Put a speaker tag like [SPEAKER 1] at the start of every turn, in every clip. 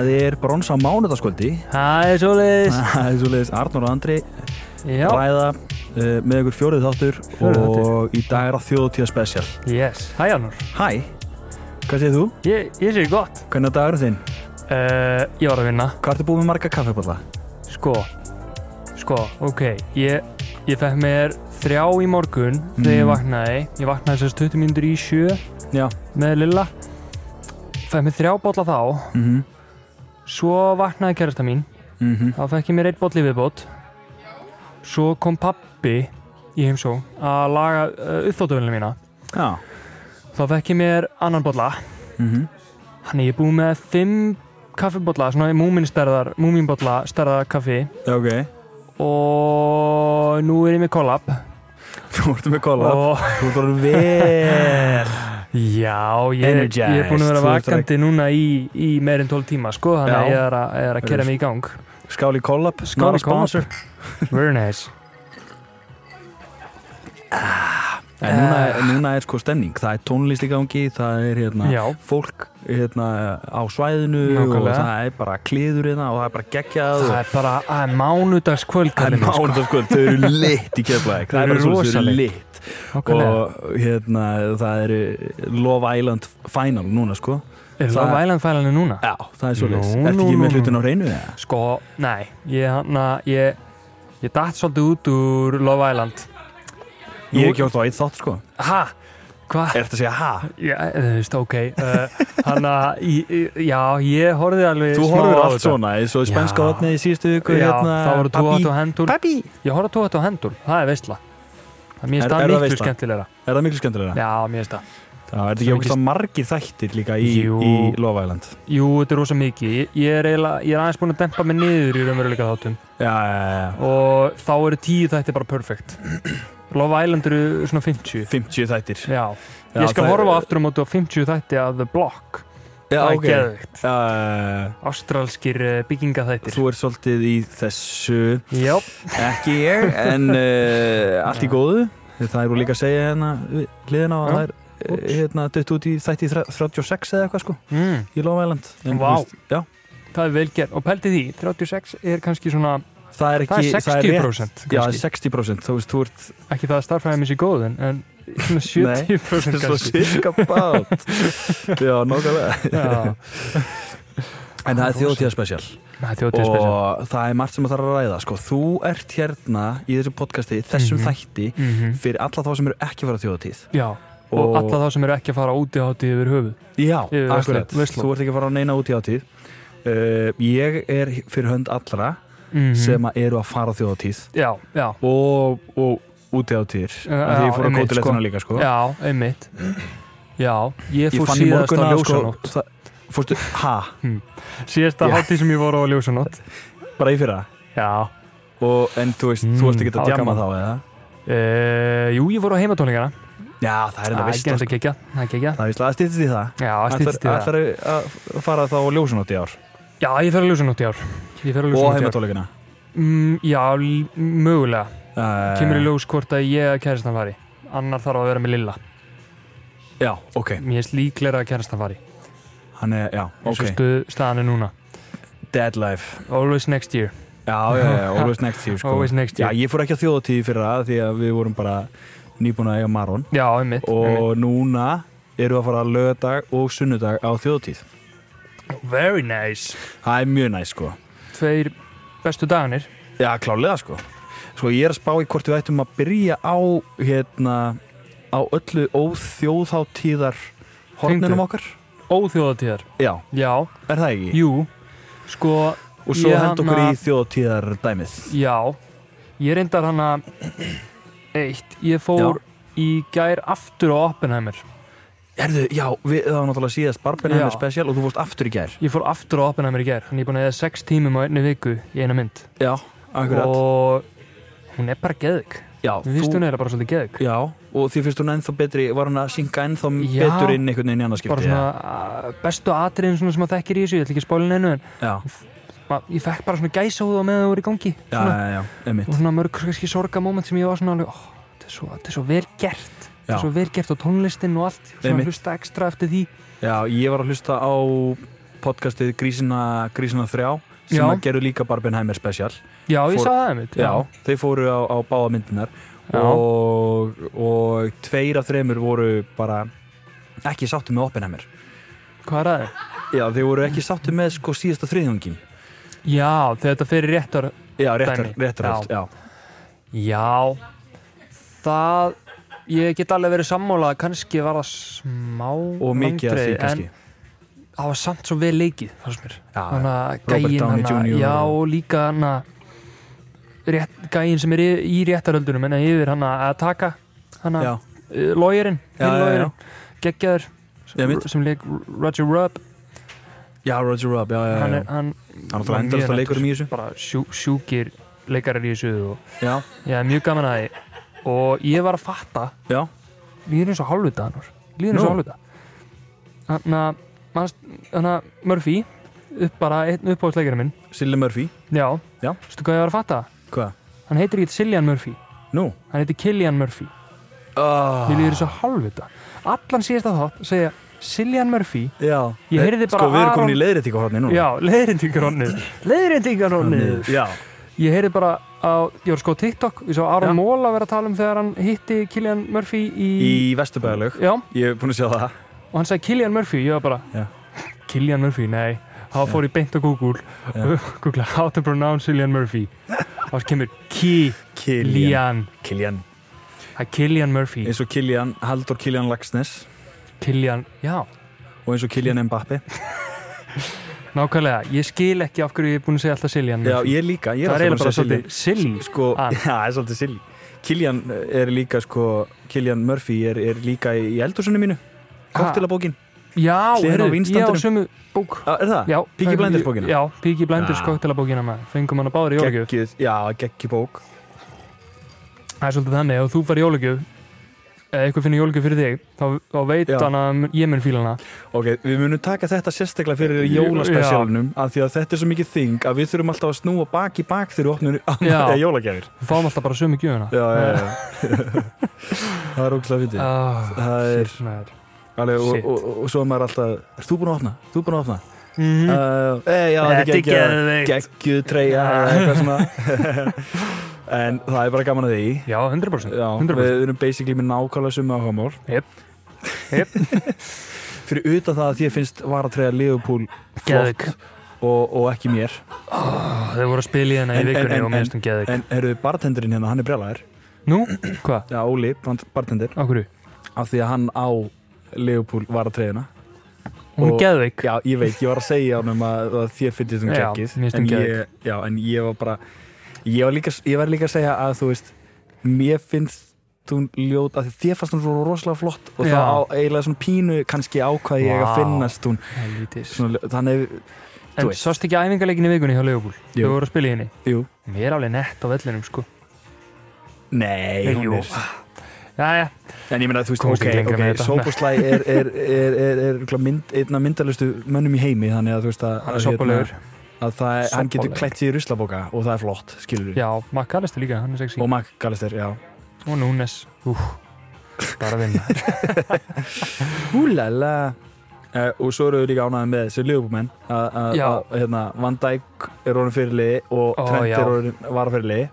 [SPEAKER 1] það er brons á mánudaskvöldi
[SPEAKER 2] Það er svoleiðis
[SPEAKER 1] Það er svoleiðis Arnur og Andri
[SPEAKER 2] Já,
[SPEAKER 1] ræða uh, með ykkur fjórið þáttur
[SPEAKER 2] Fjórði þáttur.
[SPEAKER 1] og í dag er það þjóðtíða spesial
[SPEAKER 2] yes, hæ Arnur
[SPEAKER 1] Hæ, hvað segir þú?
[SPEAKER 2] Ég, ég sé gott
[SPEAKER 1] Hvernig er dagurinn þinn?
[SPEAKER 2] uh, Ég var að vinna
[SPEAKER 1] Hvað ertu búið með marga kaffepalla?
[SPEAKER 2] Sko, sko, ok Ég, ég fekk mér þrjá í morgun þegar ég
[SPEAKER 1] Mm.
[SPEAKER 2] vaknaði Ég vaknaði sérst 20 mínútur í sjö
[SPEAKER 1] Já
[SPEAKER 2] með Lilla Fekk mér þrjá bolla þá
[SPEAKER 1] mm -hmm.
[SPEAKER 2] Svo vaknaði kærasta mín
[SPEAKER 1] Mm
[SPEAKER 2] Þá fekk ég mér einn bolli viðbót Svo kom pappi í heimsó að laga uh, uppþóttuvölinu mína
[SPEAKER 1] Já
[SPEAKER 2] Þá fekk ég mér annan bolla
[SPEAKER 1] mm
[SPEAKER 2] Mhm. Þannig ég er búið með fimm kaffibotla, svona múminstærðar, múminbotla stærðar kaffi
[SPEAKER 1] Ok,
[SPEAKER 2] og nú er ég með kollab
[SPEAKER 1] þú ertu með kolla
[SPEAKER 2] og
[SPEAKER 1] Þú ertu alveg vel
[SPEAKER 2] já, ég, ég er búin
[SPEAKER 1] Energized, þú
[SPEAKER 2] að vera
[SPEAKER 1] ert
[SPEAKER 2] vakandi núna í, í meirinn 12 tíma, sko, þannig að
[SPEAKER 1] Já.
[SPEAKER 2] ég er að, ég er að kera mig í gang.
[SPEAKER 1] Skál í kollab
[SPEAKER 2] Skál í collab.
[SPEAKER 1] sponsor.
[SPEAKER 2] Very nice.
[SPEAKER 1] En núna, núna er sko stemning, það er tónlist í gangi, það er hérna
[SPEAKER 2] Eh. Já,
[SPEAKER 1] fólk hérna, á svæðinu og
[SPEAKER 2] Nákvæmlega.
[SPEAKER 1] það er bara kliður hérna og það er bara geggjað
[SPEAKER 2] það
[SPEAKER 1] og
[SPEAKER 2] er bara það er
[SPEAKER 1] það
[SPEAKER 2] mánudagskvöld,
[SPEAKER 1] er
[SPEAKER 2] kallinn minn,
[SPEAKER 1] mánuð sko, þau eru lit í keflæk
[SPEAKER 2] Þau eru
[SPEAKER 1] þau eru
[SPEAKER 2] rosaleg.
[SPEAKER 1] lit
[SPEAKER 2] sko. Nákvæmlega.
[SPEAKER 1] og hérna, það eru Love Island Final núna sko
[SPEAKER 2] Er
[SPEAKER 1] það-
[SPEAKER 2] það vælandfælanu núna?
[SPEAKER 1] Já, það er svo leis,
[SPEAKER 2] Nú,
[SPEAKER 1] ertu
[SPEAKER 2] nú,
[SPEAKER 1] ekki
[SPEAKER 2] nú,
[SPEAKER 1] með
[SPEAKER 2] nú.
[SPEAKER 1] hlutin á reynu eða?
[SPEAKER 2] Sko, nei, ég hann að, ég, ég datt svolítið út úr Love Island.
[SPEAKER 1] Ég hef gjort það á eitt þátt sko
[SPEAKER 2] Ha? Hvað?
[SPEAKER 1] Er þetta að segja ha?
[SPEAKER 2] Já, eh, þú veist, ok eh, Þannig að, já, ég horfði alveg
[SPEAKER 1] Þú
[SPEAKER 2] smá
[SPEAKER 1] horfir
[SPEAKER 2] á
[SPEAKER 1] allt
[SPEAKER 2] þetta.
[SPEAKER 1] svona, eins og í spænska
[SPEAKER 2] Já.
[SPEAKER 1] hotni í síðustu viku
[SPEAKER 2] Já,
[SPEAKER 1] hérna,
[SPEAKER 2] það voru tóat og
[SPEAKER 1] Papi,
[SPEAKER 2] hendur
[SPEAKER 1] papi
[SPEAKER 2] Ég horfði tóat og hendur, það er veistla Það
[SPEAKER 1] Er-
[SPEAKER 2] mér
[SPEAKER 1] er það
[SPEAKER 2] stað miklu
[SPEAKER 1] veisla?
[SPEAKER 2] skemmtilegra
[SPEAKER 1] Er það miklu skemmtilega?
[SPEAKER 2] Já, mér stað
[SPEAKER 1] Já, er þetta ekki
[SPEAKER 2] Svo
[SPEAKER 1] ógist að margir þættir líka í,
[SPEAKER 2] Jú.
[SPEAKER 1] í Love Island?
[SPEAKER 2] Jú, þetta er rosa mikið Ég, ég, er, eiginlega- ég er aðeins búin að dempa mig niður í raunveruleika þáttum
[SPEAKER 1] Já, já,
[SPEAKER 2] Og þá eru tíu þætti bara perfect Love Island eru svona
[SPEAKER 1] já,
[SPEAKER 2] 50
[SPEAKER 1] 50 þættir
[SPEAKER 2] Já,
[SPEAKER 1] Já,
[SPEAKER 2] ég skal
[SPEAKER 1] það-
[SPEAKER 2] horfa aftur á móti á 50 þætti af The Block
[SPEAKER 1] Já,
[SPEAKER 2] Það er
[SPEAKER 1] ok Já,
[SPEAKER 2] geðvikt
[SPEAKER 1] já, já.
[SPEAKER 2] Ástralskir eh, byggingaþættir
[SPEAKER 1] Þú er svolítið í þessu
[SPEAKER 2] Jáp
[SPEAKER 1] ekki ég, en uh, allt í
[SPEAKER 2] Já.
[SPEAKER 1] góðu Það er úr líka að segja hérna við hliðina á að
[SPEAKER 2] Já.
[SPEAKER 1] það er eh,
[SPEAKER 2] Úps.
[SPEAKER 1] hérna dött út í þætti þre- 36 eða eitthvað sko
[SPEAKER 2] mm.
[SPEAKER 1] í Love Island En,
[SPEAKER 2] Vá.
[SPEAKER 1] þú veist, Já,
[SPEAKER 2] Það er vel gert og pælti því, 36 er kannski svona,
[SPEAKER 1] það er
[SPEAKER 2] það
[SPEAKER 1] ekki
[SPEAKER 2] er 60%
[SPEAKER 1] Já,
[SPEAKER 2] kannski,
[SPEAKER 1] 60% þú veist, þú ert
[SPEAKER 2] ekki það að starfræði mér sér góð en, en svona 70%
[SPEAKER 1] svo
[SPEAKER 2] kannski
[SPEAKER 1] cirka bát Já, nokkulega
[SPEAKER 2] Já,
[SPEAKER 1] En það er
[SPEAKER 2] Rosa.
[SPEAKER 1] þjóðtíða spesial
[SPEAKER 2] það er þjótið spesial
[SPEAKER 1] og það er margt sem að það er að ræða sko, þú ert hérna í þessu podcasti þessum
[SPEAKER 2] Mhm.
[SPEAKER 1] þætti
[SPEAKER 2] mm
[SPEAKER 1] fyrir alla þá sem eru ekki að fara á þjóðatíð
[SPEAKER 2] Já, og, alla þá sem eru ekki að fara út í hátíð yfir höfuð
[SPEAKER 1] já,
[SPEAKER 2] Yfir Versló-
[SPEAKER 1] akkurat,
[SPEAKER 2] Versló.
[SPEAKER 1] þú ert ekki að fara á neina út í þjóðatíð uh, ég er fyrir hönd allra
[SPEAKER 2] mm
[SPEAKER 1] sem að eru að fara á þjóðatíð
[SPEAKER 2] Já, já,
[SPEAKER 1] og, og út í þjóðatíð
[SPEAKER 2] Já,
[SPEAKER 1] því ég fór á
[SPEAKER 2] einmitt,
[SPEAKER 1] kótilegtuna
[SPEAKER 2] sko.
[SPEAKER 1] líka sko.
[SPEAKER 2] já, einmitt Já, ég
[SPEAKER 1] ég
[SPEAKER 2] fór
[SPEAKER 1] fann í
[SPEAKER 2] síðast
[SPEAKER 1] morgun
[SPEAKER 2] á
[SPEAKER 1] að sko,
[SPEAKER 2] ljósanótt
[SPEAKER 1] það- fórstu, ha,
[SPEAKER 2] Síðasta
[SPEAKER 1] Já.
[SPEAKER 2] hátíð sem ég voru á ljósanótt
[SPEAKER 1] bara í fyrra
[SPEAKER 2] Já,
[SPEAKER 1] og, en þú veist,
[SPEAKER 2] Mm,
[SPEAKER 1] þú varst ekki að
[SPEAKER 2] það var
[SPEAKER 1] djama
[SPEAKER 2] gaman.
[SPEAKER 1] þá eða
[SPEAKER 2] uh, jú, ég voru á heimatónleikana
[SPEAKER 1] já, það er þetta
[SPEAKER 2] Það er
[SPEAKER 1] veist
[SPEAKER 2] ekki að kekja, það er kekja
[SPEAKER 1] það er veist, það stýttist í það
[SPEAKER 2] Já, stýttist í það
[SPEAKER 1] ætlar að fara þá á ljósunótt í ár
[SPEAKER 2] Já, ég fer að ljósanótt í ár Ég fer
[SPEAKER 1] og
[SPEAKER 2] að ljósanótt í ár
[SPEAKER 1] heimatóleikina
[SPEAKER 2] Mm, já, l- mögulega.
[SPEAKER 1] uh,
[SPEAKER 2] Kemur í ljós hvort að ég að kærastan fari. Annar þarf að vera með Lilla.
[SPEAKER 1] Uh, já, ok,
[SPEAKER 2] Mér er líklega að kærastan fari.
[SPEAKER 1] hann er, já,
[SPEAKER 2] eins og
[SPEAKER 1] ok
[SPEAKER 2] stu, staðan er núna.
[SPEAKER 1] Dead Life,
[SPEAKER 2] Always next year.
[SPEAKER 1] já, já, já, always next year sko.
[SPEAKER 2] Always next
[SPEAKER 1] já,
[SPEAKER 2] year.
[SPEAKER 1] ég fór ekki á þjóðatíð fyrir það því að við vorum bara nýbúin að eiga Maron
[SPEAKER 2] Já, einmitt. einmitt.
[SPEAKER 1] og núna eru að fara lögadag og sunnudag á þjóðatíð
[SPEAKER 2] Very nice.
[SPEAKER 1] það er mjög næst sko
[SPEAKER 2] Tveir bestu dagarnir.
[SPEAKER 1] já, klálega sko sko, ég er að spá í hvort við ættum að byrja á hérna, á öllu óþjóðháttíðar horninum
[SPEAKER 2] Tengdu.
[SPEAKER 1] okkar
[SPEAKER 2] Óþjóðatíðar.
[SPEAKER 1] já,
[SPEAKER 2] Já,
[SPEAKER 1] er það ekki?
[SPEAKER 2] jú. Sko,
[SPEAKER 1] og svo
[SPEAKER 2] Ég hérna-
[SPEAKER 1] hend okkur í
[SPEAKER 2] hana-
[SPEAKER 1] þjóðtíðar dæmið
[SPEAKER 2] já. Ég reyndar hana eitt. Ég fór í gær aftur á Oppenheimer.
[SPEAKER 1] Herðu, já, við, það var náttúrulega síðast Barbenheimer
[SPEAKER 2] Já.
[SPEAKER 1] special og þú fórst aftur í gær
[SPEAKER 2] Ég fór aftur á Oppenheimer í gerð, þannig ég er búin að eða sex tímum á einni viku í eina mynd
[SPEAKER 1] Já, akkurat
[SPEAKER 2] og hún er bara geðug
[SPEAKER 1] Já,
[SPEAKER 2] Mér finnst hún eða bara svolítið geðug
[SPEAKER 1] Já, og því finnst hún ennþá betri var hún að synga ennþá
[SPEAKER 2] Já.
[SPEAKER 1] betur inn einhvern veginn í annarskipti
[SPEAKER 2] bara svona uh, bestu atriðin svona sem maður þekkir í þessu ég ætla ekki að spóla neinu en
[SPEAKER 1] Já,
[SPEAKER 2] ma- ég fekk bara svona gæsa á það meðan það voru í gangi
[SPEAKER 1] já,
[SPEAKER 2] svona,
[SPEAKER 1] já, já, einmitt
[SPEAKER 2] og svona mörg kannski sorgamóment sem ég var svona alveg oh, þetta, er svo, þetta er svo vel gert þetta
[SPEAKER 1] Já.
[SPEAKER 2] er svo vel gert á tónlistin og allt svona
[SPEAKER 1] Einmitt.
[SPEAKER 2] hlusta ekstra eftir því
[SPEAKER 1] Já, ég var að hlusta á podcastið Grísina, Grísina 3 sem
[SPEAKER 2] Já.
[SPEAKER 1] að gerðu líka Barbenheimer special
[SPEAKER 2] já ég
[SPEAKER 1] Fór-
[SPEAKER 2] sá það einmitt
[SPEAKER 1] Já, þeir fóru á, á báða myndinar
[SPEAKER 2] Já.
[SPEAKER 1] og, og tveir af þremur voru bara ekki sáttu með Oppenheimer
[SPEAKER 2] hvað er það?
[SPEAKER 1] Já, þeir voru ekki sáttu með sko síðasta þriðjungin
[SPEAKER 2] já þegar þetta fyrir réttar
[SPEAKER 1] Já, réttar,
[SPEAKER 2] Dæmi.
[SPEAKER 1] réttar já.
[SPEAKER 2] já það ég get alveg verið sammálað kannski var það smá
[SPEAKER 1] og mikið af því
[SPEAKER 2] vandræði,
[SPEAKER 1] kannski
[SPEAKER 2] en það var samt svo vel leikið fannst mér
[SPEAKER 1] Já,
[SPEAKER 2] hann að
[SPEAKER 1] Robert
[SPEAKER 2] gæin
[SPEAKER 1] Downey
[SPEAKER 2] hana,
[SPEAKER 1] Jr.
[SPEAKER 2] já
[SPEAKER 1] og-
[SPEAKER 2] og líka hann að rétt, gæin sem er í, í réttaröldunum en yfir hann að taka hann að
[SPEAKER 1] já,
[SPEAKER 2] lawyerin,
[SPEAKER 1] Já, já,
[SPEAKER 2] hinn
[SPEAKER 1] já.
[SPEAKER 2] lawyerin geggjaður
[SPEAKER 1] Ég
[SPEAKER 2] sem,
[SPEAKER 1] veit.
[SPEAKER 2] sem leik Roger Rubb
[SPEAKER 1] já, Roger Rubb, já, já, já
[SPEAKER 2] hann
[SPEAKER 1] Hann
[SPEAKER 2] er, hann
[SPEAKER 1] er það
[SPEAKER 2] var
[SPEAKER 1] endast
[SPEAKER 2] mjög
[SPEAKER 1] að leikur um í þessu
[SPEAKER 2] nettur. bara sjú, sjúkir leikarar í þessu og
[SPEAKER 1] Já,
[SPEAKER 2] ég er mjög gaman að því og ég var að fatta
[SPEAKER 1] já,
[SPEAKER 2] líður eins og hálfvita hann líður eins
[SPEAKER 1] Nú.
[SPEAKER 2] og hálfvita hann að Murphy upp bara einn uppáhaldsleikari minn
[SPEAKER 1] Silly Murphy,
[SPEAKER 2] já,
[SPEAKER 1] Já.
[SPEAKER 2] veistu hvað ég var að fatta
[SPEAKER 1] hvað?
[SPEAKER 2] hann heitir ekki Cillian Murphy
[SPEAKER 1] Nú?
[SPEAKER 2] hann heitir Killian Murphy
[SPEAKER 1] Oh.
[SPEAKER 2] mér líður svo hálfvita allan síðast að þátt segja Cillian Murphy
[SPEAKER 1] Já,
[SPEAKER 2] Ég heyrði bara
[SPEAKER 1] Sko, við erum
[SPEAKER 2] Aron-
[SPEAKER 1] komin í leiðréttingu hodni núna
[SPEAKER 2] já, leiðrindingaronnið leiðrindingaronnið
[SPEAKER 1] Já,
[SPEAKER 2] ég heyrði bara á, ég var sko á TikTok ég sá
[SPEAKER 1] Já.
[SPEAKER 2] Aron Móla vera að tala um þegar hann hitti Killian Murphy í,
[SPEAKER 1] í Vesturbæðalög
[SPEAKER 2] já,
[SPEAKER 1] Ég hef búin að sjá það
[SPEAKER 2] og hann sagði Killian Murphy ég var bara,
[SPEAKER 1] Já.
[SPEAKER 2] Killian Murphy, nei þá fór ég beint á Google
[SPEAKER 1] Já.
[SPEAKER 2] Google how to pronounce Cillian Murphy þá kemur Killian
[SPEAKER 1] Killian
[SPEAKER 2] það er Killian Murphy
[SPEAKER 1] eins og Killian, Haldur Killian Laxness
[SPEAKER 2] Killian, já,
[SPEAKER 1] og eins og Killian Mbappe
[SPEAKER 2] Nákvæmlega, ég skil ekki af hverju ég er búin að segja alltaf Siljan
[SPEAKER 1] Já, ég líka, ég
[SPEAKER 2] Það er
[SPEAKER 1] Mm. er alltaf búin að
[SPEAKER 2] eiginlega bara
[SPEAKER 1] segja Killian
[SPEAKER 2] svolítið Silly
[SPEAKER 1] Sko,
[SPEAKER 2] Ah.
[SPEAKER 1] já, það er svolítið silly Killian er líka, sko Killian Murphy er, er líka í eldursunni mínu Koktelabókin,
[SPEAKER 2] Já,
[SPEAKER 1] Hliðin á
[SPEAKER 2] heyrðu, ég á
[SPEAKER 1] vínstandinum.
[SPEAKER 2] sömu bók
[SPEAKER 1] ah, er það?
[SPEAKER 2] Já,
[SPEAKER 1] Peaky Blinders bókina?
[SPEAKER 2] Já, Píki Blinders
[SPEAKER 1] Já.
[SPEAKER 2] koktelabókina maður Fengum hana báður í jólugjöf
[SPEAKER 1] Geggjuð- Já, geggi bók
[SPEAKER 2] Það er svolítið þannig, ef þú fær í jólugjöf eða eitthvað finnir jólugjöf fyrir þig þá, þá veit
[SPEAKER 1] Já.
[SPEAKER 2] hann að ég mun fíla hana
[SPEAKER 1] Ok, við munum taka þetta sérstaklega fyrir jólaspecialunum af því að þetta er svo mikið þing að við þurfum alltaf að snúa bak í bak þegar við opnum
[SPEAKER 2] Já.
[SPEAKER 1] eh, jólagjafir
[SPEAKER 2] Við fáum alltaf bara sömu gjöfuna
[SPEAKER 1] Já, já, já Það er ógslag fyndið
[SPEAKER 2] Ah,
[SPEAKER 1] Það er
[SPEAKER 2] shit, maður.
[SPEAKER 1] Alveg, og,
[SPEAKER 2] Shit.
[SPEAKER 1] og, og, og svo er maður alltaf Er þú búinn að opna? Þú búinn að opna?
[SPEAKER 2] Mhm.
[SPEAKER 1] Uh, e, já,
[SPEAKER 2] Þetta er geðveikt.
[SPEAKER 1] Geggjuð treyja eða eitthvað svona En það er bara gaman að því
[SPEAKER 2] Já, 100%
[SPEAKER 1] Já,
[SPEAKER 2] 100%.
[SPEAKER 1] við erum basically með nákvæmlega summa áhugamál
[SPEAKER 2] Jep. Jep.
[SPEAKER 1] Fyrir utan það að þér finnst var að treyja Leopold flott
[SPEAKER 2] Geðveik.
[SPEAKER 1] og, og ekki mér
[SPEAKER 2] Þau voru að spila í hana í
[SPEAKER 1] En- en-
[SPEAKER 2] vikunni
[SPEAKER 1] en-
[SPEAKER 2] og minnst um geðið
[SPEAKER 1] En eru bartendurinn hérna, hann er brjálæður
[SPEAKER 2] Nú, hvað?
[SPEAKER 1] Já, Óli, brand- bartender
[SPEAKER 2] Á hverju?
[SPEAKER 1] Af því að hann á Leopold var að treyjuna
[SPEAKER 2] Hún
[SPEAKER 1] Og-
[SPEAKER 2] er geðveik
[SPEAKER 1] Já, ég veit, ég var að segja ánum að, að þér finnst um
[SPEAKER 2] Já,
[SPEAKER 1] geggið
[SPEAKER 2] mér finnst hún
[SPEAKER 1] en ég, já, en ég var bara ég var, líka, ég var líka að segja að þú veist mér finnst hún ljót að þér fannst hún svo rosalega flott og
[SPEAKER 2] Já.
[SPEAKER 1] það á eiginlega svona pínu kannski ákvað ég að
[SPEAKER 2] Vá.
[SPEAKER 1] finnast hún
[SPEAKER 2] Helvítis
[SPEAKER 1] svona, ljó- þannig, Þú
[SPEAKER 2] En
[SPEAKER 1] veist.
[SPEAKER 2] sást ekki æfingarleikin í vikunni hjá Leopold?
[SPEAKER 1] Jú.
[SPEAKER 2] Þau voru að spila í henni.
[SPEAKER 1] jú
[SPEAKER 2] Mér er alveg nett á vellinum, sko.
[SPEAKER 1] Nei,
[SPEAKER 2] Nei,
[SPEAKER 1] hún
[SPEAKER 2] jú.
[SPEAKER 1] er
[SPEAKER 2] Jæja,
[SPEAKER 1] En ég meina, þú veist,
[SPEAKER 2] Komst
[SPEAKER 1] ok,
[SPEAKER 2] ekki lengra
[SPEAKER 1] ok,
[SPEAKER 2] með þetta.
[SPEAKER 1] Sóbúslæg er, er, er, er, er örugglega mynd, einn af myndalustu mönnum í heimi þannig að þú veist að,
[SPEAKER 2] hann
[SPEAKER 1] að, hérna-
[SPEAKER 2] er soppulegur.
[SPEAKER 1] að það, er- hann getur
[SPEAKER 2] Sobbalegur.
[SPEAKER 1] klætt sig í ruslabóka og það er flott, skilur við
[SPEAKER 2] Já, Mark Allister líka, hann er sexy.
[SPEAKER 1] og Mark Gallister, já
[SPEAKER 2] Og Núnes, úh, bara að vinna.
[SPEAKER 1] Húlala uh, Og svo eru við líka ánæðið með þessi liðbúmenn að
[SPEAKER 2] Já.
[SPEAKER 1] að- hérna, Van Dijk er orðin fyrirliði og
[SPEAKER 2] Ó,
[SPEAKER 1] Trent
[SPEAKER 2] já.
[SPEAKER 1] er orðin varafyrirliði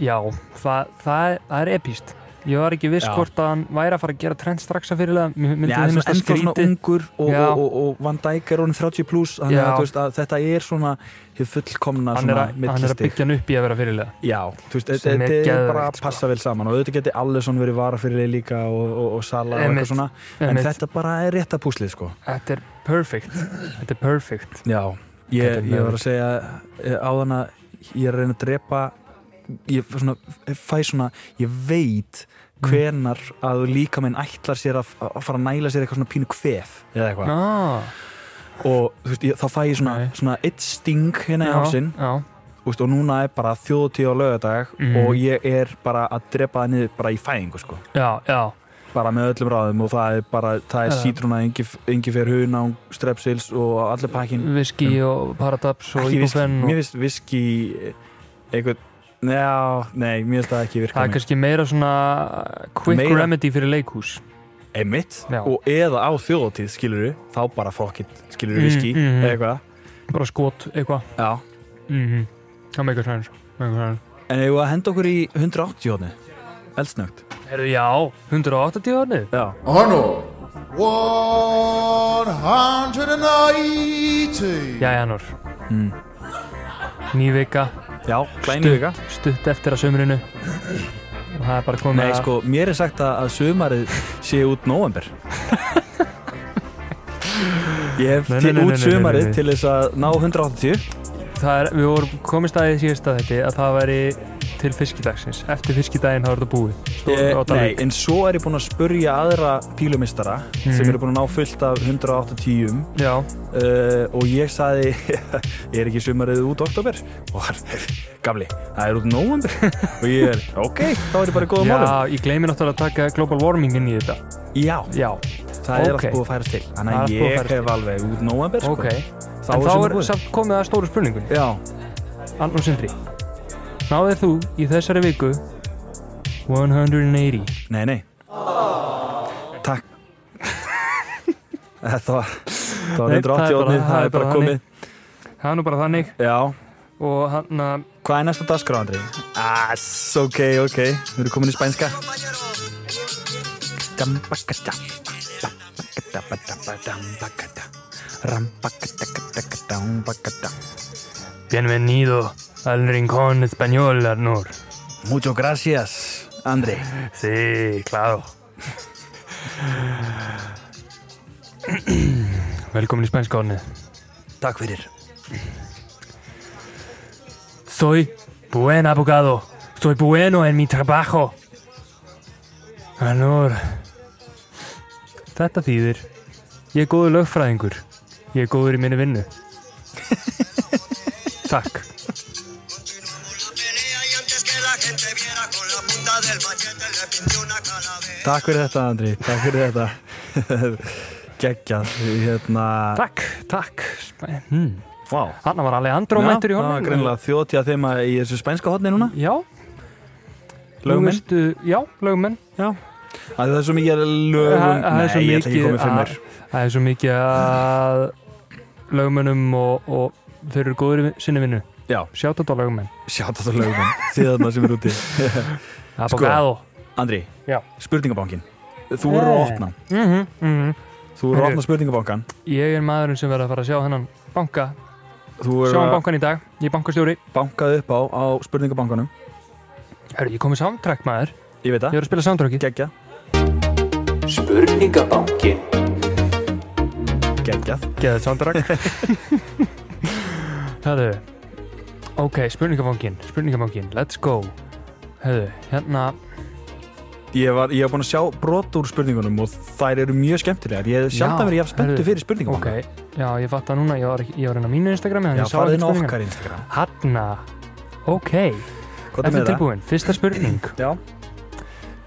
[SPEAKER 2] Já, það, það, er- það er epíst. Ég var ekki viss
[SPEAKER 1] Já. hvort
[SPEAKER 2] hvort að hann væri að fara að gera trend strax að fyrirlega. Mér myndi
[SPEAKER 1] Já,
[SPEAKER 2] þið
[SPEAKER 1] svona
[SPEAKER 2] minnst að
[SPEAKER 1] ennþá svona
[SPEAKER 2] skríti.
[SPEAKER 1] ungur og,
[SPEAKER 2] Já.
[SPEAKER 1] og, og, og Van Dijk er orðin 30 pluss þannig
[SPEAKER 2] Já.
[SPEAKER 1] að, þú veist, að þetta er svona hið fullkomna svona
[SPEAKER 2] Hann er, að, hann er að
[SPEAKER 1] millistig
[SPEAKER 2] byggja hann upp í að vera fyrirlega.
[SPEAKER 1] Já, þú veist, þetta-
[SPEAKER 2] Sem er
[SPEAKER 1] þetta er
[SPEAKER 2] geðveikt,
[SPEAKER 1] bara að
[SPEAKER 2] sko.
[SPEAKER 1] passa vel saman og auðvitað geti Allison verið varafyrirliði líka og, og, og Sala og
[SPEAKER 2] Einmitt,
[SPEAKER 1] eitthvað svona en
[SPEAKER 2] En þetta,
[SPEAKER 1] þetta bara er rétta púslið sko
[SPEAKER 2] er perfect. Þetta er perfect.
[SPEAKER 1] Já, ég,
[SPEAKER 2] Þetta er
[SPEAKER 1] ég var
[SPEAKER 2] mögulegt.
[SPEAKER 1] að segja eh, áðan eh, að ég er að reyna að drepa ég svona, fæ svona, ég veit hvenar að líkaminn ætlar sér að, að fara að næla sér eitthvað svona pínu kvef eða eitthvað
[SPEAKER 2] ah,
[SPEAKER 1] og þú veist, ég, þá fæ ég svona,
[SPEAKER 2] Nei.
[SPEAKER 1] svona eitt sting hérna í hálsinn
[SPEAKER 2] já,
[SPEAKER 1] þú veist, og núna er bara þjóðutíð á lögadag
[SPEAKER 2] Mhm.
[SPEAKER 1] og ég er bara að drepa það niður bara í fæðingu sko
[SPEAKER 2] já, já,
[SPEAKER 1] bara með öllum ráðum og það er bara það er
[SPEAKER 2] Já.
[SPEAKER 1] sítruna, engi fer hunang strepsils og allir pakkin
[SPEAKER 2] viski og paradaps og
[SPEAKER 1] ekki viski,
[SPEAKER 2] íbúfenn og
[SPEAKER 1] mér finnst viski eh, eitthvað, já, nei, mér finnst það ekki virka
[SPEAKER 2] það er
[SPEAKER 1] mér.
[SPEAKER 2] kannski meira svona quick
[SPEAKER 1] Meira-
[SPEAKER 2] remedy fyrir leikhús
[SPEAKER 1] einmitt,
[SPEAKER 2] Já.
[SPEAKER 1] og eða á þjóðatíð skilur við, þá bara fokkitt skilur við
[SPEAKER 2] Mm,
[SPEAKER 1] viski,
[SPEAKER 2] mm.
[SPEAKER 1] eitthvað
[SPEAKER 2] bara skot eitthvað
[SPEAKER 1] já,
[SPEAKER 2] mm
[SPEAKER 1] Mhm.
[SPEAKER 2] það meikar sæns
[SPEAKER 1] en eigum við að henda okkur í 180 hóðni eldsnögt,
[SPEAKER 2] Herðu, já, 180 orðið
[SPEAKER 1] já,
[SPEAKER 3] Honor 180.
[SPEAKER 2] Jæja, Nór Ný vika,
[SPEAKER 1] já, glæni Mm. vika
[SPEAKER 2] stutt, stutt eftir að sömurinu og það er bara komið
[SPEAKER 1] nei,
[SPEAKER 2] að-
[SPEAKER 1] sko, mér er sagt að, að sumarið sé út november ég hef
[SPEAKER 2] Nei, nei,
[SPEAKER 1] til
[SPEAKER 2] nei,
[SPEAKER 1] út
[SPEAKER 2] nei, nei, nei,
[SPEAKER 1] sumarið
[SPEAKER 2] nei.
[SPEAKER 1] til þess að ná 180
[SPEAKER 2] það er, Við vorum komið staðið síðast að þetta að það væri til fiskidagsins Eftir fiskidaginn þá er þetta búið Stór
[SPEAKER 1] Eh,
[SPEAKER 2] á
[SPEAKER 1] Nei,
[SPEAKER 2] Dalvík.
[SPEAKER 1] en svo er ég búinn að spurja aðra pílumistara
[SPEAKER 2] Mhm.
[SPEAKER 1] sem eru búin að ná fullt af 180 uh,
[SPEAKER 2] Já,
[SPEAKER 1] eh, og ég saði ég er ekki sumarið út oktober og hann, gamli, það er út november og ég er, ok, þá er ég bara í góða
[SPEAKER 2] já,
[SPEAKER 1] málum
[SPEAKER 2] ég gleymi náttúrulega að taka global warming inn í þetta
[SPEAKER 1] Já,
[SPEAKER 2] Já,
[SPEAKER 1] það er
[SPEAKER 2] Ok.
[SPEAKER 1] allt búið að færast til
[SPEAKER 2] Það er
[SPEAKER 1] þannig
[SPEAKER 2] allt
[SPEAKER 1] að
[SPEAKER 2] búið að
[SPEAKER 1] ég
[SPEAKER 2] færast
[SPEAKER 1] hef alveg út november
[SPEAKER 2] ok
[SPEAKER 1] sko. þá
[SPEAKER 2] En
[SPEAKER 1] er
[SPEAKER 2] þá
[SPEAKER 1] sumar
[SPEAKER 2] er
[SPEAKER 1] búið
[SPEAKER 2] samt komið að stóru spurningunni
[SPEAKER 1] Já,
[SPEAKER 2] Ann og Sindri Náðir þú í þessari viku 180
[SPEAKER 1] nei, nei Takk Þetta var það var
[SPEAKER 2] Nei, það
[SPEAKER 1] 180
[SPEAKER 2] er bara-
[SPEAKER 1] orðið,
[SPEAKER 2] það
[SPEAKER 1] það
[SPEAKER 2] er
[SPEAKER 1] er bara
[SPEAKER 2] bara
[SPEAKER 1] komið
[SPEAKER 2] Það er nú bara þannig
[SPEAKER 1] Já,
[SPEAKER 2] og hann að
[SPEAKER 1] Hvað er næsta dagskrá, Andri? Ass, ok, ok. Við erum komin í spænska.
[SPEAKER 2] Bienvenido al rincón español, Arnur.
[SPEAKER 1] Mucho gracias, Andri.
[SPEAKER 2] Sí, claro. Velkomin í spænska ornið.
[SPEAKER 1] Takk fyrir.
[SPEAKER 2] Soy buen abogado. Soy bueno en mi trabajo. Arnur. Þetta þýðir. Ég er góður lögfræðingur. Ég er góður í minni vinnu. Takk.
[SPEAKER 4] pelea y antes que la gente viera con la punta del machete le pinté una calavera.
[SPEAKER 1] Takk fyrir þetta, Andri. Takk fyrir þetta. Gekkja, hérna...
[SPEAKER 2] Takk, takk. Hmm.
[SPEAKER 1] Vá.
[SPEAKER 2] Hanna var alveg andrómættur í
[SPEAKER 1] Já,
[SPEAKER 2] honum.
[SPEAKER 1] Það var greinlega þjóti að þeima í þessu spænska hotni núna.
[SPEAKER 2] Já,
[SPEAKER 1] Lögmenn.
[SPEAKER 2] Nú veistu- Já, lögumenn
[SPEAKER 1] Já. Það er svo mikið lögum.
[SPEAKER 2] Það- það er svo
[SPEAKER 1] Nei, ég ætla ekki
[SPEAKER 2] mikið
[SPEAKER 1] komið fyrir
[SPEAKER 2] að-
[SPEAKER 1] mér.
[SPEAKER 2] Það er svo mikið að lögumennum og, og þeir eru góður í sinni vinnu
[SPEAKER 1] Já,
[SPEAKER 2] Sjátt á lögumenn
[SPEAKER 1] sjátt þetta lögum. Þið þarna sem eru úti. Sko,
[SPEAKER 2] Abogado
[SPEAKER 1] Andri,
[SPEAKER 2] Já.
[SPEAKER 1] spurningabankin Þú eru að
[SPEAKER 2] Hey.
[SPEAKER 1] opna hann.
[SPEAKER 2] mm -hmm, mm
[SPEAKER 1] Þú eru að
[SPEAKER 2] Heyrðu.
[SPEAKER 1] opna spurningabankan
[SPEAKER 2] Ég er maðurinn sem verður að fara að sjá hennan banka
[SPEAKER 1] Þú
[SPEAKER 2] Sjá
[SPEAKER 1] eru
[SPEAKER 2] hann
[SPEAKER 1] að
[SPEAKER 2] bankan í dag, ég er bankastjóri
[SPEAKER 1] bankað upp á, á spurningabankanum
[SPEAKER 2] Hörru, ég kom með soundtrack maður
[SPEAKER 1] Ég veit
[SPEAKER 2] Ég
[SPEAKER 1] það,
[SPEAKER 2] verður að spila soundtracki
[SPEAKER 1] geggjað
[SPEAKER 5] Spurningabankin
[SPEAKER 1] Geggjað
[SPEAKER 2] Geðið soundtrack Hörru Ok, spurningafangin, spurningafangin, let's go Hörru, hérna
[SPEAKER 1] Ég var, ég var búin að sjá brot úr spurningunum og þær eru mjög skemmtilegar Ég hef sjálf
[SPEAKER 2] Já,
[SPEAKER 1] að vera jafn spenntu
[SPEAKER 2] heyrðu.
[SPEAKER 1] fyrir
[SPEAKER 2] Ok,
[SPEAKER 1] spurningabankan
[SPEAKER 2] já, ég fatt að núna, ég var, ekki- ég var inn á mínu Instagrami þannig
[SPEAKER 1] Já,
[SPEAKER 2] ég sá
[SPEAKER 1] farið inn
[SPEAKER 2] ekki
[SPEAKER 1] á
[SPEAKER 2] spurningar.
[SPEAKER 1] okkar Instagram
[SPEAKER 2] Hanna, ok,
[SPEAKER 1] Hvað er
[SPEAKER 2] eftir
[SPEAKER 1] með það?
[SPEAKER 2] tilbúin, fyrsta spurning
[SPEAKER 1] Já,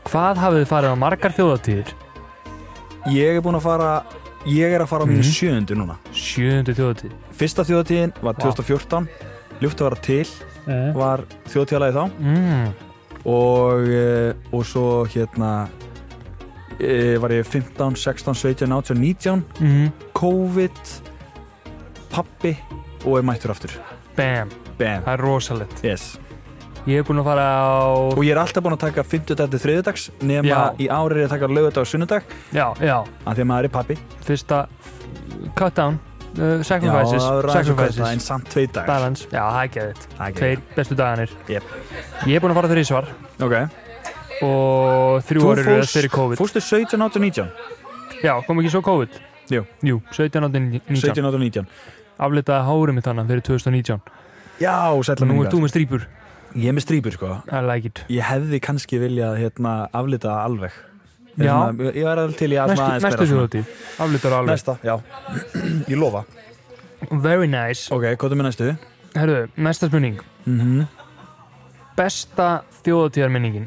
[SPEAKER 2] Hvað hafið þið farið á margar þjóðatíðir?
[SPEAKER 1] ég er búin að fara Ég er að fara á
[SPEAKER 2] Mhm.
[SPEAKER 1] mínu sjöundu núna
[SPEAKER 2] Sjöundu þjóðatíð
[SPEAKER 1] Fyrsta þjóðatíðin var
[SPEAKER 2] Vá.
[SPEAKER 1] 2014 Ljúft að vera til
[SPEAKER 2] mm.
[SPEAKER 1] var þjóðtíðalagi þá og, eh, og svo hérna eh, var ég 15, 16, 17, 18, 19
[SPEAKER 2] Mm.
[SPEAKER 1] COVID pappi og er mættur aftur
[SPEAKER 2] Bam,
[SPEAKER 1] Bam,
[SPEAKER 2] það er rosalegt
[SPEAKER 1] yes
[SPEAKER 2] Ég er búin að fara á
[SPEAKER 1] og ég er alltaf búinn að taka 50 til þriðdags nema
[SPEAKER 2] Já.
[SPEAKER 1] í ári er ég að taka lögadag og sunnudag
[SPEAKER 2] Já, já,
[SPEAKER 1] að því að maður er pappi
[SPEAKER 2] fyrsta Cut down, uh,
[SPEAKER 1] það er aðeins
[SPEAKER 2] sacrifices
[SPEAKER 1] að kaupa en
[SPEAKER 2] Sacrifices,
[SPEAKER 1] samt tvei dag
[SPEAKER 2] balance Já, það er geðið, tveir bestu dagarnir
[SPEAKER 1] Jep.
[SPEAKER 2] Ég er búin að fara þeirri svar
[SPEAKER 1] ok
[SPEAKER 2] og þrjú
[SPEAKER 1] Þú
[SPEAKER 2] árið
[SPEAKER 1] fórst-
[SPEAKER 2] fyrir COVID
[SPEAKER 1] fórstu 17, 18, 19
[SPEAKER 2] Já, kom ekki svo COVID?
[SPEAKER 1] Jú.
[SPEAKER 2] Jú, 17 ándin 19.
[SPEAKER 1] 17, 18, 19
[SPEAKER 2] Aflitaði hárið mitt hana fyrir 2019.
[SPEAKER 1] já, sætla
[SPEAKER 2] Nú
[SPEAKER 1] minningar
[SPEAKER 2] ert þú með strýpur.
[SPEAKER 1] Ég er með strýpur sko
[SPEAKER 2] I like it
[SPEAKER 1] Ég hefði kannski viljað hérna, aflita það alveg Ég er
[SPEAKER 2] Já.
[SPEAKER 1] svona- Ég er alveg til í að
[SPEAKER 2] Næstu,
[SPEAKER 1] svona aðeins
[SPEAKER 2] næstu
[SPEAKER 1] bera svona.
[SPEAKER 2] þjóðatíð, aflítur alveg
[SPEAKER 1] Næsta, já Ég lofa
[SPEAKER 2] Very nice
[SPEAKER 1] Ok, hvað er með næstu?
[SPEAKER 2] Herðu, næsta spurning
[SPEAKER 1] Mm
[SPEAKER 2] Besta þjóðatíðarminningin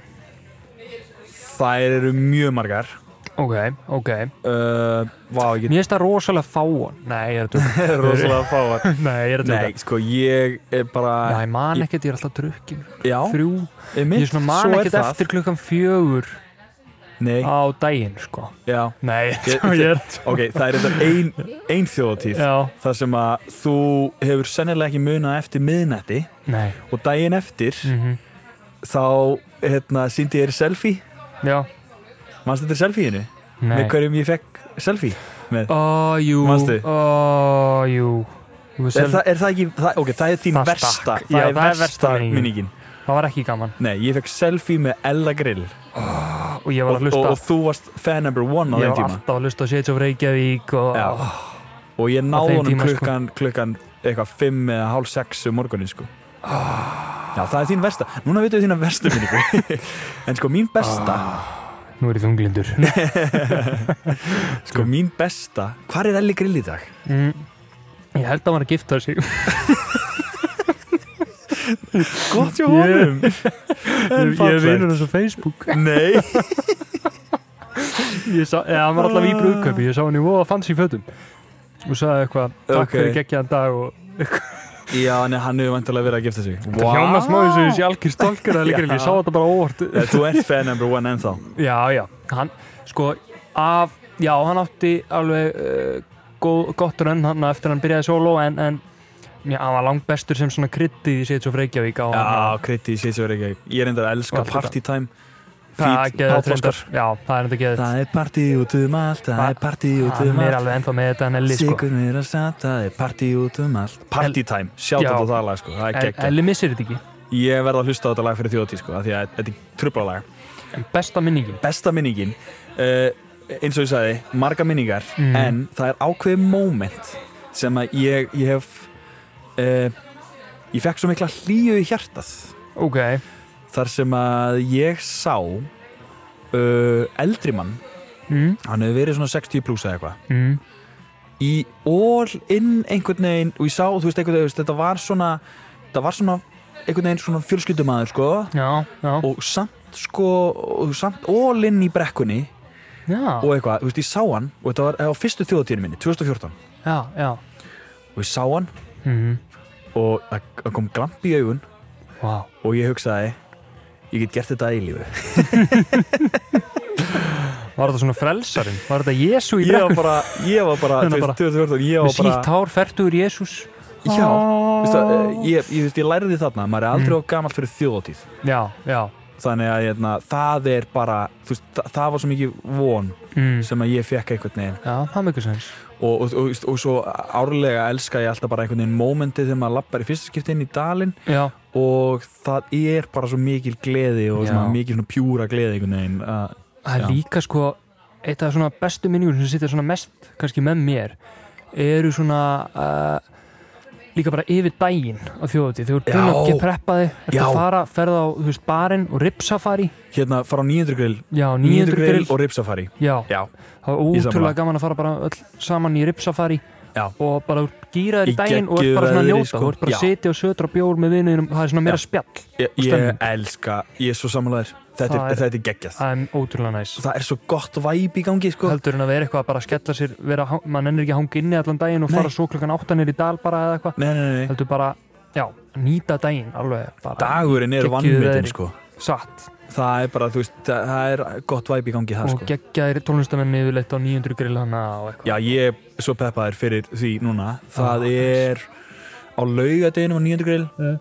[SPEAKER 1] Þær eru mjög margar
[SPEAKER 2] Ok, ok
[SPEAKER 1] uh, Vá, ég
[SPEAKER 2] Mér finnst það rosalega fáan Nei, ég er að drukka
[SPEAKER 1] get rosalega fáar
[SPEAKER 2] Nei, ég er að
[SPEAKER 1] Nei,
[SPEAKER 2] drukka
[SPEAKER 1] sko, ég er bara
[SPEAKER 2] Nei, ég man ekkert, ég er alltaf drukkin
[SPEAKER 1] Já,
[SPEAKER 2] Þrjú
[SPEAKER 1] einmitt,
[SPEAKER 2] Ég er svona man
[SPEAKER 1] svo
[SPEAKER 2] ekkert
[SPEAKER 1] það.
[SPEAKER 2] eftir klukkan fjögur
[SPEAKER 1] Nei,
[SPEAKER 2] á daginn, sko
[SPEAKER 1] já
[SPEAKER 2] Nei,
[SPEAKER 1] Ég-
[SPEAKER 2] ég er
[SPEAKER 1] Ok, það er þetta ein, ein þjóðatíð
[SPEAKER 2] Já,
[SPEAKER 1] þar sem að þú hefur sennilega ekki munað eftir miðnætti
[SPEAKER 2] nei
[SPEAKER 1] og daginn eftir
[SPEAKER 2] mm
[SPEAKER 1] þá hérna, síndi ég þér selfie
[SPEAKER 2] Já,
[SPEAKER 1] Manstu þetta selfie-inu?
[SPEAKER 2] nei
[SPEAKER 1] Með hverjum ég fekk selfie? Með.
[SPEAKER 2] Ó, jú
[SPEAKER 1] Manstu?
[SPEAKER 2] Ó, jú Jú,
[SPEAKER 1] Er,
[SPEAKER 2] sel-
[SPEAKER 1] það, er það ekki, það, ok, það er þín
[SPEAKER 2] Það
[SPEAKER 1] versta
[SPEAKER 2] stakk.
[SPEAKER 1] Það
[SPEAKER 2] Já,
[SPEAKER 1] er
[SPEAKER 2] það er versta
[SPEAKER 1] versta
[SPEAKER 2] minningin.
[SPEAKER 1] minningin
[SPEAKER 2] það var ekki gaman
[SPEAKER 1] Nei, ég fekk selfie með Ella Grill
[SPEAKER 2] Og ég
[SPEAKER 1] og,
[SPEAKER 2] var að
[SPEAKER 1] og,
[SPEAKER 2] hlusta
[SPEAKER 1] og þú varst fan number one á þeim
[SPEAKER 2] Ég var
[SPEAKER 1] tíma
[SPEAKER 2] alltaf að hlusta á Shades of Reykjavík og
[SPEAKER 1] Já. Og ég
[SPEAKER 2] Á
[SPEAKER 1] náði
[SPEAKER 2] þeim
[SPEAKER 1] honum
[SPEAKER 2] tíma, sko.
[SPEAKER 1] klukkan, klukkan eitthvað fimm eða hálf sex um morgunin sko Já, það er þín versta Núna veitum við þína verstu minningu En sko mín besta
[SPEAKER 2] Nú er ég þunglindur
[SPEAKER 1] Sko mín besta Hvar er Elli Grill í dag?
[SPEAKER 2] mm. Ég held að hann var að gifta sig
[SPEAKER 1] Gott hjá
[SPEAKER 2] honum.
[SPEAKER 1] En
[SPEAKER 2] Ég er
[SPEAKER 1] fallegt.
[SPEAKER 2] vinur hans á Facebook
[SPEAKER 1] Nei
[SPEAKER 2] Ég sá, eða hann var alltaf í brúðkaupi Ég sá hann í voða fancy fötum Og sagði eitthvað, takk
[SPEAKER 1] Ok.
[SPEAKER 2] fyrir geggjaðan dag og
[SPEAKER 1] Já, en hann hefur vantilega verið að gifta sig
[SPEAKER 2] wow. Hjóna smá þessu, þessi algjör stolkur að líka Ég sá þetta bara óvart
[SPEAKER 1] Nei, Eh, Þú ert fan number one ennþá
[SPEAKER 2] Já, já, hann, sko af, Já, hann átti alveg uh, góð, gott rönn hann eftir hann byrjaði solo en, en já, hann var langt bestur sem svona kryddið í Shades of Reykjavík á
[SPEAKER 1] Já, kriti, ég sé svo ekki Ég er enda að elska
[SPEAKER 2] Og allt
[SPEAKER 1] party time
[SPEAKER 2] Það
[SPEAKER 1] Feat
[SPEAKER 2] er geðið
[SPEAKER 1] Páll Óskar.
[SPEAKER 2] trendar Já, það er enda geðið
[SPEAKER 1] Það er party út um allt Það
[SPEAKER 2] Hva?
[SPEAKER 1] er party út um
[SPEAKER 2] Hann er
[SPEAKER 1] allt
[SPEAKER 2] alveg ennþá með þetta Nelli sko
[SPEAKER 1] Sigur mér að satt Það er party út um allt Party time, sjátt
[SPEAKER 2] Já.
[SPEAKER 1] á það lag sko Það er
[SPEAKER 2] En
[SPEAKER 1] geggjað
[SPEAKER 2] Elli missir þetta ekki
[SPEAKER 1] Ég verð að hlusta á þetta lag fyrir þjóðatí sko af Því að þetta er trublalag
[SPEAKER 2] En besta minningin
[SPEAKER 1] besta minningin uh, eins og ég sagði, marga minningar en það er ákveðið moment sem að ég, ég hef uh, ég fekk svo mikla hlýju í hjartað
[SPEAKER 2] Ok,
[SPEAKER 1] þar sem að ég sá uh, eldri mann
[SPEAKER 2] mm,
[SPEAKER 1] hann hefur verið svona 60 pluss eða eitthvað
[SPEAKER 2] mm,
[SPEAKER 1] í all in einhvern veginn og ég sá, þú veist, einhvern veginn þú veist, þetta var svona, þetta var svona einhvern veginn svona fjölskyldumæður sko
[SPEAKER 2] já, já,
[SPEAKER 1] og samt sko, og samt all in í brekkunni
[SPEAKER 2] já,
[SPEAKER 1] og eitthvað, þú veist, ég sá hann og þetta var á fyrstu þjóðatíðinu minni, 2014
[SPEAKER 2] já, já.
[SPEAKER 1] og ég sá hann
[SPEAKER 2] Mm,
[SPEAKER 1] og það það kom glamp í augun
[SPEAKER 2] wow.
[SPEAKER 1] og ég hugsaði ég get gert þetta í lífu
[SPEAKER 2] Var þetta svona frelsarinn? Var þetta Jésu í
[SPEAKER 1] ég var
[SPEAKER 2] brekku?
[SPEAKER 1] bara, ég var bara,
[SPEAKER 2] Þannig
[SPEAKER 1] þú
[SPEAKER 2] bara-
[SPEAKER 1] veist, 2014 ég
[SPEAKER 2] Með
[SPEAKER 1] var
[SPEAKER 2] sítt
[SPEAKER 1] bara,
[SPEAKER 2] hár, færtur Jésús
[SPEAKER 1] já veistu, það, eh, ég, ég, veist, ég læriði þarna, maður er aldrei á gamalt fyrir þjóðatíð
[SPEAKER 2] Já, já
[SPEAKER 1] þannig að hérna, það er bara þú veist, það, það var svo mikið von
[SPEAKER 2] mm.
[SPEAKER 1] sem að ég fekk einhvern veginn
[SPEAKER 2] Já, það er mikið sens
[SPEAKER 1] og, og, og, og svo árlega elska ég alltaf bara einhvern veginn momentið þegar maður lappar í fyrsta skipti inn í dalinn
[SPEAKER 2] Já,
[SPEAKER 1] og það er bara svo mikil gleði og
[SPEAKER 2] Já.
[SPEAKER 1] svona mikil svona pjúra gleði einhvern veginn að Já.
[SPEAKER 2] það er líka sko eitt af svona bestu minningur sem sittir svona mest kannski með mér eru svona uh, líka bara yfir daginn á þjóðatíð þegar þú
[SPEAKER 1] Já.
[SPEAKER 2] erum að geta preppaði ertu
[SPEAKER 1] Já.
[SPEAKER 2] að fara, ferða á þú veist, barinn og ripsafari
[SPEAKER 1] hérna fara á 900 grill
[SPEAKER 2] já, 900 grill
[SPEAKER 1] og ripsafari
[SPEAKER 2] já,
[SPEAKER 1] já,
[SPEAKER 2] það var
[SPEAKER 1] Ég sammála.
[SPEAKER 2] ótrúlega gaman að fara bara öll saman í ripsafari
[SPEAKER 1] Já.
[SPEAKER 2] og bara úr
[SPEAKER 1] Í
[SPEAKER 2] gýraður í daginn og ert
[SPEAKER 1] geggjöðu
[SPEAKER 2] bara svona að
[SPEAKER 1] veðri,
[SPEAKER 2] njóta
[SPEAKER 1] sko.
[SPEAKER 2] þú ert bara
[SPEAKER 1] Já.
[SPEAKER 2] að sitja og sötra bjór með vinuðinum það er svona meira
[SPEAKER 1] Já.
[SPEAKER 2] spjall
[SPEAKER 1] ég,
[SPEAKER 2] Stemning.
[SPEAKER 1] ég elska ég er svo samanlegaður, þetta,
[SPEAKER 2] Það
[SPEAKER 1] er-
[SPEAKER 2] er-
[SPEAKER 1] þetta er geggjað
[SPEAKER 2] það er ótrúlega næs
[SPEAKER 1] það er svo gott væp í gangi sko.
[SPEAKER 2] heldur en að vera eitthvað að bara skella sér vera, að hang- mann ennir ekki að hanga inni allan daginn og
[SPEAKER 1] Nei.
[SPEAKER 2] fara svo klokkan áttanir í dal bara eða eitthvað
[SPEAKER 1] nei, nei, nei, nei.
[SPEAKER 2] heldur bara, já, nýta daginn alveg bara
[SPEAKER 1] dagurinn er
[SPEAKER 2] Geggjuðu
[SPEAKER 1] vannmyndin
[SPEAKER 2] veðri.
[SPEAKER 1] sko.
[SPEAKER 2] satt
[SPEAKER 1] það er bara, þú veist, það- það er gott væp í gangi þar
[SPEAKER 2] og
[SPEAKER 1] sko.
[SPEAKER 2] geggjaðir tónlistamenni yfirleitt á 900 grill hana og eitthvað
[SPEAKER 1] já, ég er svo peppaður fyrir því núna það
[SPEAKER 2] Ah,
[SPEAKER 1] er á laugadeginum á 900 grill
[SPEAKER 2] Mm.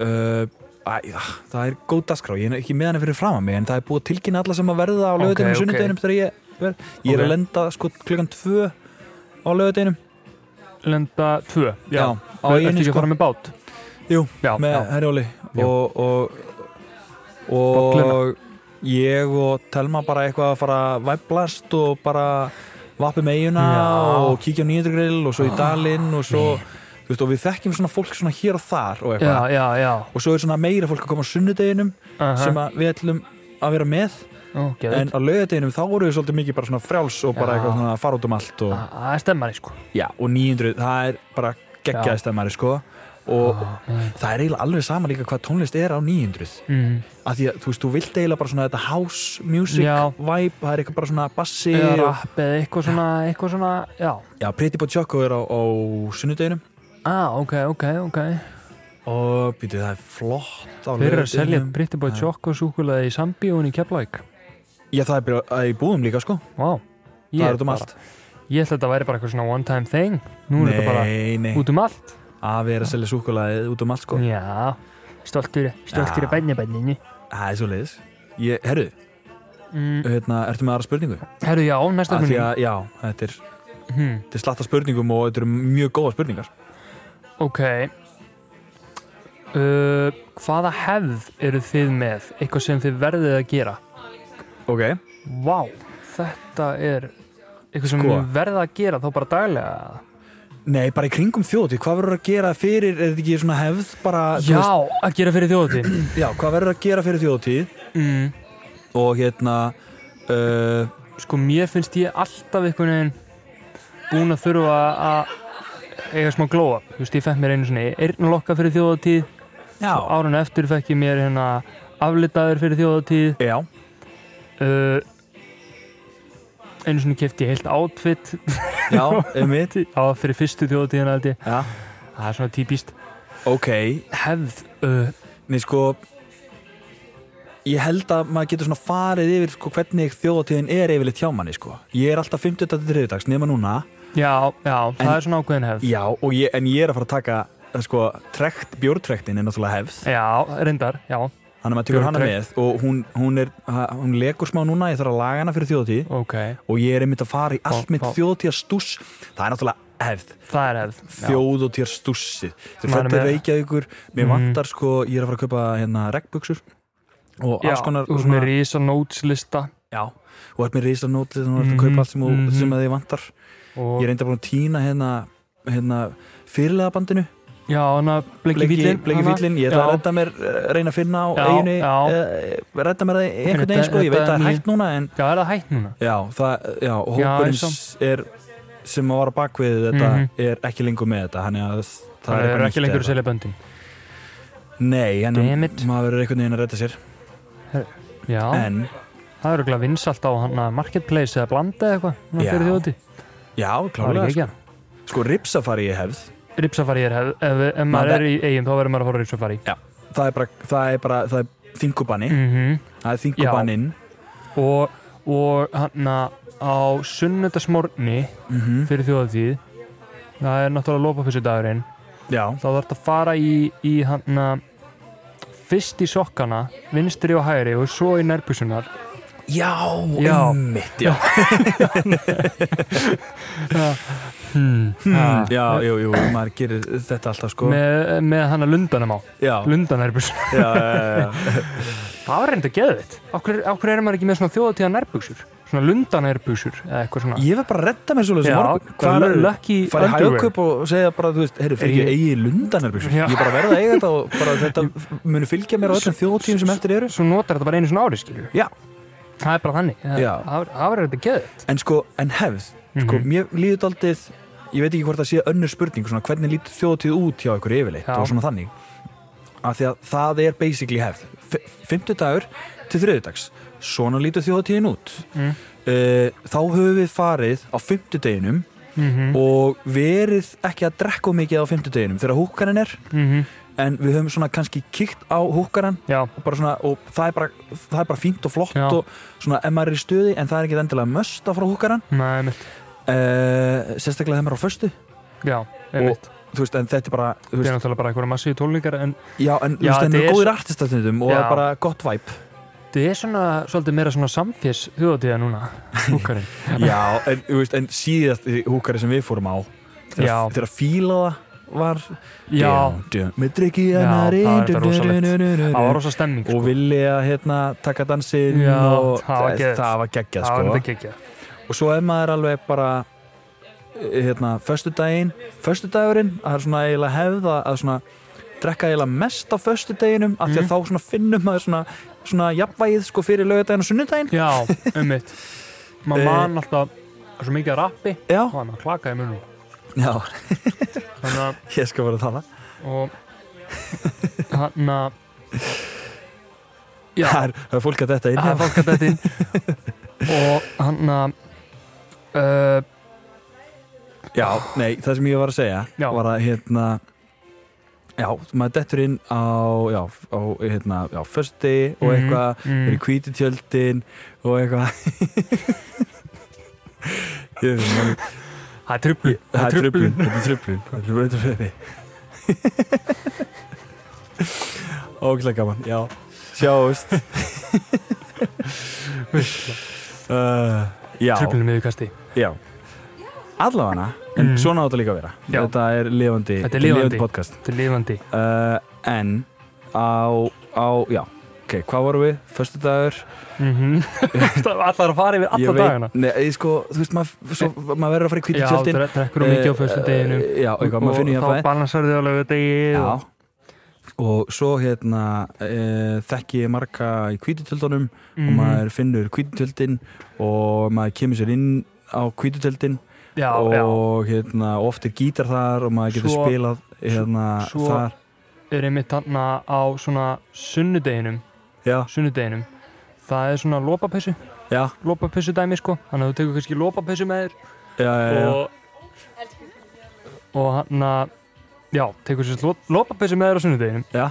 [SPEAKER 1] uh, Æ, ah, það er góð dagskrá, ég er ekki með hana fyrir fram að mig en það er búið að tilkynna alla sem að verða á
[SPEAKER 2] Ok,
[SPEAKER 1] lögadeginum og
[SPEAKER 2] ok.
[SPEAKER 1] sunnudeginum þegar ég verð ég er
[SPEAKER 2] Ok.
[SPEAKER 1] að lenda sko klukkan 2 á lögadeginum
[SPEAKER 2] lenda 2, já,
[SPEAKER 1] Já,
[SPEAKER 2] já
[SPEAKER 1] á
[SPEAKER 2] ertu
[SPEAKER 1] einu
[SPEAKER 2] ekki að
[SPEAKER 1] sko
[SPEAKER 2] fara með bát?
[SPEAKER 1] Jú,
[SPEAKER 2] já,
[SPEAKER 1] með
[SPEAKER 2] já,
[SPEAKER 1] herjóli
[SPEAKER 2] Já.
[SPEAKER 1] og, og,
[SPEAKER 2] Bolluna.
[SPEAKER 1] og ég og Telma bara eitthvað að fara að væplast og bara vappi með eiguna
[SPEAKER 2] Já. Ah,
[SPEAKER 1] og kíkja á nýjöndugrill og svo í dalinn og svo þú veist, og við þekkjum svona fólk svona hér og þar og
[SPEAKER 2] já,
[SPEAKER 1] eitthvað
[SPEAKER 2] já, já
[SPEAKER 1] og svo er svona meira fólk að koma á sunnudeginum
[SPEAKER 2] Aha.
[SPEAKER 1] sem að við ætlum að vera með
[SPEAKER 2] Ó, geðveikt.
[SPEAKER 1] en á laugadeginum þá voru við svolítið mikið bara svona frjáls og bara
[SPEAKER 2] Já.
[SPEAKER 1] eitthvað svona að fara út um allt og,
[SPEAKER 2] Þa- það er stemmari sko
[SPEAKER 1] já, og 900, það er bara
[SPEAKER 2] Já. Ah,
[SPEAKER 1] geggjaðist að maður sko og það er eiginlega alveg sama líka hvað tónlist er á 900
[SPEAKER 2] mm.
[SPEAKER 1] að því að þú veist, þú vilt eiginlega bara svona þetta house music
[SPEAKER 2] Já.
[SPEAKER 1] vibe, það er eitthvað bara svona bassi
[SPEAKER 2] eða
[SPEAKER 1] og,
[SPEAKER 2] rapp eða eitthvað svona, eitthvað svona já,
[SPEAKER 1] já, Pretty Boy Choco er á, á sunnudeginum
[SPEAKER 2] ah, ok, ok, ok
[SPEAKER 1] og býtu, það er flott á
[SPEAKER 2] þeir eru að selja
[SPEAKER 1] laugardeginum.
[SPEAKER 2] Britti Bói Tjokk og súkulega í Sambíón í Keflavík
[SPEAKER 1] já, það er bara í búðum líka sko,
[SPEAKER 2] wow.
[SPEAKER 1] það er út um
[SPEAKER 2] bara-
[SPEAKER 1] allt
[SPEAKER 2] ég held að þetta væri bara eitthvað svona one time thing nú er þetta bara
[SPEAKER 1] nei, nei,
[SPEAKER 2] út um allt
[SPEAKER 1] að við erum að selja súkulaðið út um allt sko
[SPEAKER 2] já, stoltur,
[SPEAKER 1] Já.
[SPEAKER 2] stoltur að bænni bænninu
[SPEAKER 1] það er svo leiðis herru,
[SPEAKER 2] mm.
[SPEAKER 1] hérna, ertu með aðra spurningu?
[SPEAKER 2] herru já, næsta
[SPEAKER 1] Að því
[SPEAKER 2] spurning
[SPEAKER 1] að, já, þetta er,
[SPEAKER 2] hmm.
[SPEAKER 1] þetta er slatta spurningum og þetta eru mjög góða spurningar
[SPEAKER 2] ok uh, hvaða hefð eru þið með eitthvað sem þið verðið að gera
[SPEAKER 1] ok,
[SPEAKER 2] Vá, þetta er eitthvað sem
[SPEAKER 1] Sko.
[SPEAKER 2] sko. verða að gera þá bara daglega
[SPEAKER 1] nei, bara í kringum þjóti hvað verður að gera fyrir, er þetta ekki svona hefð bara, þú
[SPEAKER 2] Já, að gera fyrir þjóðatíð
[SPEAKER 1] veist, já, hvað verður að gera fyrir þjóti
[SPEAKER 2] mm,
[SPEAKER 1] og hérna uh,
[SPEAKER 2] Sko, mér finnst ég alltaf einhvern veginn búin að þurfa að eiga smá glóa Þú veist, ég fekk mér einu svona eirnlokka fyrir þjóðatíð
[SPEAKER 1] já,
[SPEAKER 2] Árun eftir fekk ég mér hérna aflitaður fyrir þjóðatíð
[SPEAKER 1] já,
[SPEAKER 2] uh, Einu svona kefti ég heilt outfit
[SPEAKER 1] já, einmitt
[SPEAKER 2] á fyrir fyrstu þjóðatíðina held ég
[SPEAKER 1] já,
[SPEAKER 2] Það er svona típist
[SPEAKER 1] ok,
[SPEAKER 2] hefð uh,
[SPEAKER 1] nei, sko ég held að maður getur svona farið yfir sko, hvernig þjóðatíðin er yfirleitt hjá manni sko. ég er alltaf 50. til 3. dags nema núna
[SPEAKER 2] Já, já,
[SPEAKER 1] En-
[SPEAKER 2] það er svona ákveðin hefð
[SPEAKER 1] Já, og ég, en ég er að fara að taka eh, sko, trekt, bjórtrektin er náttúrulega hefð
[SPEAKER 2] Já, reyndar, já,
[SPEAKER 1] þannig að maður tekur hana með
[SPEAKER 2] Bjórtrekt.
[SPEAKER 1] og hún, hún, er, ha- hún lekur smá núna, ég þarf að laga hana fyrir þjóðatíð
[SPEAKER 2] ok
[SPEAKER 1] og ég er einmitt að fara í allt
[SPEAKER 2] Fá-
[SPEAKER 1] mitt
[SPEAKER 2] fá-
[SPEAKER 1] þjóðatíðastús það er náttúrulega hefð
[SPEAKER 2] Það er hefð já.
[SPEAKER 1] þjóð og tér stússi þegar
[SPEAKER 2] Maður er
[SPEAKER 1] fættir
[SPEAKER 2] með-
[SPEAKER 1] reykjaðugur, mér
[SPEAKER 2] Mhm.
[SPEAKER 1] vantar sko ég er að fara að kaupa hérna regnbuksur og
[SPEAKER 2] Já,
[SPEAKER 1] alls konar
[SPEAKER 2] þú ert með risa nótslista
[SPEAKER 1] já, og er með risanóti þannig að mm -hmm. kaupa allt sem, mm
[SPEAKER 2] Mhm,
[SPEAKER 1] sem að þið vantar
[SPEAKER 2] og
[SPEAKER 1] ég er enda búin að týna hérna, hérna fyrirlega bandinu
[SPEAKER 2] já, hana bleki
[SPEAKER 1] Bleiki
[SPEAKER 2] fýllin
[SPEAKER 1] fýllin, ég ætla að redda mér eh, reyna að finna á
[SPEAKER 2] Já,
[SPEAKER 1] eiginu
[SPEAKER 2] já.
[SPEAKER 1] eh, redda mér það einhvern veginn
[SPEAKER 2] Þetta-
[SPEAKER 1] sko, ég veit að
[SPEAKER 2] þetta
[SPEAKER 1] það
[SPEAKER 2] er
[SPEAKER 1] er
[SPEAKER 2] ný-
[SPEAKER 1] hægt núna en
[SPEAKER 2] Já, er það hægt núna?
[SPEAKER 1] já, það, já,
[SPEAKER 2] eins
[SPEAKER 1] hópurins er sem að vara bakvið þetta
[SPEAKER 2] Mhm.
[SPEAKER 1] er ekki lengur með þetta þannig að það,
[SPEAKER 2] Það
[SPEAKER 1] bara
[SPEAKER 2] er
[SPEAKER 1] nýtt
[SPEAKER 2] ekki lengur
[SPEAKER 1] eða-
[SPEAKER 2] að selja böndin
[SPEAKER 1] Nei, en
[SPEAKER 2] Damn it.
[SPEAKER 1] maður verður einhvern veginn að redda sér
[SPEAKER 2] Já,
[SPEAKER 1] en,
[SPEAKER 2] það er auðvitað vinsalt á hana marketplace eða blanda eða eitthvað svona
[SPEAKER 1] Já,
[SPEAKER 2] fyrir þjóti
[SPEAKER 1] já,
[SPEAKER 2] Það er
[SPEAKER 1] klálega
[SPEAKER 2] ekki
[SPEAKER 1] sko,
[SPEAKER 2] ekki
[SPEAKER 1] sko ripsafari ég hefð
[SPEAKER 2] Ripsafari er hefð Ef, ef maður
[SPEAKER 1] Maður-
[SPEAKER 2] er í eigum þá verður maður að fara á Ripsafari
[SPEAKER 1] já, það er bara það er, bara, það er þingubanni
[SPEAKER 2] mm
[SPEAKER 1] það er þingubannin
[SPEAKER 2] og, og hana á sunnudasmorni
[SPEAKER 1] mm -hmm.
[SPEAKER 2] fyrir þjóðatíð það er náttúrulega lópapissudagurinn
[SPEAKER 1] já,
[SPEAKER 2] þá þarf þetta að fara í, í hana, fyrst í sokkana vinstri og hægri og svo í nærbusunar
[SPEAKER 1] já,
[SPEAKER 2] Já.
[SPEAKER 1] einmitt já,
[SPEAKER 2] hmm.
[SPEAKER 1] já, jú, jú, maður gerir þetta alltaf sko
[SPEAKER 2] með, með hana lundanum á
[SPEAKER 1] já,
[SPEAKER 2] lundanærbuksun
[SPEAKER 1] já, já, já.
[SPEAKER 2] það var reynda geðvitt okkur, okkur er maður ekki með svona þjóðatíða nærbuksur svona lundanærbuksur eða eitthvað svona
[SPEAKER 1] Ég verð bara að redda mér svolítið
[SPEAKER 2] Já,
[SPEAKER 1] morgun
[SPEAKER 2] bara
[SPEAKER 1] Hvað er
[SPEAKER 2] lucky
[SPEAKER 1] Fara í
[SPEAKER 2] underwear.
[SPEAKER 1] hægkaup og segja bara, þú veist, heyrðu, fyrir
[SPEAKER 2] Ég-
[SPEAKER 1] ekki eigi lundanarbyrjus
[SPEAKER 2] Já.
[SPEAKER 1] Ég bara verð að eiga þetta og bara þetta munu fylgja mér á öllum þjóðtíðum sem eftir eru
[SPEAKER 2] svo notar þetta bara einu svona ári skilur
[SPEAKER 1] Já,
[SPEAKER 2] það er bara þannig það
[SPEAKER 1] Já.
[SPEAKER 2] það var- það var reynda geðvitt
[SPEAKER 1] en sko, en hefð Sko, mér líður daldið Ég veit ekki hvort það sé önnur spurning svona, Hvernig lítur þjóðtíð út hjá ykkur yfirleitt
[SPEAKER 2] Já.
[SPEAKER 1] og svona þannig Af því að það er basically hefð F Fimmtudagur til þriðudags Svona lítur þjóðtíðin út mm. Þá höfum við farið á fimmtudeginum
[SPEAKER 2] Mhm.
[SPEAKER 1] og verið ekki að drekka of mikið á fimmtudeginum þegar húkarinn er en við höfum svona kannski kíkt á húkarinn
[SPEAKER 2] já,
[SPEAKER 1] og, bara svona, og það, er bara, það er bara fínt og flott
[SPEAKER 2] Já.
[SPEAKER 1] og svona ef maður er í stuði en það er ekki endilega möst að fara á húkarinn
[SPEAKER 2] nei, mitt
[SPEAKER 1] uh, sérstaklega þegar maður er á föstu
[SPEAKER 2] já, mitt
[SPEAKER 1] þú veist, en þetta er bara þú
[SPEAKER 2] það er
[SPEAKER 1] veist,
[SPEAKER 2] náttúrulega bara eitthvað massíu tólningar en
[SPEAKER 1] já, en þú veist,
[SPEAKER 2] Já,
[SPEAKER 1] en
[SPEAKER 2] þetta
[SPEAKER 1] það
[SPEAKER 2] er
[SPEAKER 1] er góðir
[SPEAKER 2] svo-
[SPEAKER 1] artistastundum og
[SPEAKER 2] Já.
[SPEAKER 1] það er bara gott væp
[SPEAKER 2] þetta er svona svolítið meira svona samfés þjóðatíða núna húkarinn
[SPEAKER 1] já, en, þú veist, en síðast húkarinn sem við fórum á
[SPEAKER 2] Já.
[SPEAKER 1] þegar, þegar fílaða var
[SPEAKER 2] já,
[SPEAKER 1] dun, dun, með drikki
[SPEAKER 2] Já,
[SPEAKER 1] hennar
[SPEAKER 2] það var þetta
[SPEAKER 1] rosalegt
[SPEAKER 2] það var rosa stemming
[SPEAKER 1] og
[SPEAKER 2] sko.
[SPEAKER 1] villi að hérna, taka dansinn
[SPEAKER 2] Já,
[SPEAKER 1] og
[SPEAKER 2] það var
[SPEAKER 1] það,
[SPEAKER 2] geðveikt.
[SPEAKER 1] það var geggjað
[SPEAKER 2] það var
[SPEAKER 1] sko.
[SPEAKER 2] þetta geggjað
[SPEAKER 1] og svo er maður alveg bara hérna, föstudaginn föstudagurinn, það er svona eiginlega hefða að svona drekka eiginlega mest á föstudaginum, af því
[SPEAKER 2] Mhm.
[SPEAKER 1] að þá svona finnum maður svona, svona jafnvægið sko fyrir laugardaginn og sunnudaginn,
[SPEAKER 2] já, ummitt maður
[SPEAKER 1] Eh.
[SPEAKER 2] man alltaf svo mikið að rappi
[SPEAKER 1] já,
[SPEAKER 2] og hann að klaka í munum
[SPEAKER 1] já
[SPEAKER 2] þannig að
[SPEAKER 1] ég skal bara tala,
[SPEAKER 2] og hann að já,
[SPEAKER 1] það er, það er fólk að þetta inn hérna.
[SPEAKER 2] það er fólk að þetta inn og hann að uh,
[SPEAKER 1] já, nei, það sem ég var að segja
[SPEAKER 2] Já.
[SPEAKER 1] var að hérna já, maður dettur inn á já, á hérna, já, föstudegi og
[SPEAKER 2] Mhm,
[SPEAKER 1] eitthvað
[SPEAKER 2] mm,
[SPEAKER 1] er í hvítu tjöldin og eitthvað Ég veit ekki,
[SPEAKER 2] það er trublu
[SPEAKER 1] það er tröflun þetta er tröflun þetta er tröflun ógislega gaman já sjáust uh, já
[SPEAKER 2] trublunum yfirkasti
[SPEAKER 1] já allavega en
[SPEAKER 2] Mm.
[SPEAKER 1] svona átt að líka að vera
[SPEAKER 2] Já.
[SPEAKER 1] þetta er lifandi
[SPEAKER 2] Þetta er lifandi.
[SPEAKER 1] podcast
[SPEAKER 2] þetta er lifandi
[SPEAKER 1] uh, en á, á já ok hvað vorum við föstudagur
[SPEAKER 2] Mhm. allar að fara yfir
[SPEAKER 1] Ég
[SPEAKER 2] alla
[SPEAKER 1] veit-
[SPEAKER 2] dagana
[SPEAKER 1] Nei, ég sko, þú veist, maður svo- maður verður að fara í kvíti
[SPEAKER 2] já,
[SPEAKER 1] tjöldin
[SPEAKER 2] dre- drekkur um
[SPEAKER 1] Eh,
[SPEAKER 2] mikið á fyrstu deginu
[SPEAKER 1] Já, eitthvað, maður finnir
[SPEAKER 2] og þá
[SPEAKER 1] jafnvægi
[SPEAKER 2] balansar þið á lögu degi
[SPEAKER 1] Já Og svo hérna e, þekki ég marga í kvítutjöldunum og
[SPEAKER 2] Mhm.
[SPEAKER 1] maður finnur kvítutjöldin og maður kemur sér inn á kvítutjöldin
[SPEAKER 2] já, já,
[SPEAKER 1] og hérna oft er gítar þar og maður getur
[SPEAKER 2] Svo-
[SPEAKER 1] spilað hérna
[SPEAKER 2] svo-
[SPEAKER 1] þar
[SPEAKER 2] er einmitt hann á svona sunnudeginum
[SPEAKER 1] Já,
[SPEAKER 2] sunnudeginum það er svona lópapessu
[SPEAKER 1] já,
[SPEAKER 2] lópapessu dæmi sko þannig að þú tekur kannski lópapessu með þér
[SPEAKER 1] já, já, já.
[SPEAKER 2] og og hann að já, tekur sér lópapessu með þér á sunnudeginum
[SPEAKER 1] já.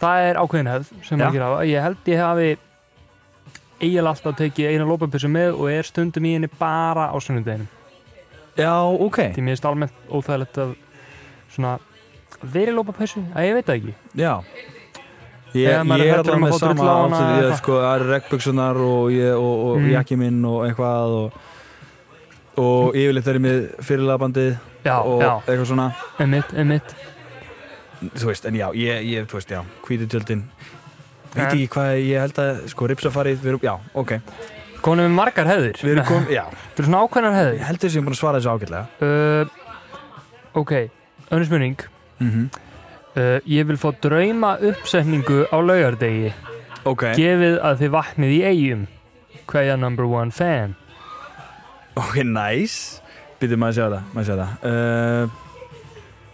[SPEAKER 2] það er ákveðin hefð sem
[SPEAKER 1] Já.
[SPEAKER 2] margir hafa ég held ég hafi eiginlega alltaf tekið eina lópapessu með og er stundum í henni bara á sunnudeginum
[SPEAKER 1] Já, ok
[SPEAKER 2] því mér finnst almennt óþægilegt að svona veri lópapessu að ég veit það ekki
[SPEAKER 1] Já Ég,
[SPEAKER 2] Eða maður er
[SPEAKER 1] ég er alltaf
[SPEAKER 2] hræddur um að
[SPEAKER 1] með
[SPEAKER 2] fá
[SPEAKER 1] sama
[SPEAKER 2] drull á
[SPEAKER 1] áttu
[SPEAKER 2] hana eða
[SPEAKER 1] því að
[SPEAKER 2] eitthvað.
[SPEAKER 1] sko, það eru regnbuksunar og, ég- og, og
[SPEAKER 2] Mm.
[SPEAKER 1] mm. jakki minn og eitthvað og, og yfirleitt er ég með fyrirlabandið
[SPEAKER 2] já,
[SPEAKER 1] og
[SPEAKER 2] já,
[SPEAKER 1] eitthvað svona
[SPEAKER 2] emitt, emitt
[SPEAKER 1] þú veist, en já, ég, ég þú veist, já, hvítið tjöldin veit
[SPEAKER 2] En-
[SPEAKER 1] ekki hvað ég held að sko ripsafarið, við erum, já, ok
[SPEAKER 2] konum við margar hefðir
[SPEAKER 1] við erum kom, já,
[SPEAKER 2] þetta er svona ákveðnar hefðir
[SPEAKER 1] ég held þess að ég er búin að svara þessu ágætlega
[SPEAKER 2] uh, ok, önnur spurning
[SPEAKER 1] mm
[SPEAKER 2] uh, ég vil fá drauma uppsetningu á laugardegi
[SPEAKER 1] ok,
[SPEAKER 2] gefið að þið vatnið í eigum hverja number one fan
[SPEAKER 1] ok, nice býtum maður að sjá það, maður að sjá það uh,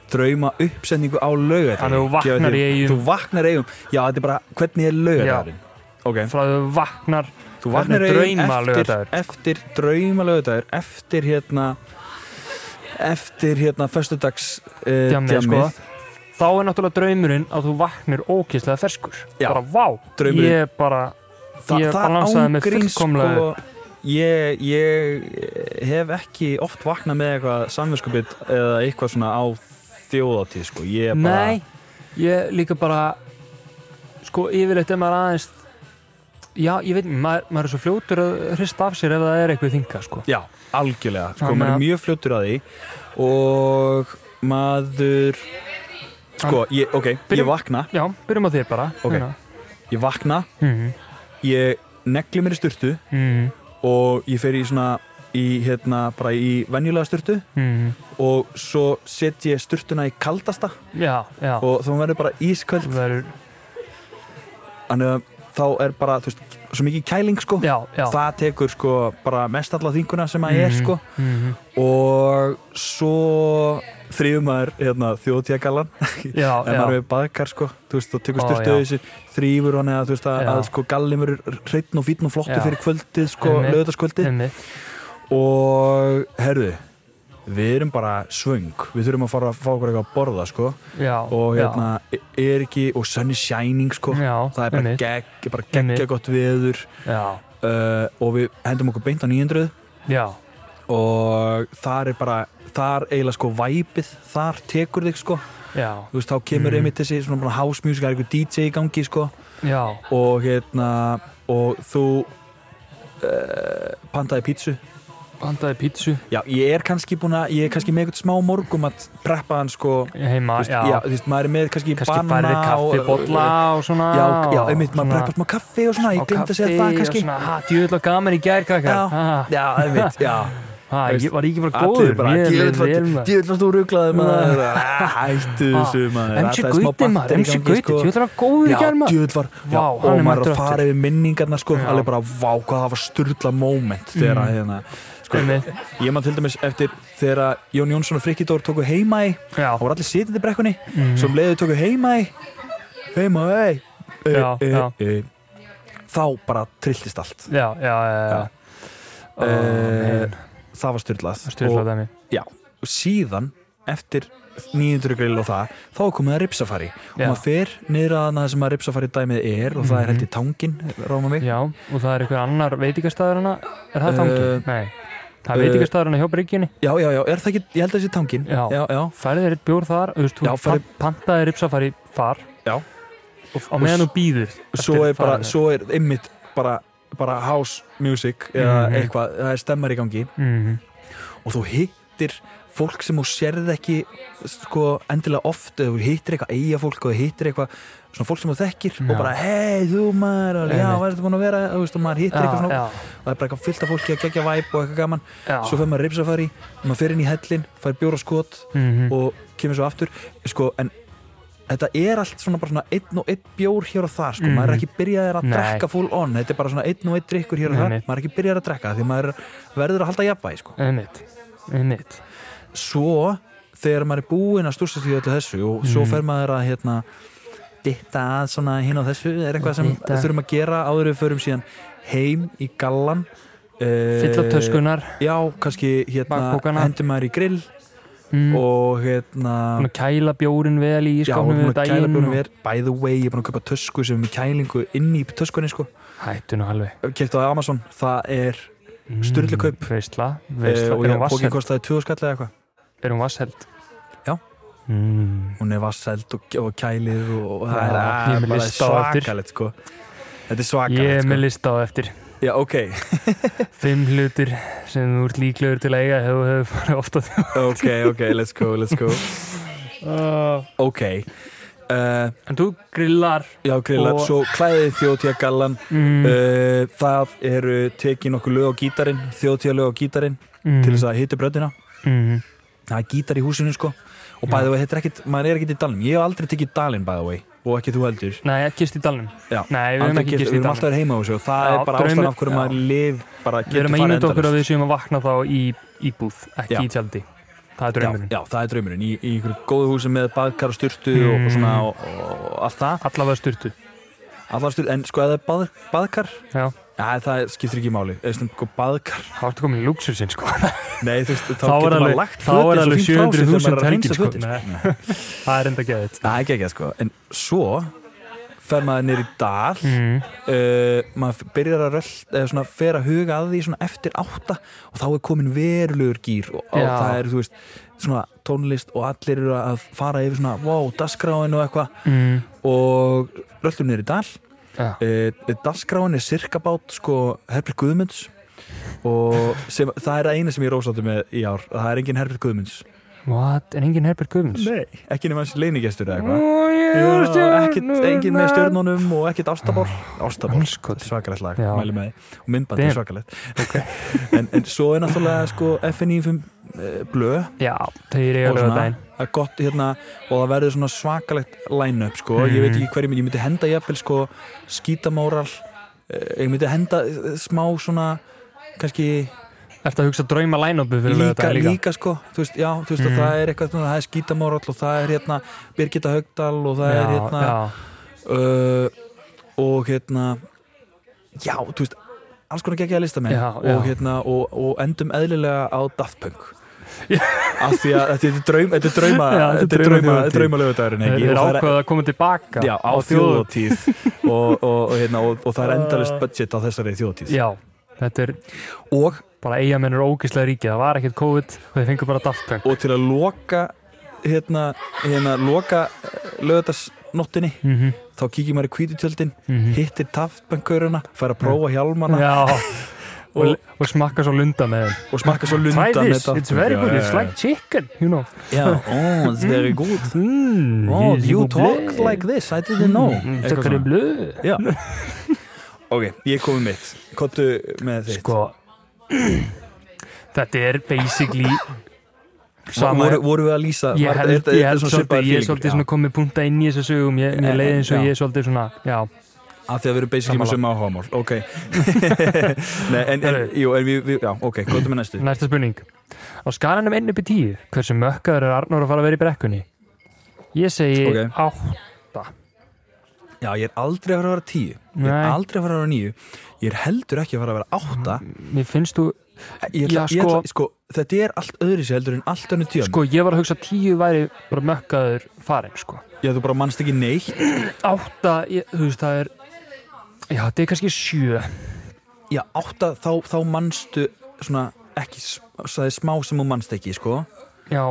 [SPEAKER 1] drauma uppsetningu á laugadaginn
[SPEAKER 2] Þannig að þú vaknar í Eyjum.
[SPEAKER 1] þú vaknar í eigum, já, þetta er bara hvernig er laugadaginn ok,
[SPEAKER 2] frá því þú vaknar
[SPEAKER 1] þú vaknar í eigum
[SPEAKER 2] drauma
[SPEAKER 1] eftir,
[SPEAKER 2] laugardagur.
[SPEAKER 1] eftir drauma laugadagur eftir hérna eftir hérna föstudags uh,
[SPEAKER 2] Djammið, sko. þá er náttúrulega draumurinn að þú vaknir ókýrslega ferskur
[SPEAKER 1] Já.
[SPEAKER 2] bara vá,
[SPEAKER 1] Draumurinn.
[SPEAKER 2] ég bara
[SPEAKER 1] Þa,
[SPEAKER 2] Ég
[SPEAKER 1] það
[SPEAKER 2] balansaði mig
[SPEAKER 1] ángríns,
[SPEAKER 2] fullkomlega
[SPEAKER 1] sko, ég, ég eh, hef ekki oft vaknað með eitthvað samvinskupið eða eitthvað svona á þjóðatíð sko. ég er bara
[SPEAKER 2] Nei, ég líka bara sko yfirleitt er maður aðeins já, ég veit, maður, maður er svo fljótur að hrista af sér ef það er eitthvað þinga sko.
[SPEAKER 1] Já, algjörlega, sko,
[SPEAKER 2] Þannig
[SPEAKER 1] maður
[SPEAKER 2] að-
[SPEAKER 1] er mjög fljóttur að því og maður sko, ég, ok, ég
[SPEAKER 2] Byrjum-
[SPEAKER 1] vakna
[SPEAKER 2] Já, byrjum á þér bara
[SPEAKER 1] Ok.
[SPEAKER 2] hérna.
[SPEAKER 1] ég vakna,
[SPEAKER 2] Mhm,
[SPEAKER 1] ég negli mér í sturtu
[SPEAKER 2] mhm,
[SPEAKER 1] og ég fer í svona í, hérna, bara í venjulega sturtu
[SPEAKER 2] mhm.
[SPEAKER 1] og svo set ég sturtuna í kaldasta
[SPEAKER 2] Já, já
[SPEAKER 1] og þá verður bara ísköld
[SPEAKER 2] Það eru-
[SPEAKER 1] þannig að þá er bara, þú veist, svo mikið kæling sko,
[SPEAKER 2] Já, já
[SPEAKER 1] það tekur sko bara mest alla þinguna sem að er
[SPEAKER 2] Mhm,
[SPEAKER 1] sko
[SPEAKER 2] mhm.
[SPEAKER 1] og svo þrýfum maður hérna, þjóðtíðagallan
[SPEAKER 2] Já,
[SPEAKER 1] en
[SPEAKER 2] já
[SPEAKER 1] maður er baðkar sko þú veist, þú tekur
[SPEAKER 2] Ó,
[SPEAKER 1] styrtuðu
[SPEAKER 2] já.
[SPEAKER 1] þessi þrýfur hann eða þú veist að,
[SPEAKER 2] Já.
[SPEAKER 1] að sko gallin verður hreitn og fítn og flottu
[SPEAKER 2] Já.
[SPEAKER 1] fyrir kvöldið sko,
[SPEAKER 2] Einmitt.
[SPEAKER 1] lögðarskvöldið
[SPEAKER 2] einmitt.
[SPEAKER 1] og herðu við erum bara svöng við þurfum að fara að fá okkur eitthvað að borða sko
[SPEAKER 2] Já,
[SPEAKER 1] og
[SPEAKER 2] já.
[SPEAKER 1] hérna er ekki og sunny shining sko
[SPEAKER 2] Já,
[SPEAKER 1] það er bara,
[SPEAKER 2] einmitt.
[SPEAKER 1] gegg, bara
[SPEAKER 2] Einmitt.
[SPEAKER 1] geggja gott veður
[SPEAKER 2] Já,
[SPEAKER 1] uh, og við hendum okkur beint á 900
[SPEAKER 2] já
[SPEAKER 1] og þar er bara þar eiginlega sko væpið þar tekur þig sko
[SPEAKER 2] Já,
[SPEAKER 1] þú veist þá kemur
[SPEAKER 2] Mm.
[SPEAKER 1] einmitt þessi svona bara house music það er einhver DJ í gangi sko
[SPEAKER 2] já,
[SPEAKER 1] og hérna og þú uh, pantaði pítsu
[SPEAKER 2] bandaði pítsu
[SPEAKER 1] já ég er kannski búin að ég er kannski með eitthvað smá morgum að preppa hann sko
[SPEAKER 2] heima,
[SPEAKER 1] þú veist,
[SPEAKER 2] já,
[SPEAKER 1] já, þú veist maður er með kannski,
[SPEAKER 2] kannski
[SPEAKER 1] banana
[SPEAKER 2] færði kaffi, bolla og svona
[SPEAKER 1] já, já
[SPEAKER 2] og
[SPEAKER 1] einmitt maður
[SPEAKER 2] svona-
[SPEAKER 1] preppar smá kaffi og svona ég glemd að segja það kannski
[SPEAKER 2] Á kaffi og svona, hæ, djöðla gaman í gær, krakkar
[SPEAKER 1] Já.
[SPEAKER 2] Ha,
[SPEAKER 1] já einmitt já
[SPEAKER 2] Ha,
[SPEAKER 1] Veist,
[SPEAKER 2] ég var ekki bara
[SPEAKER 1] Allir
[SPEAKER 2] góður
[SPEAKER 1] bara,
[SPEAKER 2] Mér leið vel, maður.
[SPEAKER 1] djöðlega þú rugglaði maður Ah, Hættu þessu maður
[SPEAKER 2] MC
[SPEAKER 1] Þetta er smá
[SPEAKER 2] Gauti maður,
[SPEAKER 1] bakterí í
[SPEAKER 2] MC
[SPEAKER 1] gangi,
[SPEAKER 2] Gauti,
[SPEAKER 1] sko.
[SPEAKER 2] þú ætlar að góður
[SPEAKER 1] Já,
[SPEAKER 2] í gær maður
[SPEAKER 1] djöðl var já,
[SPEAKER 2] Vá,
[SPEAKER 1] og
[SPEAKER 2] hann er
[SPEAKER 1] maður
[SPEAKER 2] mættur
[SPEAKER 1] að fara yfir minningarna sko,
[SPEAKER 2] Já. Mm.
[SPEAKER 1] alveg bara vá hvað það var styrla moment þegar að hérna sko,
[SPEAKER 2] Einmitt.
[SPEAKER 1] ég man til dæmis eftir þegar að Jón Jónsson og Frikki Dór tóku heima í
[SPEAKER 2] Já,
[SPEAKER 1] það voru allir sitjandi í brekkunni
[SPEAKER 2] Mhm.
[SPEAKER 1] sem leiðu tóku heima í heima í e,
[SPEAKER 2] Já, já.
[SPEAKER 1] þá bara trilltist allt
[SPEAKER 2] já, já, já, já. Ó,
[SPEAKER 1] Eh,
[SPEAKER 2] man,
[SPEAKER 1] það var styrlað
[SPEAKER 2] það styrlaði dæmi
[SPEAKER 1] og síðan eftir 900 grill og það þá er komið að ripsafari og
[SPEAKER 2] Já.
[SPEAKER 1] maður fer niður að það sem að ripsafari dæmið er og það er held í tangin ráma mig
[SPEAKER 2] Mhm. Já, og það er einhver annar veitingastæður hana Er það tangi?
[SPEAKER 1] Eh,
[SPEAKER 2] Nei, það er
[SPEAKER 1] eh,
[SPEAKER 2] veitingastæður hana hjá Bryggjunni
[SPEAKER 1] já, já, já, er það ekki, ég held að það sé tangin
[SPEAKER 2] Já.
[SPEAKER 1] já, já,
[SPEAKER 2] Færið þér eitt bjór þar, þú veist,
[SPEAKER 1] Já,
[SPEAKER 2] þú
[SPEAKER 1] farið-
[SPEAKER 2] pan- pantaði ripsafari þar
[SPEAKER 1] Já.
[SPEAKER 2] Á meðan þú býður
[SPEAKER 1] svo er bara, svo er ymmit bara, bara house music eða
[SPEAKER 2] Mhm.
[SPEAKER 1] eitthvað, það er stemmar í gangi og þú hittir fólk sem þú sérð ekki sko endilega oft eða þú hittir eitthvað eiga fólk og þú hittir eitthvað svona fólk sem þú þekkir og
[SPEAKER 2] Já.
[SPEAKER 1] bara hei þú maður, alveg, já
[SPEAKER 2] Einmitt.
[SPEAKER 1] hvað er þetta búin að vera þú veist og maður hittir eitthvað svona
[SPEAKER 2] Já,
[SPEAKER 1] og það er bara eitthvað fyllt af fólki að gegja væp og eitthvað gaman
[SPEAKER 2] já
[SPEAKER 1] svo fer maður ripsafari, maður fer inn í hellin fær bjóra skot
[SPEAKER 2] Mhm.
[SPEAKER 1] og kemur svo aftur sko en þetta er allt svona bara svona einn og einn bjór hér og þar sko,
[SPEAKER 2] Mhm.
[SPEAKER 1] maður er ekki byrjaðir að
[SPEAKER 2] Nei.
[SPEAKER 1] drekka full on, þetta er bara svona einn og einn drikkur hér og
[SPEAKER 2] Nei,
[SPEAKER 1] þar,
[SPEAKER 2] nei.
[SPEAKER 1] maður er ekki byrjaðir að drekka því maður verður að halda jafnvægi sko
[SPEAKER 2] Einmitt, einmitt
[SPEAKER 1] svo þegar maður er búinn að stúrsa því öllu þessu og svo
[SPEAKER 2] Mm.
[SPEAKER 1] fer maður að hérna ditta að svona hinn og þessu er eitthvað sem
[SPEAKER 2] Ditta.
[SPEAKER 1] þurfum að gera áður en við förum síðan heim í gallan uh,
[SPEAKER 2] Fylla töskunar,
[SPEAKER 1] já, kannski hérna
[SPEAKER 2] Bakpokana.
[SPEAKER 1] hendur maður í grill
[SPEAKER 2] mm, og
[SPEAKER 1] og hérna
[SPEAKER 2] að kæla bjórin vel í
[SPEAKER 1] já, og
[SPEAKER 2] ískapnum
[SPEAKER 1] búin
[SPEAKER 2] við
[SPEAKER 1] að kæla
[SPEAKER 2] daginn
[SPEAKER 1] búin
[SPEAKER 2] og-
[SPEAKER 1] að vera by the way, ég er búin að köpa tösku sem er með kælingu inn í töskunni sko
[SPEAKER 2] Hættu nú alveg
[SPEAKER 1] kæft á Amazon, það er Sturlu kaup.
[SPEAKER 2] Veistla,
[SPEAKER 1] eh,
[SPEAKER 2] veistla,
[SPEAKER 1] og
[SPEAKER 2] Mm. er
[SPEAKER 1] ég
[SPEAKER 2] hún
[SPEAKER 1] pókin
[SPEAKER 2] vassheld?
[SPEAKER 1] kostaði 20 skall eða eitthvað
[SPEAKER 2] Er hún vassheld?
[SPEAKER 1] Já.
[SPEAKER 2] mm.
[SPEAKER 1] hún er vasseld og, og kælið og, og það
[SPEAKER 2] Já,
[SPEAKER 1] er,
[SPEAKER 2] ég er
[SPEAKER 1] er
[SPEAKER 2] með
[SPEAKER 1] bara
[SPEAKER 2] lista á eftir.
[SPEAKER 1] svakalegt sko. þetta er
[SPEAKER 2] Ég
[SPEAKER 1] svakalegt
[SPEAKER 2] er með
[SPEAKER 1] sko.
[SPEAKER 2] lista á eftir
[SPEAKER 1] já, ok,
[SPEAKER 2] Fimm hlutir sem þú ert líklegur til að eiga hefur hefur farið ofta
[SPEAKER 1] ok, ok, let's go, let's go
[SPEAKER 2] uh,
[SPEAKER 1] ok uh,
[SPEAKER 2] En þú grillar
[SPEAKER 1] já, Ah. grillar,
[SPEAKER 2] Og-
[SPEAKER 1] svo klæðið þjóðtíða gallan
[SPEAKER 2] mm,
[SPEAKER 1] uh, það eru tekið nokkuð lög á gítarinn þjóðtíða lög á gítarinn til þess að hitta bröndina
[SPEAKER 2] mm,
[SPEAKER 1] það er gítar í húsinu sko og
[SPEAKER 2] Já.
[SPEAKER 1] bæðið vei, þetta er ekkit, maður er ekkit í dalnum ég hef aldrei tekið dalinn bæðið vei og ekki þú heldur
[SPEAKER 2] Nei, ekki gist í dalnum
[SPEAKER 1] Já.
[SPEAKER 2] Nei, við höfum
[SPEAKER 1] Aldrei
[SPEAKER 2] ekki
[SPEAKER 1] gert-
[SPEAKER 2] gist
[SPEAKER 1] við
[SPEAKER 2] í
[SPEAKER 1] erum alltaf
[SPEAKER 2] dalnum
[SPEAKER 1] að vera heima á þessu og það
[SPEAKER 2] Já,
[SPEAKER 1] er bara ástæðan
[SPEAKER 2] draumur-
[SPEAKER 1] af hverju
[SPEAKER 2] já.
[SPEAKER 1] maður lif bara
[SPEAKER 2] Við
[SPEAKER 1] getur
[SPEAKER 2] erum að
[SPEAKER 1] farið
[SPEAKER 2] ímynda okkur
[SPEAKER 1] endalaust.
[SPEAKER 2] að við séum að vakna þá í, í búð Ekki
[SPEAKER 1] Já.
[SPEAKER 2] í tjaldi Það er draumurinn
[SPEAKER 1] Já, já, það er draumurinn í, í einhverju góðu húsi með baðkar og styrtu og,
[SPEAKER 2] Mm.
[SPEAKER 1] og svona og, og allt það
[SPEAKER 2] Allavega sturtu
[SPEAKER 1] Allar styrtu, en sko að það er bað, baðkar
[SPEAKER 2] Já,
[SPEAKER 1] Nei, það skiptir ekki máli Eða svona sko, baðkar
[SPEAKER 2] þá ertu komin í luxusinn sko
[SPEAKER 1] Nei, þú veist, þá,
[SPEAKER 2] Þá er
[SPEAKER 1] getur
[SPEAKER 2] alveg-
[SPEAKER 1] maður lagt
[SPEAKER 2] þá er
[SPEAKER 1] fötin svo
[SPEAKER 2] alveg
[SPEAKER 1] fínt frá sér þegar
[SPEAKER 2] 700.000
[SPEAKER 1] maður er að hreinsa
[SPEAKER 2] helgin, sko.
[SPEAKER 1] fötin, sko.
[SPEAKER 2] Það er enda geðið
[SPEAKER 1] Það er ekki ekki, sko En svo fer maður niður í dal
[SPEAKER 2] mm.
[SPEAKER 1] uh, maður byrjar að röld eða svona fer að huga að því svona eftir átta og þá er komin verulegur gýr og, og
[SPEAKER 2] Já.
[SPEAKER 1] það er, þú veist, svona tónlist og allir eru að fara yfir svona wow, dasgráin og eitthvað
[SPEAKER 2] Mm.
[SPEAKER 1] og röllum niður í dal
[SPEAKER 2] Já.
[SPEAKER 1] e, Dalskráin er sirkabát sko Herbjörg Guðmunds og sem, það er að eina sem ég er ósáttu með í ár það er engin Herbjörg Guðmunds
[SPEAKER 2] What? Er enginn Herbert Guðmunds?
[SPEAKER 1] Nei. ekki nema þessi leinigestur eða eitthvað
[SPEAKER 2] Ó, ég er
[SPEAKER 1] Já, ekkit,
[SPEAKER 2] stjörnurnar.
[SPEAKER 1] engin með stjörnunum og ekkit ástabor ástabor,
[SPEAKER 2] Andskot.
[SPEAKER 1] svakalegt lag,
[SPEAKER 2] Ah, Já.
[SPEAKER 1] mæli með því og myndbandi
[SPEAKER 2] Damn.
[SPEAKER 1] er svakalegt en, en svo er náttúrulega sko FNI5 eh, blöð
[SPEAKER 2] Já, þeir eru
[SPEAKER 1] og
[SPEAKER 2] lögða
[SPEAKER 1] svona,
[SPEAKER 2] dæn
[SPEAKER 1] það er gott hérna og það verður svona svakalegt line-up sko, ég
[SPEAKER 2] Mhm.
[SPEAKER 1] veit ekki hverju, ég myndi henda jafnvel sko, skítamóral eh, ég myndi henda eh, smá svona kannski
[SPEAKER 2] Ertu að hugsa drauma line-upu fyrir lögða
[SPEAKER 1] líka,
[SPEAKER 2] dæn
[SPEAKER 1] líka,
[SPEAKER 2] líka? Mhm.
[SPEAKER 1] sko, þú veist, já, þú veist og það er eitthvað, svona, það er skítamóral og það er hérna Birgitta Haugdal og það er hérna
[SPEAKER 2] já,
[SPEAKER 1] uh, og hérna já, þú veist alls konar geggjaða listamenn
[SPEAKER 2] Já,
[SPEAKER 1] og,
[SPEAKER 2] já.
[SPEAKER 1] Hérna, og, og endum eðlilega á Daft Punk af því að þetta er draum þetta er drauma
[SPEAKER 2] Já,
[SPEAKER 1] þetta er drauma,
[SPEAKER 2] þjóðhátíð.
[SPEAKER 1] drauma lögudagurinn
[SPEAKER 2] þeir
[SPEAKER 1] ekki Og
[SPEAKER 2] eru
[SPEAKER 1] það er-
[SPEAKER 2] ákveða að koma tilbaka
[SPEAKER 1] já, á
[SPEAKER 2] þjóðhátíð.
[SPEAKER 1] þjóðotíð og, og, og, hérna, og, og það er endalist budget á þessari þjóðotíð
[SPEAKER 2] Uh. Já, þetta er
[SPEAKER 1] og,
[SPEAKER 2] bara eigamennur ógislega ríkið Það var ekkert COVID og þeir fengur bara Daft Punk
[SPEAKER 1] og til að loka hérna, hérna loka lögudagsnottinni
[SPEAKER 2] Mhm.
[SPEAKER 1] þá kíkir maður í kvítutjöldin
[SPEAKER 2] Mhm.
[SPEAKER 1] hittir taftbönkuruna, fær að prófa hjálmana
[SPEAKER 2] Já, og, og smakka svo lunda með þeim
[SPEAKER 1] og smakka svo lunda
[SPEAKER 2] Try
[SPEAKER 1] með
[SPEAKER 2] this,
[SPEAKER 1] Daft
[SPEAKER 2] it's
[SPEAKER 1] Punk.
[SPEAKER 2] very
[SPEAKER 1] Já,
[SPEAKER 2] good,
[SPEAKER 1] já,
[SPEAKER 2] it's
[SPEAKER 1] já.
[SPEAKER 2] like chicken, you know
[SPEAKER 1] Já, ó, it's very good
[SPEAKER 2] mm,
[SPEAKER 1] Ó, Hmm, you talk like this, I didn't know Mm, Eitthvað
[SPEAKER 2] Þetta er
[SPEAKER 1] svona.
[SPEAKER 2] blöð
[SPEAKER 1] Já Sko, Ok, ég komið mitt Kottu með þitt
[SPEAKER 2] Sko þetta er basically sama-
[SPEAKER 1] voru, voru við að lýsa
[SPEAKER 2] ég
[SPEAKER 1] var-
[SPEAKER 2] held,
[SPEAKER 1] þetta-
[SPEAKER 2] ég
[SPEAKER 1] þetta
[SPEAKER 2] held
[SPEAKER 1] svona
[SPEAKER 2] svolítið,
[SPEAKER 1] svipaður
[SPEAKER 2] ég er
[SPEAKER 1] feeling?
[SPEAKER 2] svolítið svona komið punta inn í þessu sögum, ég, ég leiði eins og
[SPEAKER 1] Já.
[SPEAKER 2] ég er svolítið svona, já,
[SPEAKER 1] að því að við erum basically með
[SPEAKER 2] Sammála.
[SPEAKER 1] sömu áhugamál ok Nei, en, en, jú, en við, við, já, ok, komum við næstu
[SPEAKER 2] næsta spurning á skalanum 1 upp í 10, hversu mökkaður er Arnór að fara að vera í brekkunni? Ég segi
[SPEAKER 1] Ok.
[SPEAKER 2] 8
[SPEAKER 1] já, ég er aldrei að fara að vera tíu ég er
[SPEAKER 2] Nei.
[SPEAKER 1] aldrei að fara að vera níu ég er heldur ekki að fara að vera átta
[SPEAKER 2] mér finnst þú,
[SPEAKER 1] ég ætla,
[SPEAKER 2] Já,
[SPEAKER 1] ég
[SPEAKER 2] sko-
[SPEAKER 1] ætla, sko, þetta er allt öðri sér heldur en allt önnur tíum
[SPEAKER 2] sko ég var að hugsa að 10 væri bara mökkaður farin, sko
[SPEAKER 1] ég þú bara mannst ekki neitt
[SPEAKER 2] 8, ég, þú veist, það er já, þetta er kannski 7
[SPEAKER 1] já, átta, þá, þá mannstu svona ekki, s- það er smá sem þú mannst ekki, sko
[SPEAKER 2] já,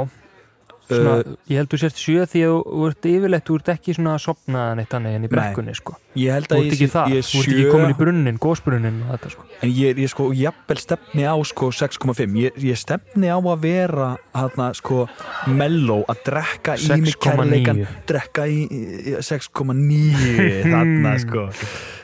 [SPEAKER 2] svona,
[SPEAKER 1] Eh,
[SPEAKER 2] ég held þú sért 7 því að þú- þú ert yfirleitt, þú ert ekki svona sopnaðan eitt annað en
[SPEAKER 1] Nei.
[SPEAKER 2] í brekkunni, sko
[SPEAKER 1] ég held
[SPEAKER 2] Þú
[SPEAKER 1] að
[SPEAKER 2] ert
[SPEAKER 1] ég,
[SPEAKER 2] ekki
[SPEAKER 1] sé-
[SPEAKER 2] það,
[SPEAKER 1] ég
[SPEAKER 2] þú
[SPEAKER 1] er
[SPEAKER 2] ert ekki komin í
[SPEAKER 1] sjö
[SPEAKER 2] brunnin, gósbrunnin og þetta sko.
[SPEAKER 1] en ég, ég sko, jafnvel stefni á sko 6,5, ég, ég stefni á að vera hérna, sko, melló að drekka í mig
[SPEAKER 2] 6,9.
[SPEAKER 1] kærleikan drekka í í- 6,9 þarna, sko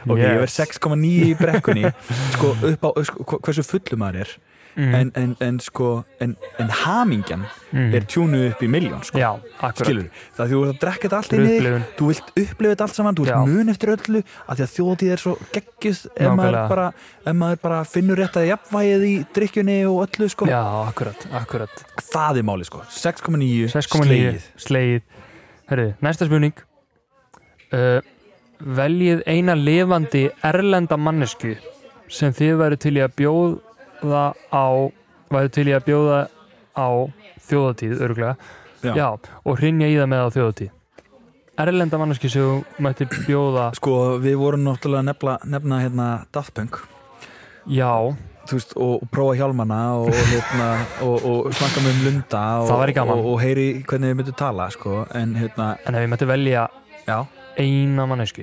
[SPEAKER 1] ok, ég verð
[SPEAKER 2] Mm. Yes.
[SPEAKER 1] 6,9 í brekkunni sko, upp á, sko, hva- hversu fullur maður er
[SPEAKER 2] Mm.
[SPEAKER 1] en, en, en sko en, en hamingjan
[SPEAKER 2] Mm.
[SPEAKER 1] er tjúnuð upp í miljón sko.
[SPEAKER 2] Já, akkurat
[SPEAKER 1] skilur, það því þú ert að drekka þetta allt inn í þig
[SPEAKER 2] Upplifun.
[SPEAKER 1] þú vilt upplifa þetta allt saman, þú
[SPEAKER 2] Já.
[SPEAKER 1] vilt mun eftir öllu af því að þjóðtíð er svo geggjuð ef maður,
[SPEAKER 2] Nákvæmlega.
[SPEAKER 1] bara, ef maður bara finnur rétt að jafnvægið í drikkjunni og öllu sko.
[SPEAKER 2] Já, akkurat, akkurat
[SPEAKER 1] það er máli, sko. 6,9
[SPEAKER 2] 6,9
[SPEAKER 1] slegið.
[SPEAKER 2] Slegið Herru, næsta spurning uh, Veljið eina lifandi erlenda mannesku sem þið væru til í að bjóða á væru til í að bjóða á þjóðatíð, örgulega
[SPEAKER 1] Já.
[SPEAKER 2] og hrinja í það með á þjóðatíð Erlenda mannesku sem þú mætti bjóða
[SPEAKER 1] sko, við vorum náttúrulega að nefna, nefna hérna Daft Punk
[SPEAKER 2] Já,
[SPEAKER 1] þú veist, og, og prófa hjálmana og, og, hérna, og, og snakka með um lunda og,
[SPEAKER 2] Það væri gaman.
[SPEAKER 1] og, og heyri hvernig þið myndu tala sko. en hérna,
[SPEAKER 2] en ef ég mætti velja
[SPEAKER 1] já
[SPEAKER 2] eina mannesku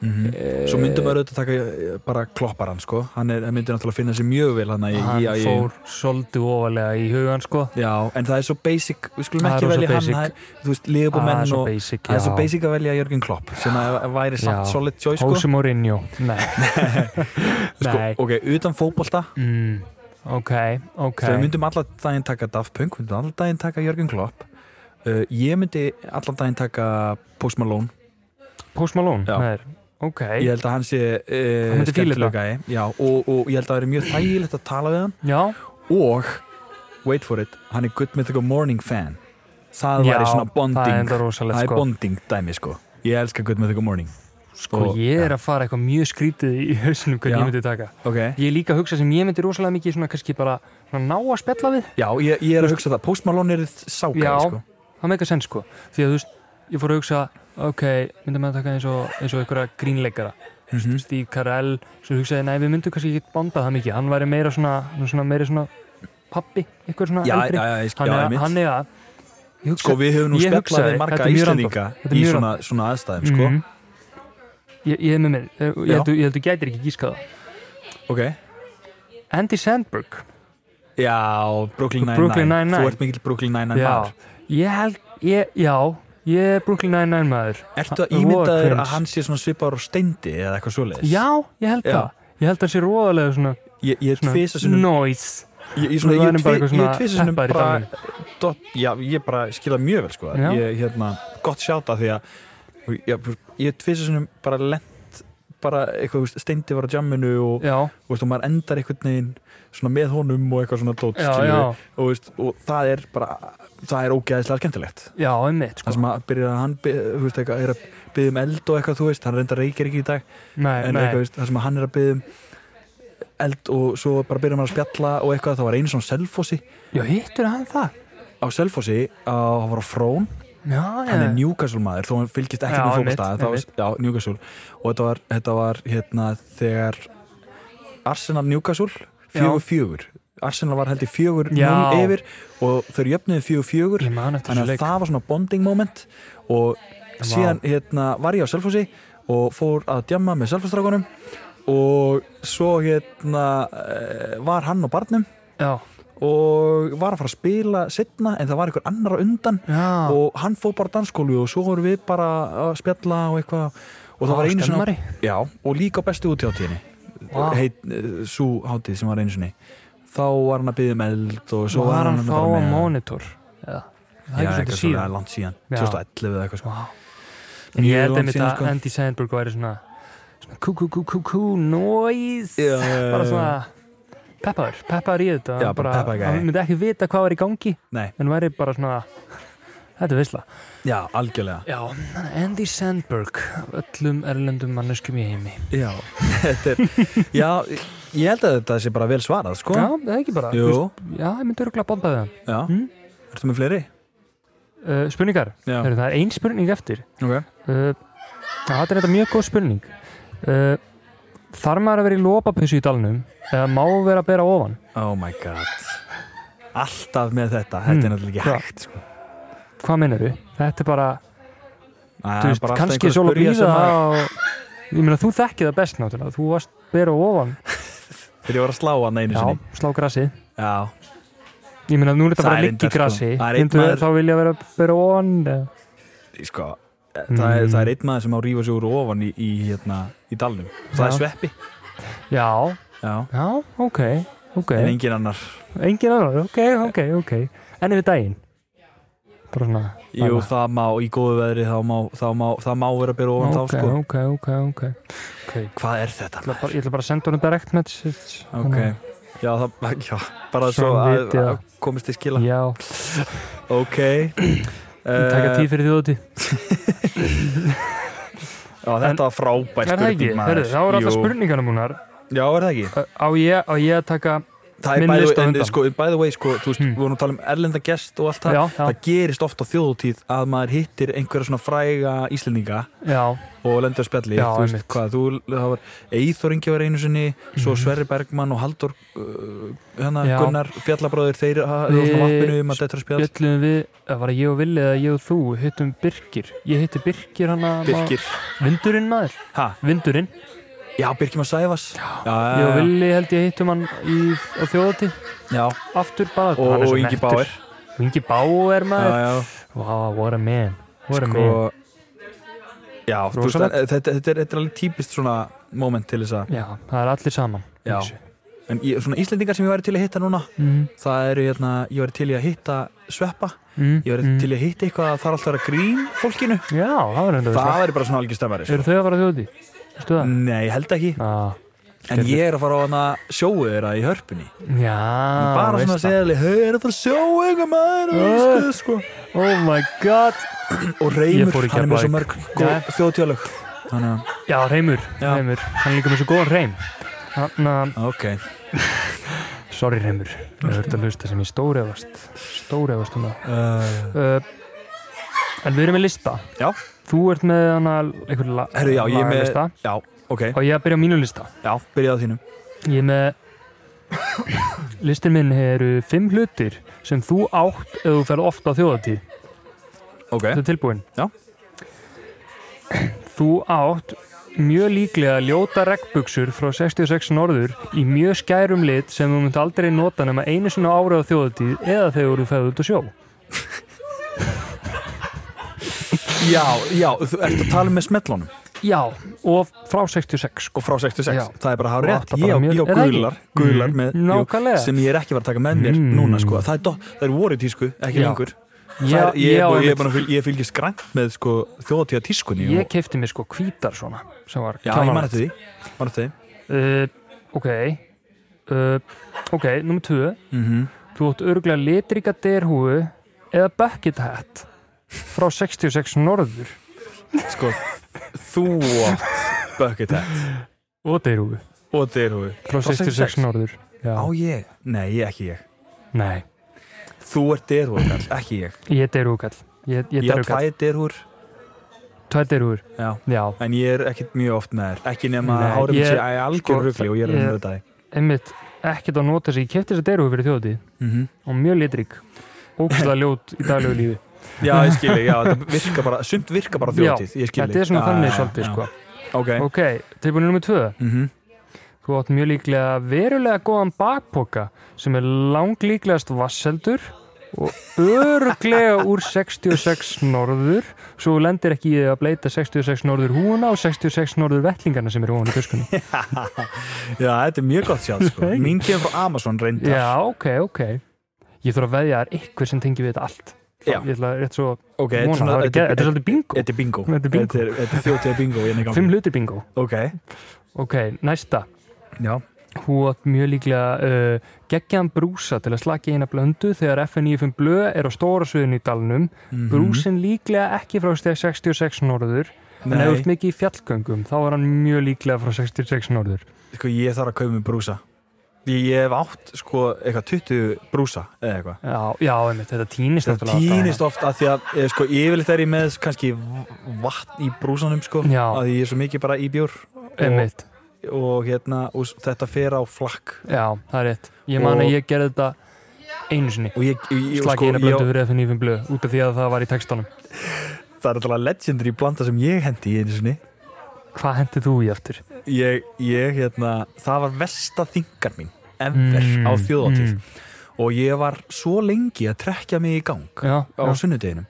[SPEAKER 2] Mhm.
[SPEAKER 1] Svo myndum maður auðvitað taka eh, bara klopparan sko, hann er, hann myndi náttúrulega finna sér mjög vel hann í,
[SPEAKER 2] hann
[SPEAKER 1] í, í,
[SPEAKER 2] fór svolítið ofalega í hugan sko
[SPEAKER 1] Já, en það er svo basic, við skulum
[SPEAKER 2] Það er
[SPEAKER 1] ekki
[SPEAKER 2] rosa
[SPEAKER 1] velja hann
[SPEAKER 2] basic.
[SPEAKER 1] það er, Þú veist, liðbú
[SPEAKER 2] Ah,
[SPEAKER 1] menn
[SPEAKER 2] svo
[SPEAKER 1] og
[SPEAKER 2] basic,
[SPEAKER 1] Það er svo
[SPEAKER 2] já.
[SPEAKER 1] basic að velja Jörgen Klopp sem að væri samt
[SPEAKER 2] Já.
[SPEAKER 1] solid choice sko.
[SPEAKER 2] Jose Mourinho Nei,
[SPEAKER 1] sko
[SPEAKER 2] Nei.
[SPEAKER 1] Ok, utan fótbolta
[SPEAKER 2] Mm, ok, ok
[SPEAKER 1] Þegar við myndum allan daginn taka Daft Punk við myndum allan daginn taka Jörgen Klopp uh, Ég myndi allan daginn taka Post Malone
[SPEAKER 2] Post Malone
[SPEAKER 1] Já.
[SPEAKER 2] með þér. Ok,
[SPEAKER 1] Ég held að hann sé uh,
[SPEAKER 2] Hann myndi fíla
[SPEAKER 1] skemmtilega gæi. Já, og, og ég held að það er mjög þægilegt að tala við hann
[SPEAKER 2] já
[SPEAKER 1] og wait for it, hann er Good Mythical Morning fan það
[SPEAKER 2] Já,
[SPEAKER 1] væri svona
[SPEAKER 2] það er
[SPEAKER 1] bonding
[SPEAKER 2] enda rosalegt,
[SPEAKER 1] það er
[SPEAKER 2] sko.
[SPEAKER 1] bonding dæmi sko ég elska Good Mythical Morning
[SPEAKER 2] Sko ég er að fara eitthvað mjög skrítið í hausnum
[SPEAKER 1] Já.
[SPEAKER 2] hvernig ég myndi taka
[SPEAKER 1] ok,
[SPEAKER 2] Ég er líka að hugsa sem ég myndi rosalega mikið svona kannski bara svona ná að spjalla við
[SPEAKER 1] já, ég, ég er að hugsa það Post Malone er sákæði
[SPEAKER 2] Já,
[SPEAKER 1] sko
[SPEAKER 2] það með eitthvað senn sko Því að þú veist, ég fór að hugsa ok, myndum við að taka eins og, eins og einhverja grínleikara mm
[SPEAKER 1] Mhm.
[SPEAKER 2] -hmm. Steve Carell, svo hugsaði, nei við myndum kannski ekki bondað það mikið, hann væri meira svona, svona meira svona pappi, eitthvað svona
[SPEAKER 1] Já,
[SPEAKER 2] eldri
[SPEAKER 1] já, já, ég-
[SPEAKER 2] hann,
[SPEAKER 1] já,
[SPEAKER 2] er,
[SPEAKER 1] einmitt.
[SPEAKER 2] hann er að ég hugsa-
[SPEAKER 1] sko við höfum nú
[SPEAKER 2] ég
[SPEAKER 1] spjallað
[SPEAKER 2] hugsaði,
[SPEAKER 1] við
[SPEAKER 2] þetta
[SPEAKER 1] marga
[SPEAKER 2] er mjög
[SPEAKER 1] íslendinga
[SPEAKER 2] random, þetta er
[SPEAKER 1] í
[SPEAKER 2] mjög
[SPEAKER 1] svona, svona aðstæðum sko
[SPEAKER 2] Mhm. Ég, ég er með mér, ég
[SPEAKER 1] Já.
[SPEAKER 2] held, þú- ég held þú gætir ekki gíska það
[SPEAKER 1] ok,
[SPEAKER 2] Andy Sandberg
[SPEAKER 1] já, Brooklyn Nine-Nine
[SPEAKER 2] Brooklyn Nine-Nine.
[SPEAKER 1] þú ert mikill Brooklyn Nine-Nine
[SPEAKER 2] Já,
[SPEAKER 1] maður
[SPEAKER 2] ég held, ég, já, ég er Brooklyn Nine-Nine maður
[SPEAKER 1] ertu að
[SPEAKER 2] Voða
[SPEAKER 1] ímyndaður
[SPEAKER 2] cringe.
[SPEAKER 1] að hann sé svona svipar á steindi eða eitthvað svoleiðis
[SPEAKER 2] Já, ég held
[SPEAKER 1] Já.
[SPEAKER 2] það, ég held það sé roðalega svona,
[SPEAKER 1] ég, ég er tvisa
[SPEAKER 2] svona noise
[SPEAKER 1] ég, ég, svona,
[SPEAKER 2] Við
[SPEAKER 1] ég,
[SPEAKER 2] værum bara
[SPEAKER 1] tvi,
[SPEAKER 2] eitthvað
[SPEAKER 1] ég
[SPEAKER 2] svona
[SPEAKER 1] tvisa sinum
[SPEAKER 2] peppaðir í
[SPEAKER 1] bara
[SPEAKER 2] dalnum.
[SPEAKER 1] dot, já, ég bara skila mjög vel sko.
[SPEAKER 2] Já.
[SPEAKER 1] ég, hérna, gott sjáta því að ég, ég tvisa sinum bara lent bara eitthvað, þú veist, steindi var á jamminu og,
[SPEAKER 2] Já,
[SPEAKER 1] og, veist, og maður endar einhvern veginn svona með honum og eitthvað svona dót
[SPEAKER 2] Já,
[SPEAKER 1] skilurðu.
[SPEAKER 2] já.
[SPEAKER 1] og, veist, og það er bara það er ógeðislega skemmtilegt
[SPEAKER 2] já, einmitt
[SPEAKER 1] það
[SPEAKER 2] sko.
[SPEAKER 1] sem að byrja að hann bið- þú veist, eitthvað, er að byggja um eld og eitthvað þú veist, hann reyndar reykir ekki í dag
[SPEAKER 2] Nei,
[SPEAKER 1] en
[SPEAKER 2] nei,
[SPEAKER 1] eitthvað, veist, það sem að hann er að byggja um eld og svo bara byrja maður að spjalla og eitthvað, það var einu svona selfossi
[SPEAKER 2] já, hittur hann það
[SPEAKER 1] á Selfossi að hann var á Frón
[SPEAKER 2] Já, já,
[SPEAKER 1] hann er Newcastle maður, þó hann fylgist ekki
[SPEAKER 2] Já,
[SPEAKER 1] með
[SPEAKER 2] einmitt,
[SPEAKER 1] fókbalsta var, já, Newcastle og þetta var, þetta var hérna, þegar Arsenal Newcastle fjögur fjögur Arsenal var held í fjögur
[SPEAKER 2] Já.
[SPEAKER 1] núl yfir og þau jöfnuði fjögur fjögur
[SPEAKER 2] Ég man eftir
[SPEAKER 1] þannig
[SPEAKER 2] þessu
[SPEAKER 1] að
[SPEAKER 2] leik.
[SPEAKER 1] það var svona bonding moment og síðan hérna, var ég á Selfossi og fór að djamma með Selfossdragunum og svo hérna eh, var hann á barnum
[SPEAKER 2] já,
[SPEAKER 1] og var að fara að spila setna en það var einhver annar á undan
[SPEAKER 2] já
[SPEAKER 1] og hann fór bara á danskólu og svo vorum við bara að spjalla og eitthvað og það
[SPEAKER 2] Á,
[SPEAKER 1] var einu
[SPEAKER 2] skemmari.
[SPEAKER 1] já, og líka á bestu útjáttíðinni
[SPEAKER 2] Vá.
[SPEAKER 1] heit, uh, sú hátíð eh, sem var einu sinni þá var hann að byggja um eld og svo
[SPEAKER 2] Svo var hann þá
[SPEAKER 1] bara
[SPEAKER 2] á
[SPEAKER 1] með-
[SPEAKER 2] monitor eða, það
[SPEAKER 1] Já,
[SPEAKER 2] er
[SPEAKER 1] eitthvað
[SPEAKER 2] ekki
[SPEAKER 1] svona
[SPEAKER 2] svolítið síðan
[SPEAKER 1] langt síðan
[SPEAKER 2] Já.
[SPEAKER 1] 2011 eða eitthvað sko
[SPEAKER 2] Vá. en ég
[SPEAKER 1] Mjög
[SPEAKER 2] held
[SPEAKER 1] langt
[SPEAKER 2] einmitt
[SPEAKER 1] síðan,
[SPEAKER 2] að
[SPEAKER 1] sko.
[SPEAKER 2] Andy Sandberg væri svona svona kú kú kú kú kú noise
[SPEAKER 1] Já, já, já,
[SPEAKER 2] bara
[SPEAKER 1] já.
[SPEAKER 2] svona peppaður, peppaður í þetta
[SPEAKER 1] Já, bara peppaður gæi.
[SPEAKER 2] hann myndi ekki vita hvað var í gangi
[SPEAKER 1] Nei,
[SPEAKER 2] en væri bara svona þetta er veisla
[SPEAKER 1] já, algjörlega
[SPEAKER 2] já, Andy Sandberg öllum erlendum manneskum í heimi
[SPEAKER 1] Já, þetta er Já, ég held að þetta sé bara vel svarað sko
[SPEAKER 2] já, það er ekki bara
[SPEAKER 1] Jú,
[SPEAKER 2] þú veist, já, ég myndi örgulega bonda við hann
[SPEAKER 1] já
[SPEAKER 2] Mm.
[SPEAKER 1] Ertu með fleiri?
[SPEAKER 2] uh, spurningar,
[SPEAKER 1] Já,
[SPEAKER 2] Heru, það er ein spurning eftir
[SPEAKER 1] ok
[SPEAKER 2] Uh, Það er þetta mjög góð spurning uh, Þarf maður að vera í lópapinsu í dalnum eða má vera að bera ofan
[SPEAKER 1] Oh my god Alltaf með þetta, þetta er
[SPEAKER 2] Mm.
[SPEAKER 1] náttúrulega ekki
[SPEAKER 2] Já.
[SPEAKER 1] hægt sko.
[SPEAKER 2] Hvað meinar þú? Þetta er bara,
[SPEAKER 1] Það
[SPEAKER 2] þú
[SPEAKER 1] er
[SPEAKER 2] veist,
[SPEAKER 1] bara alltaf
[SPEAKER 2] kannski
[SPEAKER 1] einhver
[SPEAKER 2] er sól að
[SPEAKER 1] spyrja sem
[SPEAKER 2] býða og... Ég meina, þú þekkið það best náttúrulega þú varst bera ofan,
[SPEAKER 1] Þegar ég var að slá hann einu
[SPEAKER 2] já,
[SPEAKER 1] sinni
[SPEAKER 2] slá grasið
[SPEAKER 1] Já,
[SPEAKER 2] Ég meina, nú er þetta
[SPEAKER 1] Það er
[SPEAKER 2] bara að liggja
[SPEAKER 1] reyndar,
[SPEAKER 2] í
[SPEAKER 1] sko.
[SPEAKER 2] grasi
[SPEAKER 1] Það er einn
[SPEAKER 2] Myndu
[SPEAKER 1] maður-
[SPEAKER 2] þá vilja vera bera ofan eða-
[SPEAKER 1] sko Það er,
[SPEAKER 2] Mm.
[SPEAKER 1] það er einn maður sem á að rífa sig úr ofan í, í, hérna, í dalnum Það er
[SPEAKER 2] Já.
[SPEAKER 1] sveppi
[SPEAKER 2] Já,
[SPEAKER 1] Já,
[SPEAKER 2] já, ok Ok,
[SPEAKER 1] en engin annar
[SPEAKER 2] engin annar, ok, ok, ok En yfir daginn Bara svona
[SPEAKER 1] Jú,
[SPEAKER 2] bara-
[SPEAKER 1] það má, í góðu veðri þá má, þá má, það má vera að byrja ofan
[SPEAKER 2] Ok,
[SPEAKER 1] þá sko
[SPEAKER 2] ok, ok, ok Ok,
[SPEAKER 1] Hvað er þetta?
[SPEAKER 2] ætla bara, ég ætla bara að senda honum direct message
[SPEAKER 1] Ok, já, það, já bara
[SPEAKER 2] Svo
[SPEAKER 1] svo
[SPEAKER 2] hann
[SPEAKER 1] að,
[SPEAKER 2] viti
[SPEAKER 1] að
[SPEAKER 2] það.
[SPEAKER 1] komist í skila
[SPEAKER 2] Þannig- já,
[SPEAKER 1] Ok
[SPEAKER 2] ég taka
[SPEAKER 1] Eh,
[SPEAKER 2] tíð fyrir þjóðuti
[SPEAKER 1] Já, þetta var frábær
[SPEAKER 2] er það ekki,
[SPEAKER 1] spurning
[SPEAKER 2] herðu, þá er alltaf
[SPEAKER 1] Jú.
[SPEAKER 2] spurningarna múnar
[SPEAKER 1] Já, er það ekki?
[SPEAKER 2] á ég, á ég að taka
[SPEAKER 1] Það er
[SPEAKER 2] Minn
[SPEAKER 1] by the
[SPEAKER 2] list á
[SPEAKER 1] way, en,
[SPEAKER 2] undan.
[SPEAKER 1] sko, by the way sko, þú veist,
[SPEAKER 2] Hmm.
[SPEAKER 1] við vorum að tala um erlenda gest og allt það
[SPEAKER 2] já, já,
[SPEAKER 1] Það gerist oft á þjóðutíð að maður hittir einhverja svona fræga Íslendinga
[SPEAKER 2] já,
[SPEAKER 1] og lendur á spjalli
[SPEAKER 2] Já,
[SPEAKER 1] Þú veist
[SPEAKER 2] einmitt. Mhm.
[SPEAKER 1] hvað, þú, það var Eithor Ingi var einu sinni, svo Sverri Bergmann og Haldur uh, hana,
[SPEAKER 2] Já.
[SPEAKER 1] Gunnar Fjallabróðir, þeir eru svona
[SPEAKER 2] Við
[SPEAKER 1] vappinu um að þetta er spjall
[SPEAKER 2] bjöllum við það var ég og Vili eða ég og þú hittum Birkir, ég hitti Birkir hann að
[SPEAKER 1] Birkir
[SPEAKER 2] Vindurinn maður,
[SPEAKER 1] ha,
[SPEAKER 2] Vindurinn
[SPEAKER 1] Já, Birkir maður Sæfas Já, já,
[SPEAKER 2] ég
[SPEAKER 1] já,
[SPEAKER 2] og Vili held ég hittum hann í, á þjóðuti,
[SPEAKER 1] já.
[SPEAKER 2] aftur bara
[SPEAKER 1] Og,
[SPEAKER 2] hann er
[SPEAKER 1] og
[SPEAKER 2] svo
[SPEAKER 1] Ingi
[SPEAKER 2] nettur.
[SPEAKER 1] Báir
[SPEAKER 2] Ingi Báer
[SPEAKER 1] Já,
[SPEAKER 2] maður,
[SPEAKER 1] já,
[SPEAKER 2] wow, what a man what a man,
[SPEAKER 1] sko Já, þú veist,
[SPEAKER 2] Rosalegt.
[SPEAKER 1] þetta, þetta, þetta, er, þetta er alveg típist svona moment til þess að
[SPEAKER 2] já, það er allir saman í
[SPEAKER 1] Já.
[SPEAKER 2] þessu.
[SPEAKER 1] En ég, svona Íslendingar sem ég væri til að hitta núna
[SPEAKER 2] mm,
[SPEAKER 1] Það eru, hérna, ég væri til í að hitta Sveppa,
[SPEAKER 2] mm,
[SPEAKER 1] ég væri
[SPEAKER 2] mm.
[SPEAKER 1] til í að hitta eitthvað að það er alltaf að vera grín fólkinu
[SPEAKER 2] Já, það var enda
[SPEAKER 1] Það væri bara svona algjör stemmari sko.
[SPEAKER 2] Eru þau að fara þjóti? Vistu það?
[SPEAKER 1] Nei, ég held ekki
[SPEAKER 2] Ah,
[SPEAKER 1] En ég er að fara á hana sjóu þeirra í hörpunni
[SPEAKER 2] já,
[SPEAKER 1] Bara svona
[SPEAKER 2] Ah, veist
[SPEAKER 1] að segja þeirli, hei, er það að fara að sjóu eitthvað maður og
[SPEAKER 2] Ah.
[SPEAKER 1] veistu, sko.
[SPEAKER 2] það. Oh my god
[SPEAKER 1] Og
[SPEAKER 2] Ég
[SPEAKER 1] reymur,
[SPEAKER 2] fór í
[SPEAKER 1] hann er með svo
[SPEAKER 2] Keflavík.
[SPEAKER 1] mörg góð
[SPEAKER 2] Já.
[SPEAKER 1] þjóðtjálög Þannig að
[SPEAKER 2] Já, Reymur,
[SPEAKER 1] Já.
[SPEAKER 2] Reymur Hann er líka með svo góðan Reym Þannig að,
[SPEAKER 1] ah, Ok,
[SPEAKER 2] sorry Reymur Ég höfði að hlusta sem ég stórefast Stórefast um það
[SPEAKER 1] uh,
[SPEAKER 2] uh, En við erum með lista
[SPEAKER 1] Já.
[SPEAKER 2] Þú ert með hana einhver la
[SPEAKER 1] herru, já, ég er með
[SPEAKER 2] lagalista.
[SPEAKER 1] Já, ok,
[SPEAKER 2] Og ég að byrja á mínu lista
[SPEAKER 1] já, byrjaði á þínum
[SPEAKER 2] Ég er með Listin minn eru fimm hlutir sem þú átt ef þú ferð oft á þjóðatíð
[SPEAKER 1] Ok,
[SPEAKER 2] Þetta er tilbúin
[SPEAKER 1] Já.
[SPEAKER 2] Þú átt mjög líklega ljóta regnbuksur frá 66 norður í mjög skærum lit sem þú munt aldrei nota nema einu sinna ára á þjóðatíð eða þegar þú ferð út að sjó
[SPEAKER 1] já, já, þú ert að tala með smetlunum
[SPEAKER 2] Já, og frá 66 sko
[SPEAKER 1] og frá 66,
[SPEAKER 2] Já.
[SPEAKER 1] það er bara hár
[SPEAKER 2] Og
[SPEAKER 1] rétt
[SPEAKER 2] átta
[SPEAKER 1] ég
[SPEAKER 2] bara
[SPEAKER 1] á,
[SPEAKER 2] mjög-
[SPEAKER 1] ég á
[SPEAKER 2] er það ekki?
[SPEAKER 1] gular, gular með,
[SPEAKER 2] Mm, nákvæmlega.
[SPEAKER 1] jú, sem ég er ekki að fara að taka með mér
[SPEAKER 2] Mm.
[SPEAKER 1] núna sko, það er, do, það er voru í tísku, ekki
[SPEAKER 2] Já.
[SPEAKER 1] lengur
[SPEAKER 2] Ég,
[SPEAKER 1] Það er, ég,
[SPEAKER 2] ég,
[SPEAKER 1] ég,
[SPEAKER 2] ég,
[SPEAKER 1] ég,
[SPEAKER 2] ég,
[SPEAKER 1] ég, ég, ég fylgist grænt með sko, þjóðatíða tískunni
[SPEAKER 2] ég
[SPEAKER 1] og,
[SPEAKER 2] kefti mér sko hvítar svona sem var
[SPEAKER 1] já, ég man eftir því, man eftir því.
[SPEAKER 2] uh, Ok uh, Ok, nummer 2
[SPEAKER 1] Mhm.
[SPEAKER 2] Þú átt örgulega litrika derhúu eða bucket hat frá 66 norður
[SPEAKER 1] sko, þú átt bucket hat
[SPEAKER 2] og derhúu
[SPEAKER 1] og derhúi
[SPEAKER 2] frá 66 norður já.
[SPEAKER 1] á ég, nei, ég- ekki ég
[SPEAKER 2] nei,
[SPEAKER 1] þú ert derhúi, ekki ég
[SPEAKER 2] ég er derúkall ég, ég,
[SPEAKER 1] ég
[SPEAKER 2] ég
[SPEAKER 1] er
[SPEAKER 2] derúkall,
[SPEAKER 1] tvæð derhúr,
[SPEAKER 2] tvær derúur
[SPEAKER 1] já
[SPEAKER 2] já,
[SPEAKER 1] En ég er ekkert mjög oft með þér, ekki nema
[SPEAKER 2] Nei,
[SPEAKER 1] að hárið mitt
[SPEAKER 2] ég-
[SPEAKER 1] sé að algjör
[SPEAKER 2] sko,
[SPEAKER 1] rugli og ég er
[SPEAKER 2] ég-
[SPEAKER 1] um þetta því.
[SPEAKER 2] einmitt ekkert að nota sig, ég kefti þess að derúu fyrir þjóðatíð
[SPEAKER 1] Mhm.
[SPEAKER 2] og mjög litrík ógæslega ljót í daglegu lífi
[SPEAKER 1] Já, ég skilji, já, þetta virka bara, sumt virka bara þjóðtíð, ég skilji.
[SPEAKER 2] þetta er svona þannig svolítið
[SPEAKER 1] já.
[SPEAKER 2] sko.
[SPEAKER 1] Ok,
[SPEAKER 2] ok, tilbúinu nummer 2
[SPEAKER 1] mhm,
[SPEAKER 2] þú átt mjög líklega verulega góðan bakpoka sem er langlíklegast vasseldur og örglega úr 66 norður svo þú lendir ekki í því að bleita 66 norður húna og 66 norður vettlingana sem eru ofan í töskunni
[SPEAKER 1] Já, þetta er mjög gott sjátt sko.
[SPEAKER 2] Nei.
[SPEAKER 1] Mín kemur frá Amazon reyndar
[SPEAKER 2] já, ok, ok ég þarf að veðja að það er eitthvað sem tengi við þetta allt
[SPEAKER 1] Já.
[SPEAKER 2] ég ætla rétt svo
[SPEAKER 1] Ok,
[SPEAKER 2] að vona, það er ekki- þetta er svolítið bingo
[SPEAKER 1] Þetta er bingo
[SPEAKER 2] Þetta er bingo.
[SPEAKER 1] Þetta er, þetta er þjótið bingo hérna í gangi.
[SPEAKER 2] fimm hluti bingo,
[SPEAKER 1] Ok,
[SPEAKER 2] ok, næsta
[SPEAKER 1] já
[SPEAKER 2] hún átt mjög líklega uh, geggjan brúsa til að slaki eina blöndu þegar FN95 blöð er á stóra suðinu í dalnum
[SPEAKER 1] Mhm.
[SPEAKER 2] brúsin líklega ekki frá steg 66 norður en
[SPEAKER 1] Nei.
[SPEAKER 2] ef þú ert mikið í fjallgöngum þá er hann mjög líklega frá 66 norður
[SPEAKER 1] Sko, ég þarf að kaupa mér brúsa Ég, ég hef átt, sko, eitthvað 20 brúsa eða eitthvað
[SPEAKER 2] já, já einmitt, þetta týnist
[SPEAKER 1] Það
[SPEAKER 2] náttúrulega alltaf.
[SPEAKER 1] týnist oft að því að, eh, sko, yfirleitt er ég með kannski vatn í brúsanum, sko
[SPEAKER 2] Já.
[SPEAKER 1] Að ég er svo mikið bara í bjór og,
[SPEAKER 2] einmitt,
[SPEAKER 1] og hérna, og s- þetta fer á flakk
[SPEAKER 2] já, það er rétt ég man
[SPEAKER 1] Og-
[SPEAKER 2] að ég gerði þetta einu sinni
[SPEAKER 1] Og ég, ég, sko, ég
[SPEAKER 2] slaki eina blöndu
[SPEAKER 1] ég,
[SPEAKER 2] fyrir FN95 blöð út af því að það var í textanum
[SPEAKER 1] það er alltaf legendary blanda sem ég hendi í einu sinni
[SPEAKER 2] hvað hendið þú í aftur?
[SPEAKER 1] ég, ég hérna, það var versta þingar mín ever á þjóðatíð
[SPEAKER 2] mm,
[SPEAKER 1] og ég var svo lengi að trekja mig í gang
[SPEAKER 2] já,
[SPEAKER 1] á
[SPEAKER 2] já,
[SPEAKER 1] sunnudeginum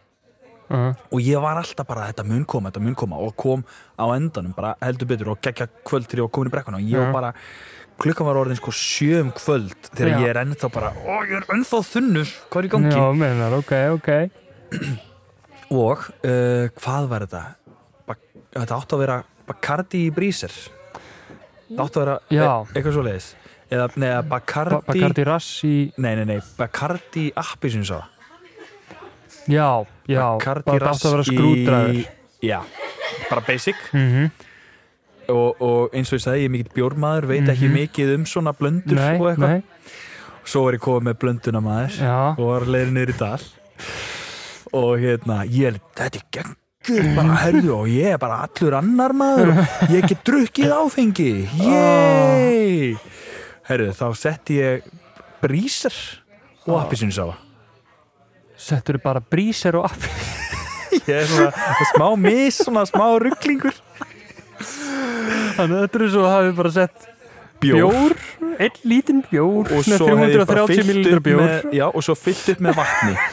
[SPEAKER 2] uh,
[SPEAKER 1] og ég var alltaf bara þetta mun koma, þetta mun koma og kom á endanum bara heldur betur og geggja kvöldri og komin í brekkuna og ég var
[SPEAKER 2] Já.
[SPEAKER 1] bara klukkan var orðin sko sjöum kvöld þegar
[SPEAKER 2] Já.
[SPEAKER 1] ég er ennþá bara, ó ég er ennþá þunnur hvað er í gangi
[SPEAKER 2] já, meinar, ok, ok
[SPEAKER 1] og uh, hvað var þetta Bak, þetta átti að vera Bacardi í brísir það átti að vera
[SPEAKER 2] Já.
[SPEAKER 1] e eitthvað svo leiðis eða neða Bacardi,
[SPEAKER 2] Ba- Bacardi Rass í
[SPEAKER 1] nei nei nei Bacardi appisinsa
[SPEAKER 2] Já, já,
[SPEAKER 1] Bacardi
[SPEAKER 2] bara
[SPEAKER 1] rass
[SPEAKER 2] þátt að vera skrúdræður
[SPEAKER 1] í já bara basic
[SPEAKER 2] mm
[SPEAKER 1] og, og eins og ég sagði ég er mikill bjórmaður veit ekki mikið um svona blöndur
[SPEAKER 2] Mhm. Nei,
[SPEAKER 1] og eitthvað
[SPEAKER 2] nei,
[SPEAKER 1] svo var ég komið með blönduna maður
[SPEAKER 2] já,
[SPEAKER 1] og var leiðin niður í dal og hérna, ég er þetta er geggjur bara herðu og ég er bara allur annar maður og ég get drukkið áfengi yey herðu, þá setti ég brísar og appisinsáfa
[SPEAKER 2] settur bara brísir og appið
[SPEAKER 1] ég er svona smá mis, svona smá rugglingur
[SPEAKER 2] Þannig að þetta er svo að hafi bara sett
[SPEAKER 1] bjór,
[SPEAKER 2] bjór, einn lítinn bjór
[SPEAKER 1] og
[SPEAKER 2] svona
[SPEAKER 1] svo hef ég bara
[SPEAKER 2] 330
[SPEAKER 1] fyllt
[SPEAKER 2] millilitra
[SPEAKER 1] upp
[SPEAKER 2] bjór
[SPEAKER 1] með já, og svo fyllt upp með vatni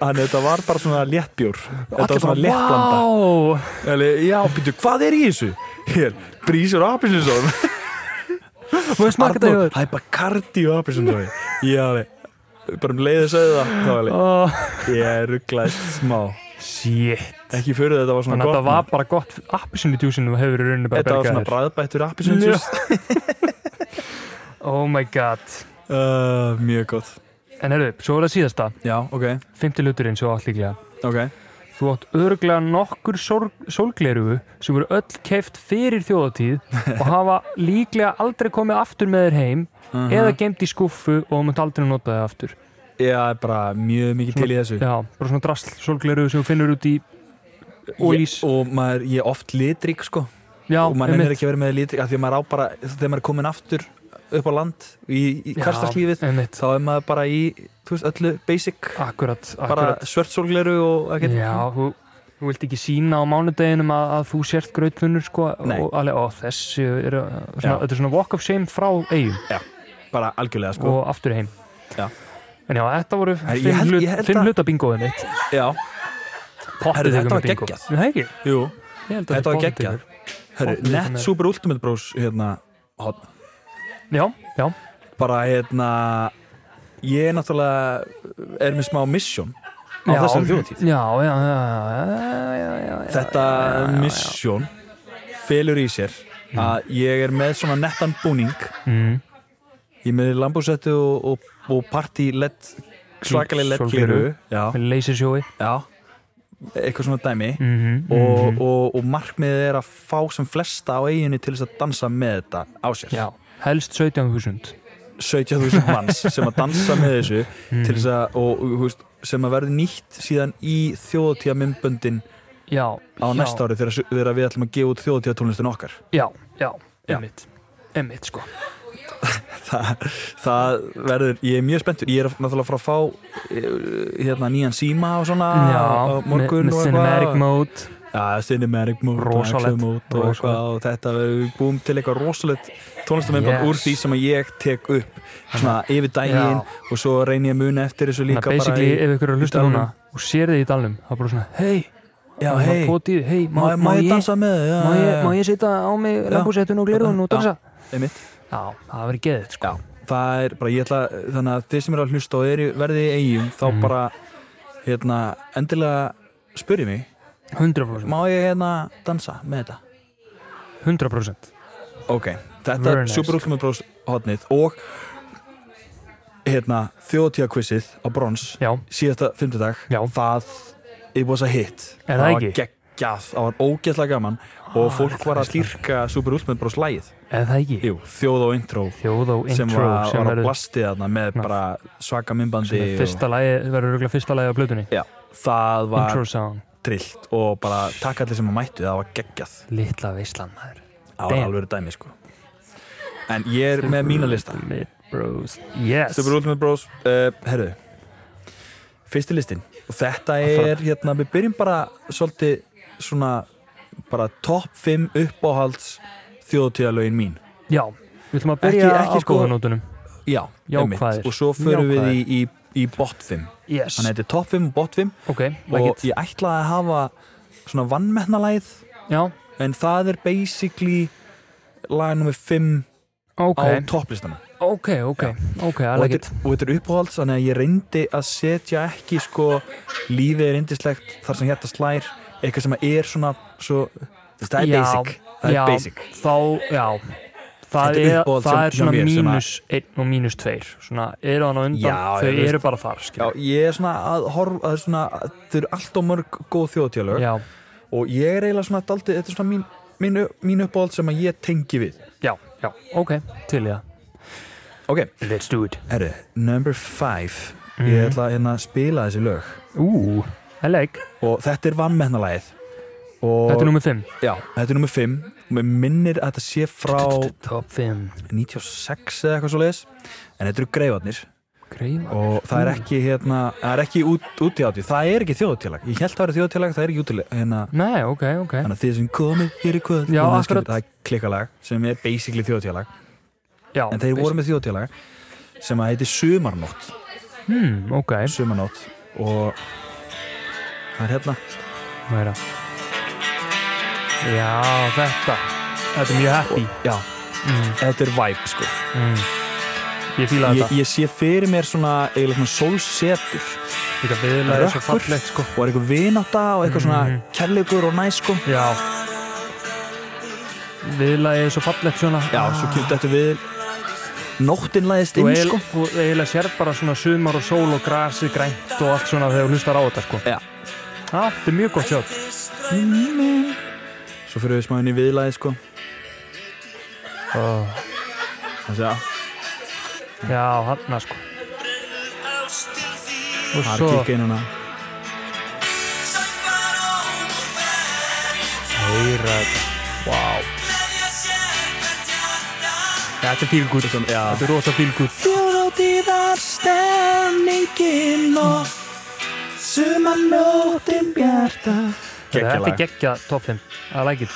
[SPEAKER 1] þannig að þetta var bara svona léttbjór þetta var svona léttblanda
[SPEAKER 2] wow,
[SPEAKER 1] Eller, já, býttu, hvað er í þessu? Hér, brísur og apisinsón
[SPEAKER 2] maður smakka þetta
[SPEAKER 1] Arnór,
[SPEAKER 2] yfir
[SPEAKER 1] það er bara kardi og apisinsón Já, bara um leiðið sagði það Þá var ég,
[SPEAKER 2] oh,
[SPEAKER 1] ég rugglaðist smá
[SPEAKER 2] Shit,
[SPEAKER 1] Ekki fyrir þetta var svona
[SPEAKER 2] þannig að
[SPEAKER 1] gott
[SPEAKER 2] þetta var bara gott appisinu djúsinu og hefur í rauninni bara
[SPEAKER 1] Þetta var svona
[SPEAKER 2] bergaðir
[SPEAKER 1] bræðbættur apisinsjús
[SPEAKER 2] Oh my god
[SPEAKER 1] uh, Mjög gott
[SPEAKER 2] En herru, svo er það síðasta,
[SPEAKER 1] Já, ok,
[SPEAKER 2] fymti luturinn svo allt líklega
[SPEAKER 1] ok
[SPEAKER 2] Þú átt örglega nokkur sólglerugu sem voru öll keift fyrir þjóðatíð og hafa líklega aldrei komið aftur með þér heim
[SPEAKER 1] Uh-huh. Mhm.
[SPEAKER 2] eða geimt í skuffu og þú munt aldrei nota þér aftur.
[SPEAKER 1] Ég er bara mjög mikið til í þessu
[SPEAKER 2] Já, bara svona drasl sólglerugu sem þú finnur út í ólís.
[SPEAKER 1] Ég- Og maður, ég er oft litrík sko
[SPEAKER 2] Já,
[SPEAKER 1] Og maður er
[SPEAKER 2] einmitt.
[SPEAKER 1] ekki verið með litrík af Því að maður á bara, þegar maður er komin aftur upp á land Í, í
[SPEAKER 2] Já,
[SPEAKER 1] kastarslífið
[SPEAKER 2] Einmitt,
[SPEAKER 1] Þá er maður bara í, þú veist, öllu basic
[SPEAKER 2] akkurat,
[SPEAKER 1] bara
[SPEAKER 2] akkurat.
[SPEAKER 1] svörtsólgleru og ekkert
[SPEAKER 2] Já, þú, þú vilt ekki sína á mánudeginum að, að þú sért gröðfunnur sko
[SPEAKER 1] Nei.
[SPEAKER 2] og alveg, ó þessi, er,
[SPEAKER 1] Já.
[SPEAKER 2] svona, þetta er svona walk of shame frá eigum
[SPEAKER 1] bara algjörlega sko
[SPEAKER 2] og aftur heim.
[SPEAKER 1] Já.
[SPEAKER 2] En já, þetta voru
[SPEAKER 1] ég
[SPEAKER 2] fimm,
[SPEAKER 1] held-
[SPEAKER 2] hlut,
[SPEAKER 1] ég held
[SPEAKER 2] fimm
[SPEAKER 1] að-
[SPEAKER 2] hluta bingoðið mitt.
[SPEAKER 1] já, Herru,
[SPEAKER 2] Pottið
[SPEAKER 1] þetta
[SPEAKER 2] ykkur
[SPEAKER 1] var
[SPEAKER 2] með bingo.
[SPEAKER 1] geggjað.
[SPEAKER 2] Nei, Það ekki?
[SPEAKER 1] jú,
[SPEAKER 2] Ég held
[SPEAKER 1] þetta
[SPEAKER 2] að
[SPEAKER 1] var
[SPEAKER 2] sé pottið
[SPEAKER 1] geggjað
[SPEAKER 2] ykkur.
[SPEAKER 1] Herru,
[SPEAKER 2] Pottþétt
[SPEAKER 1] Net
[SPEAKER 2] með-
[SPEAKER 1] Super Ultimate Bros hérna, hot.
[SPEAKER 2] Já, já,
[SPEAKER 1] bara hérna ég er náttúrulega er með smá mission á
[SPEAKER 2] já.
[SPEAKER 1] þessari þjóðtíð
[SPEAKER 2] Já, já, já, já, já, já, já.
[SPEAKER 1] þetta mission felur í sér að ég er með svona nettan búning
[SPEAKER 2] Mm.
[SPEAKER 1] ég er með lambúsettu og, og, og party led svakaleg led kliru
[SPEAKER 2] Sólgleru.
[SPEAKER 1] já,
[SPEAKER 2] Með leysisjói.
[SPEAKER 1] já, eitthvað svona dæmi
[SPEAKER 2] Mm
[SPEAKER 1] og, og, og markmiðið er að fá sem flesta á eiginni til þess að dansa með þetta á sér
[SPEAKER 2] Já, helst 17.000.
[SPEAKER 1] 17.000 manns sem að dansa með þessu til þess að, og, og húst, sem að verði nýtt síðan í þjóðtíða myndböndin
[SPEAKER 2] Já.
[SPEAKER 1] á
[SPEAKER 2] já,
[SPEAKER 1] næsta ári þegar, þegar við ætlum að gefa út þjóðtíða tónlistin okkar
[SPEAKER 2] Já, já,
[SPEAKER 1] Já.
[SPEAKER 2] emmitt. Emmitt, sko.
[SPEAKER 1] það, það verður, ég er mjög spenntur ég er náttúrulega frá að fá eh, hérna, nýjan síma og svona
[SPEAKER 2] já,
[SPEAKER 1] á morgun
[SPEAKER 2] með, með
[SPEAKER 1] og
[SPEAKER 2] cinematic mode.
[SPEAKER 1] ja, cinematic mode,
[SPEAKER 2] Rosalegt,
[SPEAKER 1] action mode og,
[SPEAKER 2] rosalegt.
[SPEAKER 1] eitthvað, og þetta við búum til eitthvað rosalegt tónlistamennband
[SPEAKER 2] Yes.
[SPEAKER 1] úr því sem að ég tek upp svona yfir daginn og svo reyni ég að muna eftir þessu líka
[SPEAKER 2] Þannig að basically
[SPEAKER 1] bara
[SPEAKER 2] ef ykkur er
[SPEAKER 1] í
[SPEAKER 2] að hlusta
[SPEAKER 1] dalnum.
[SPEAKER 2] núna og sér þið í dalnum þá bara svona, hei,
[SPEAKER 1] í, já, hei,
[SPEAKER 2] hei,
[SPEAKER 1] má,
[SPEAKER 2] má,
[SPEAKER 1] má ég
[SPEAKER 2] ég,
[SPEAKER 1] dansa með þig? Já,
[SPEAKER 2] má,
[SPEAKER 1] já,
[SPEAKER 2] ég,
[SPEAKER 1] já.
[SPEAKER 2] má ég sita á mig lampúsettun og glerun og
[SPEAKER 1] Já.
[SPEAKER 2] dansa?
[SPEAKER 1] Einmitt.
[SPEAKER 2] Já, það verið geðið, sko.
[SPEAKER 1] það er bara, ég ætla, þannig að þið sem eru að hlusta og eru, verðið í eigum, þá
[SPEAKER 2] Mhm.
[SPEAKER 1] bara hérna, endilega spurði mig,
[SPEAKER 2] 100%.
[SPEAKER 1] má ég hérna dansa með þetta?
[SPEAKER 2] 100%.
[SPEAKER 1] Ok, þetta
[SPEAKER 2] Very
[SPEAKER 1] er
[SPEAKER 2] nice.
[SPEAKER 1] Super Ultimate Bros hotnið og hérna, þjóðtíðakvissið á brons
[SPEAKER 2] Já,
[SPEAKER 1] síðasta fymtudag,
[SPEAKER 2] Já.
[SPEAKER 1] það it was a hit, það
[SPEAKER 2] Er það
[SPEAKER 1] var
[SPEAKER 2] ekki? Ah,
[SPEAKER 1] geggjað það var ógeðslega gaman og fólk var að dýrka Super Ultimate Bros lægið
[SPEAKER 2] eða það ekki.
[SPEAKER 1] Jú, þjóð og intro,
[SPEAKER 2] Þjóð og
[SPEAKER 1] sem
[SPEAKER 2] intro
[SPEAKER 1] var,
[SPEAKER 2] sem
[SPEAKER 1] var að
[SPEAKER 2] verður
[SPEAKER 1] blastið þarna með
[SPEAKER 2] Ná.
[SPEAKER 1] bara svaka myndbandi
[SPEAKER 2] sem er fyrsta lagi, verður örgulega fyrsta lagi á blötunni.
[SPEAKER 1] Já, það var
[SPEAKER 2] Intro song,
[SPEAKER 1] trillt og bara takk allir sem að mættu, það var geggjað
[SPEAKER 2] litla veislan maður.
[SPEAKER 1] það var
[SPEAKER 2] Damn.
[SPEAKER 1] alveg dæmi sko en ég er með mína lista
[SPEAKER 2] Mid bros. Yes.
[SPEAKER 1] Super Ultimate Bros, uh, herðu fyrsti listin og þetta
[SPEAKER 2] Það-
[SPEAKER 1] er hérna, við byrjum bara svolítið svona bara topp 5 uppáhalds þjóðtíðalögin mín
[SPEAKER 2] Já, við ætlum að byrja
[SPEAKER 1] Ekki- ekki
[SPEAKER 2] á
[SPEAKER 1] sko-
[SPEAKER 2] góða nótunum.
[SPEAKER 1] já, einmitt.
[SPEAKER 2] Jákvæðir.
[SPEAKER 1] og svo förum við í,
[SPEAKER 2] Jákvæðir.
[SPEAKER 1] í, í bot 5
[SPEAKER 2] Yes.
[SPEAKER 1] þannig að þetta er topp 5 og bot 5
[SPEAKER 2] Ok,
[SPEAKER 1] og
[SPEAKER 2] like
[SPEAKER 1] ég
[SPEAKER 2] it.
[SPEAKER 1] ætlaði að hafa svona vannmetnalæð
[SPEAKER 2] Já,
[SPEAKER 1] en það er basically lag nummer 5
[SPEAKER 2] ok,
[SPEAKER 1] á topplistanum
[SPEAKER 2] ok, ok, ok, I
[SPEAKER 1] og
[SPEAKER 2] like
[SPEAKER 1] þetta
[SPEAKER 2] it.
[SPEAKER 1] er- og þetta er uppáhalds þannig að ég reyndi að setja ekki sko lífið er indislegt þar sem hérna slær eitthvað sem er svona svo, þú veist, það er
[SPEAKER 2] Já,
[SPEAKER 1] basic það
[SPEAKER 2] já,
[SPEAKER 1] er basic
[SPEAKER 2] þá, já það
[SPEAKER 1] Þetta er
[SPEAKER 2] er,
[SPEAKER 1] uppáhald
[SPEAKER 2] það
[SPEAKER 1] sem-
[SPEAKER 2] er
[SPEAKER 1] hjá
[SPEAKER 2] svona
[SPEAKER 1] mér, svona-
[SPEAKER 2] mínus 1 og mínus 2 svona eru hann á undan,
[SPEAKER 1] Já, já,
[SPEAKER 2] þau
[SPEAKER 1] þú
[SPEAKER 2] eru
[SPEAKER 1] veist.
[SPEAKER 2] bara þar
[SPEAKER 1] Já,
[SPEAKER 2] skilur.
[SPEAKER 1] ég er svona að horfa það er svona, þau eru alltaf mörg góð þjóðtjálög
[SPEAKER 2] já,
[SPEAKER 1] og ég er eiginlega svona daldi, þetta er svona mín, mín, mín uppáhald sem að ég tengi við
[SPEAKER 2] já, já, ok til í það,
[SPEAKER 1] ok,
[SPEAKER 2] let's do it
[SPEAKER 1] herri, number 5
[SPEAKER 2] Mhm.
[SPEAKER 1] ég ætla að hérna, spila þessi lög
[SPEAKER 2] ú, I like,
[SPEAKER 1] og þetta er vannmennalæð og
[SPEAKER 2] þetta er nummið 5
[SPEAKER 1] já, þetta er nummer 5 og mér minnir að þetta sé frá
[SPEAKER 2] top 5
[SPEAKER 1] 96 eða eitthvað svo leiðis en þetta eru greifarnir
[SPEAKER 2] Greifar.
[SPEAKER 1] og það er ekki hérna, það er ekki út, út í átti, það er ekki þjóðutélag ég held að það er þjóðutélag, það er ekki útileg hérna,
[SPEAKER 2] nei, ok, ok,
[SPEAKER 1] þannig að þið sem komið hér í kvöld
[SPEAKER 2] Já,
[SPEAKER 1] og það
[SPEAKER 2] akkurat.
[SPEAKER 1] skiptir- það er klikkalag sem er basically þjóðutélag
[SPEAKER 2] já
[SPEAKER 1] en þeir voru með þjóðutélag sem að heiti Sumarnótt
[SPEAKER 2] hmm, ok,
[SPEAKER 1] Sumarnótt og það er hérna
[SPEAKER 2] meira já, þetta þetta er mjög happy
[SPEAKER 1] já,
[SPEAKER 2] mm,
[SPEAKER 1] þetta er vibe sko
[SPEAKER 2] mm. ég fíla
[SPEAKER 1] ég,
[SPEAKER 2] þetta,
[SPEAKER 1] ég sé fyrir mér svona eiginlega svona sólsetur
[SPEAKER 2] þetta viðlega er svo
[SPEAKER 1] Rökkur.
[SPEAKER 2] fallegt sko
[SPEAKER 1] og er eitthvað vináta og eitthvað svona
[SPEAKER 2] Mhm.
[SPEAKER 1] kærleikur og næs sko
[SPEAKER 2] Já Viðlagið er svo fallegt svona
[SPEAKER 1] Já, svo kemur þetta við Nóttin læðist
[SPEAKER 2] Þú
[SPEAKER 1] inn,
[SPEAKER 2] eil-
[SPEAKER 1] sko
[SPEAKER 2] Þú eiginlega sér bara svona sumar og sól og grasi grænt og allt svona þegar þú hlustar á þetta sko
[SPEAKER 1] Já.
[SPEAKER 2] Já, þetta er mjög gott sjátt
[SPEAKER 1] Svo fyrir við smáinn í viðlæði, sko
[SPEAKER 2] oh.
[SPEAKER 1] Þannig að
[SPEAKER 2] Já, hann sko Og
[SPEAKER 1] það er
[SPEAKER 2] svo
[SPEAKER 1] kikka inn hana
[SPEAKER 2] Heyra Vá wow. Þetta er fílgúð
[SPEAKER 1] já.
[SPEAKER 2] Þetta er rosa fílgúð
[SPEAKER 1] Þjóðtíðar stemningin og Sumanóttin bjarta
[SPEAKER 2] Þetta er
[SPEAKER 1] Gekkjalag
[SPEAKER 2] geggja top 5 I like it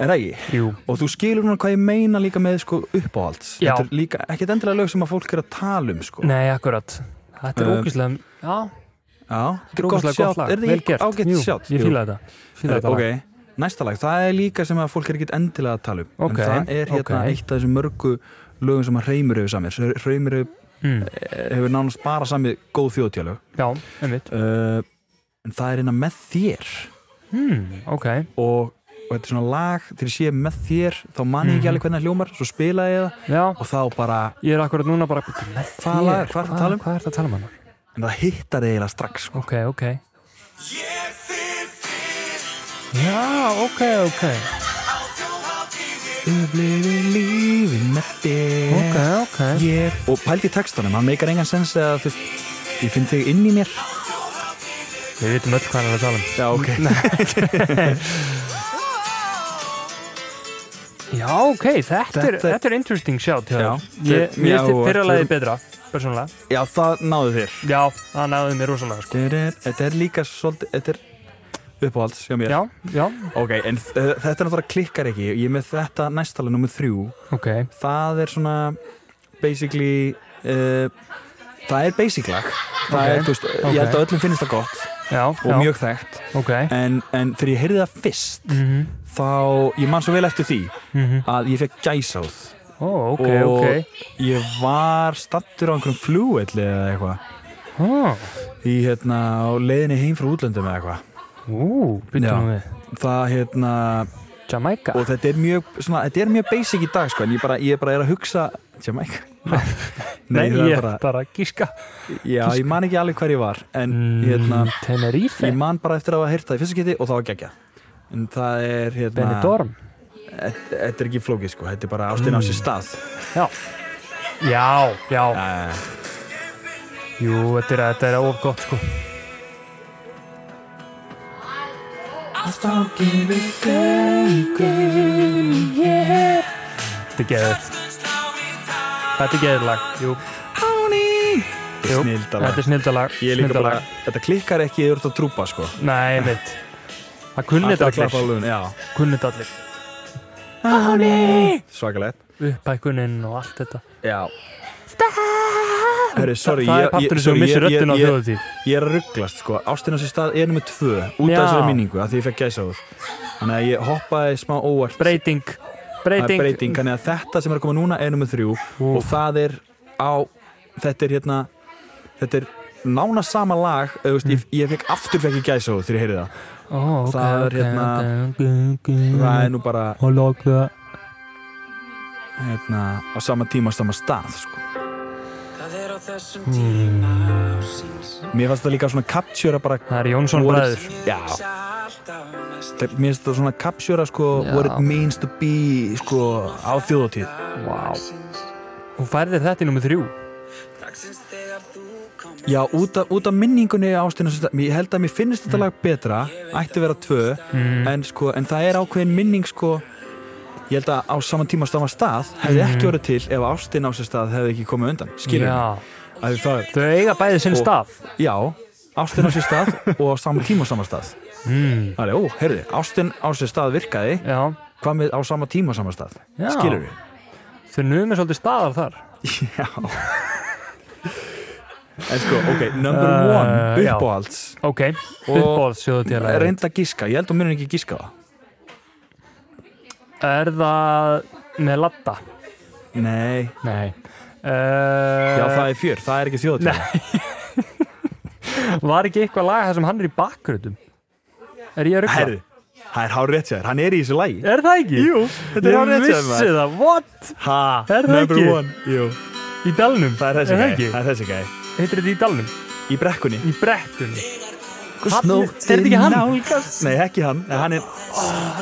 [SPEAKER 1] Er það ekki?
[SPEAKER 2] Jú
[SPEAKER 1] Og þú skilur núna hvað ég meina líka með sko uppáhalds
[SPEAKER 2] Já.
[SPEAKER 1] Þetta er líka, ekkert endilega lög sem að fólk er að tala um sko
[SPEAKER 2] Nei, akkurat Þetta er
[SPEAKER 1] Um,
[SPEAKER 2] ógæslega Já,
[SPEAKER 1] Já, þetta er gott
[SPEAKER 2] Drókaslega
[SPEAKER 1] sjátt
[SPEAKER 2] gott lag,
[SPEAKER 1] Er það
[SPEAKER 2] vel
[SPEAKER 1] ekki
[SPEAKER 2] gert
[SPEAKER 1] ágætt
[SPEAKER 2] Jú,
[SPEAKER 1] sjátt?
[SPEAKER 2] Ég fíla þetta, fíla þetta lag.
[SPEAKER 1] Ok, næsta lag, það er líka sem að fólk er ekkert endilega að tala um en
[SPEAKER 2] Ok,
[SPEAKER 1] það er hérna
[SPEAKER 2] ok.
[SPEAKER 1] eitt af þessum mörgu lögum sem að Reymur hefur samir Reymur hefur,
[SPEAKER 2] mm.
[SPEAKER 1] hefur nánast bara samið góð þjóðtjálög
[SPEAKER 2] Já, einmitt
[SPEAKER 1] uh, en það er hérna með þér
[SPEAKER 2] mm.
[SPEAKER 1] Eh.
[SPEAKER 2] Ok,
[SPEAKER 1] og, og þetta er svona lag þegar ég sé með þér þá man
[SPEAKER 2] Mhm.
[SPEAKER 1] ég ekki alveg hvernig það hljómar svo spila ég það
[SPEAKER 2] já
[SPEAKER 1] og þá bara
[SPEAKER 2] Ég er akkurat núna bara Hvað
[SPEAKER 1] Hvað lag- hvað ertu að tala um?
[SPEAKER 2] Hvað er það að tala um hann?
[SPEAKER 1] en það hittar eiginlega strax sko.
[SPEAKER 2] Ok, ok Já, ok, ok
[SPEAKER 1] Upplifi lífið með þér
[SPEAKER 2] Ok, ok
[SPEAKER 1] Eh, ég... og pældi textanum, hann meikar engan sens eða þú veist, ég finn þig inn í mér
[SPEAKER 2] Við vitum öll hvað hann er að tala um
[SPEAKER 1] Já, ok
[SPEAKER 2] Já, ok, þetta, er,
[SPEAKER 1] Þetta er-
[SPEAKER 2] þetta er interesting shout hjá
[SPEAKER 1] Já.
[SPEAKER 2] þér. Ég-
[SPEAKER 1] Þetta er
[SPEAKER 2] Mér finnst
[SPEAKER 1] mjög
[SPEAKER 2] fyrra
[SPEAKER 1] áhugavert.
[SPEAKER 2] lagið betra, persónulega
[SPEAKER 1] Já, það náðu þér
[SPEAKER 2] Já, það náði mér rosalega sko
[SPEAKER 1] Þetta er, þetta er líka svolítið Þetta er uppáhalds hjá mér
[SPEAKER 2] Já, já,
[SPEAKER 1] ok, en uh, þetta er náttúrulega klikkar ekki ég er með þetta næstala nummer þrjú
[SPEAKER 2] ok
[SPEAKER 1] það er svona basically uh, það er basic lag það
[SPEAKER 2] Ok.
[SPEAKER 1] er, þú veist,
[SPEAKER 2] Ok.
[SPEAKER 1] ég held að öllum finnist það gott
[SPEAKER 2] Já,
[SPEAKER 1] og
[SPEAKER 2] já,
[SPEAKER 1] mjög þekkt
[SPEAKER 2] ok
[SPEAKER 1] en, en þegar ég heyrði það fyrst
[SPEAKER 2] Mhm,
[SPEAKER 1] þá, ég man svo vel eftir því
[SPEAKER 2] mhm.
[SPEAKER 1] að ég fekk gæsáð
[SPEAKER 2] Ó, ok,
[SPEAKER 1] Og-
[SPEAKER 2] ok
[SPEAKER 1] ég var stattur á einhverjum flugvelli eða eitthvað
[SPEAKER 2] Ó,
[SPEAKER 1] í hérna á leiðinni heim frá útlöndum eða eitthvað
[SPEAKER 2] Ú,
[SPEAKER 1] Já.
[SPEAKER 2] býttu nú við
[SPEAKER 1] það hérna
[SPEAKER 2] Jamaica
[SPEAKER 1] og þetta er mjög svona, þetta er mjög basic í dag sko en ég bara, ég bara er að hugsa Jamaica
[SPEAKER 2] Nei,
[SPEAKER 1] það er
[SPEAKER 2] ég
[SPEAKER 1] bara,
[SPEAKER 2] bara gíska
[SPEAKER 1] já, ég man ekki alveg hver ég var en
[SPEAKER 2] Mm.
[SPEAKER 1] hérna
[SPEAKER 2] Tenerife,
[SPEAKER 1] Ég man bara eftir að hafa heyrt það í fyrsta geti og það var geggja En það er hérna
[SPEAKER 2] Benidorm Mm.
[SPEAKER 1] þetta- Þetta er ekki flókið sko, þetta er bara ástin á sér stað
[SPEAKER 2] Já, já, já
[SPEAKER 1] uh,
[SPEAKER 2] Jú, þetta er, þetta er of gott sko Þetta er geðið Þetta er geðið lag, jú, jú
[SPEAKER 1] Snildalag.
[SPEAKER 2] Þetta er snildalag
[SPEAKER 1] Ég er líka bara,
[SPEAKER 2] snildarlag.
[SPEAKER 1] þetta klikkar ekki yfir þetta trúpa sko
[SPEAKER 2] Nei, mitt Það kunni
[SPEAKER 1] Allir
[SPEAKER 2] þetta
[SPEAKER 1] að klappa á
[SPEAKER 2] allir
[SPEAKER 1] lögun, já
[SPEAKER 2] Kunni þetta allir
[SPEAKER 1] Svakalegt
[SPEAKER 2] Uppækunin og allt þetta
[SPEAKER 1] Já Herri, sorry,
[SPEAKER 2] Það
[SPEAKER 1] ég-
[SPEAKER 2] er parturinn
[SPEAKER 1] ég-
[SPEAKER 2] sem
[SPEAKER 1] sorry,
[SPEAKER 2] missir
[SPEAKER 1] ég- ég-
[SPEAKER 2] röddina á
[SPEAKER 1] ég-
[SPEAKER 2] þjóðutíð
[SPEAKER 1] Ég er að rugglast sko, ástin á sér stað er nummer tvö Út af
[SPEAKER 2] Já.
[SPEAKER 1] þessari minningu, af því ég fekk gæsa úr Þannig að ég hoppaði smá óvart
[SPEAKER 2] Breyting
[SPEAKER 1] Það er
[SPEAKER 2] Breyting,
[SPEAKER 1] breyting, þannig að þetta sem er að koma núna er nummið þrjú
[SPEAKER 2] Ú.
[SPEAKER 1] og það er á, þetta er hérna þetta er nána sama lag eða, þú veist, ég, ég fekk aftur fekk ég gæsa þegar ég heyrði það
[SPEAKER 2] Ó, ok,
[SPEAKER 1] Það er
[SPEAKER 2] ok,
[SPEAKER 1] hérna-
[SPEAKER 2] ok, ok, ok.
[SPEAKER 1] það er nú bara
[SPEAKER 2] Og loka
[SPEAKER 1] hérna, á sama tíma á sama stað sko.
[SPEAKER 3] Það er á þessum tíma ásins
[SPEAKER 1] mér fannst það líka svona kaptjóra bara
[SPEAKER 2] Það er Jónsson bræður
[SPEAKER 1] já,
[SPEAKER 3] Alltaf mest
[SPEAKER 1] það- mér finnst það svona kaptjóra sko,
[SPEAKER 2] Já.
[SPEAKER 1] what it means to be sko, á þjóðotíð
[SPEAKER 2] Vá Hún færði þetta í nummið þrjú
[SPEAKER 3] Dagsins þegar þú komir
[SPEAKER 1] Já, út af, út af minningunni ástinu ég held að mér finnst
[SPEAKER 2] Mm.
[SPEAKER 1] þetta lag betra ætti að vera tvö en, sko, en það er ákveðin minning sko, ég held að á saman tíma stafa stað hefði ekki orðið til ef ástin á sér stað hefði ekki komið undan, skilur
[SPEAKER 2] Mm. Já,
[SPEAKER 1] að það er,
[SPEAKER 2] þau eiga bæði sinn
[SPEAKER 1] Og-
[SPEAKER 2] stað
[SPEAKER 1] já, ástin á sér stað og á saman tíma á sama stað
[SPEAKER 2] mm.
[SPEAKER 1] það er, ó, heyrðu, ástin á sér stað virkaði
[SPEAKER 2] Já,
[SPEAKER 1] hvað með á sama tíma á sama stað
[SPEAKER 2] Já.
[SPEAKER 1] skilur
[SPEAKER 2] þau numið svolítið staðar þar
[SPEAKER 1] já en sko, ok, number one
[SPEAKER 2] Eh, já.
[SPEAKER 1] uppáhalds
[SPEAKER 2] Ok,
[SPEAKER 1] Og-
[SPEAKER 2] uppbóðsjóðutíðalag
[SPEAKER 1] reynda að gíska, ég held að mér er ekki gíska það
[SPEAKER 2] Er það með latta?
[SPEAKER 1] Nei,
[SPEAKER 2] Nei
[SPEAKER 1] já það
[SPEAKER 2] uh,
[SPEAKER 1] er fjör, það er ekki þjóðatíð
[SPEAKER 2] Eh, Var ekki eitthvað lag þar sem hann er í bakgröðum? Er ég að rugla?
[SPEAKER 1] Herri, það er hár rétt sér, hann er í þessu lægi
[SPEAKER 2] Er það ekki? Jú,
[SPEAKER 1] þetta er hárrétt hjá
[SPEAKER 2] Ég
[SPEAKER 1] þér,
[SPEAKER 2] vissi það, what?
[SPEAKER 1] Ha,
[SPEAKER 2] Er það
[SPEAKER 1] number
[SPEAKER 2] ekki?
[SPEAKER 1] one Jú,
[SPEAKER 2] Í dalnum?
[SPEAKER 1] það er þessi gæði,
[SPEAKER 2] ekki?
[SPEAKER 1] það er þessi gæði
[SPEAKER 2] Heitir þetta í dalnum?
[SPEAKER 1] Í brekkunni
[SPEAKER 2] Í brekkunni? Hann-
[SPEAKER 1] Snóttin
[SPEAKER 2] er þetta ekki hann?
[SPEAKER 1] nálgast- Nei, ekki hann, en hann er,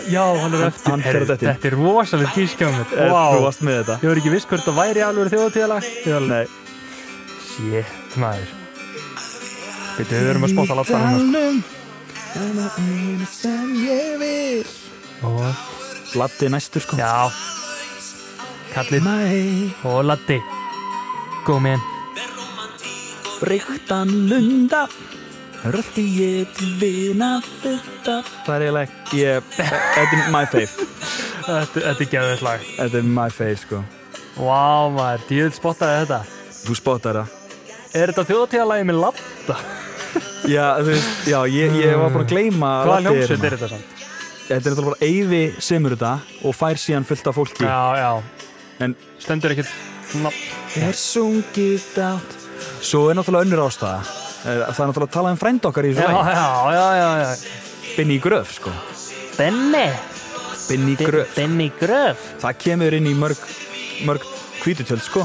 [SPEAKER 2] Já, hann er eftir
[SPEAKER 1] hann fer á
[SPEAKER 2] Herri,
[SPEAKER 1] þetta.
[SPEAKER 2] Þetta er rosalega gískjámið
[SPEAKER 1] eh, þú
[SPEAKER 2] Vá,
[SPEAKER 1] varst með þetta
[SPEAKER 2] ég var ekki viss hvort það væri alveg þjóðtíðalag
[SPEAKER 1] Nei,
[SPEAKER 2] Shit, maður Býttu, við verum að spotta lappar hérna sko. Og-
[SPEAKER 1] Latti næstur sko
[SPEAKER 2] Já Kallið
[SPEAKER 1] Mæ,
[SPEAKER 2] og Latti Gómin
[SPEAKER 1] breyktan lunda Röldi ég til vina þetta Það er eiginlega, ekki- ég, þetta er my fave
[SPEAKER 2] Þetta þetta er geðvægt lag
[SPEAKER 1] Þetta er my fave sko
[SPEAKER 2] Vá maður, djöð spottaði þetta
[SPEAKER 1] Þú spottar það
[SPEAKER 2] Er þetta þjóðtíðalagi með Latta?
[SPEAKER 1] Já, þú veist, já, ég, ég var bara að gleyma að
[SPEAKER 2] Hvaða
[SPEAKER 1] Laddi er
[SPEAKER 2] hljómsveit
[SPEAKER 1] hérna.
[SPEAKER 2] er þetta samt?
[SPEAKER 1] Þetta er náttúrulega bara Eyvi semur þetta og fær síðan fullt af fólki
[SPEAKER 2] Já, já
[SPEAKER 1] En-
[SPEAKER 2] Stendur ekkert nafn
[SPEAKER 1] Er sungið dát Svo er náttúrulega önnur ástæða Er- Það er náttúrulega að tala um frænd okkar í
[SPEAKER 2] Já,
[SPEAKER 1] þessu lagi
[SPEAKER 2] já, já, já, já
[SPEAKER 1] Binni í gröf, sko
[SPEAKER 2] Benni
[SPEAKER 1] Binni í gröf
[SPEAKER 2] Benni Gröf
[SPEAKER 1] Það kemur inn í mörg, mörg kvítutöld, sko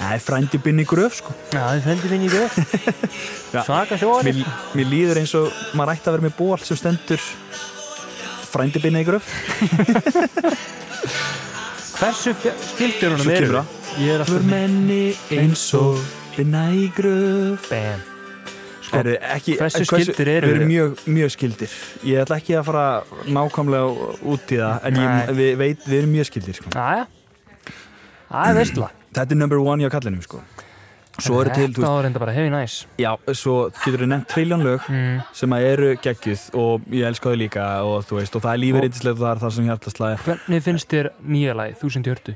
[SPEAKER 1] Það er frændi Binni í gröf, sko
[SPEAKER 2] Já, þið fendir Benni Gröf
[SPEAKER 1] Já.
[SPEAKER 2] Svaka sjóri
[SPEAKER 1] Mér, mér líður eins og maður ætti að vera með ból sem stendur frændi Binni í gröf
[SPEAKER 2] Hversu fjö- skildur honum
[SPEAKER 1] Svo
[SPEAKER 2] eru?
[SPEAKER 1] kemur það.
[SPEAKER 2] Ég er
[SPEAKER 1] Hvör
[SPEAKER 2] alltaf
[SPEAKER 1] menni eins og Binni í gröf
[SPEAKER 2] Ben Sko,
[SPEAKER 1] Heru, ekki,
[SPEAKER 2] hversu skyldir
[SPEAKER 1] við?
[SPEAKER 2] eru þið?
[SPEAKER 1] erum mjög, mjög skildir. Ég ætla ekki að fara nákvæmlega út í það, en ég,
[SPEAKER 2] Nei.
[SPEAKER 1] við, veit, við erum mjög skildir. Sko.
[SPEAKER 2] Æja Það er veistla
[SPEAKER 1] Þetta er number one hjá kallinum, sko. Svo eru til, þú
[SPEAKER 2] Þetta var reynda bara heavy nice
[SPEAKER 1] Já, svo getur þú nefnt trilljón lög
[SPEAKER 2] Mm.
[SPEAKER 1] sem að eru geggjuð og ég elska þau líka og þú veist, og það er lífið
[SPEAKER 2] Og-
[SPEAKER 1] reyndislegt og það er það sem hjartaslæði
[SPEAKER 2] Hvernig finnst þér nýja lagi, 1000 í hörtu?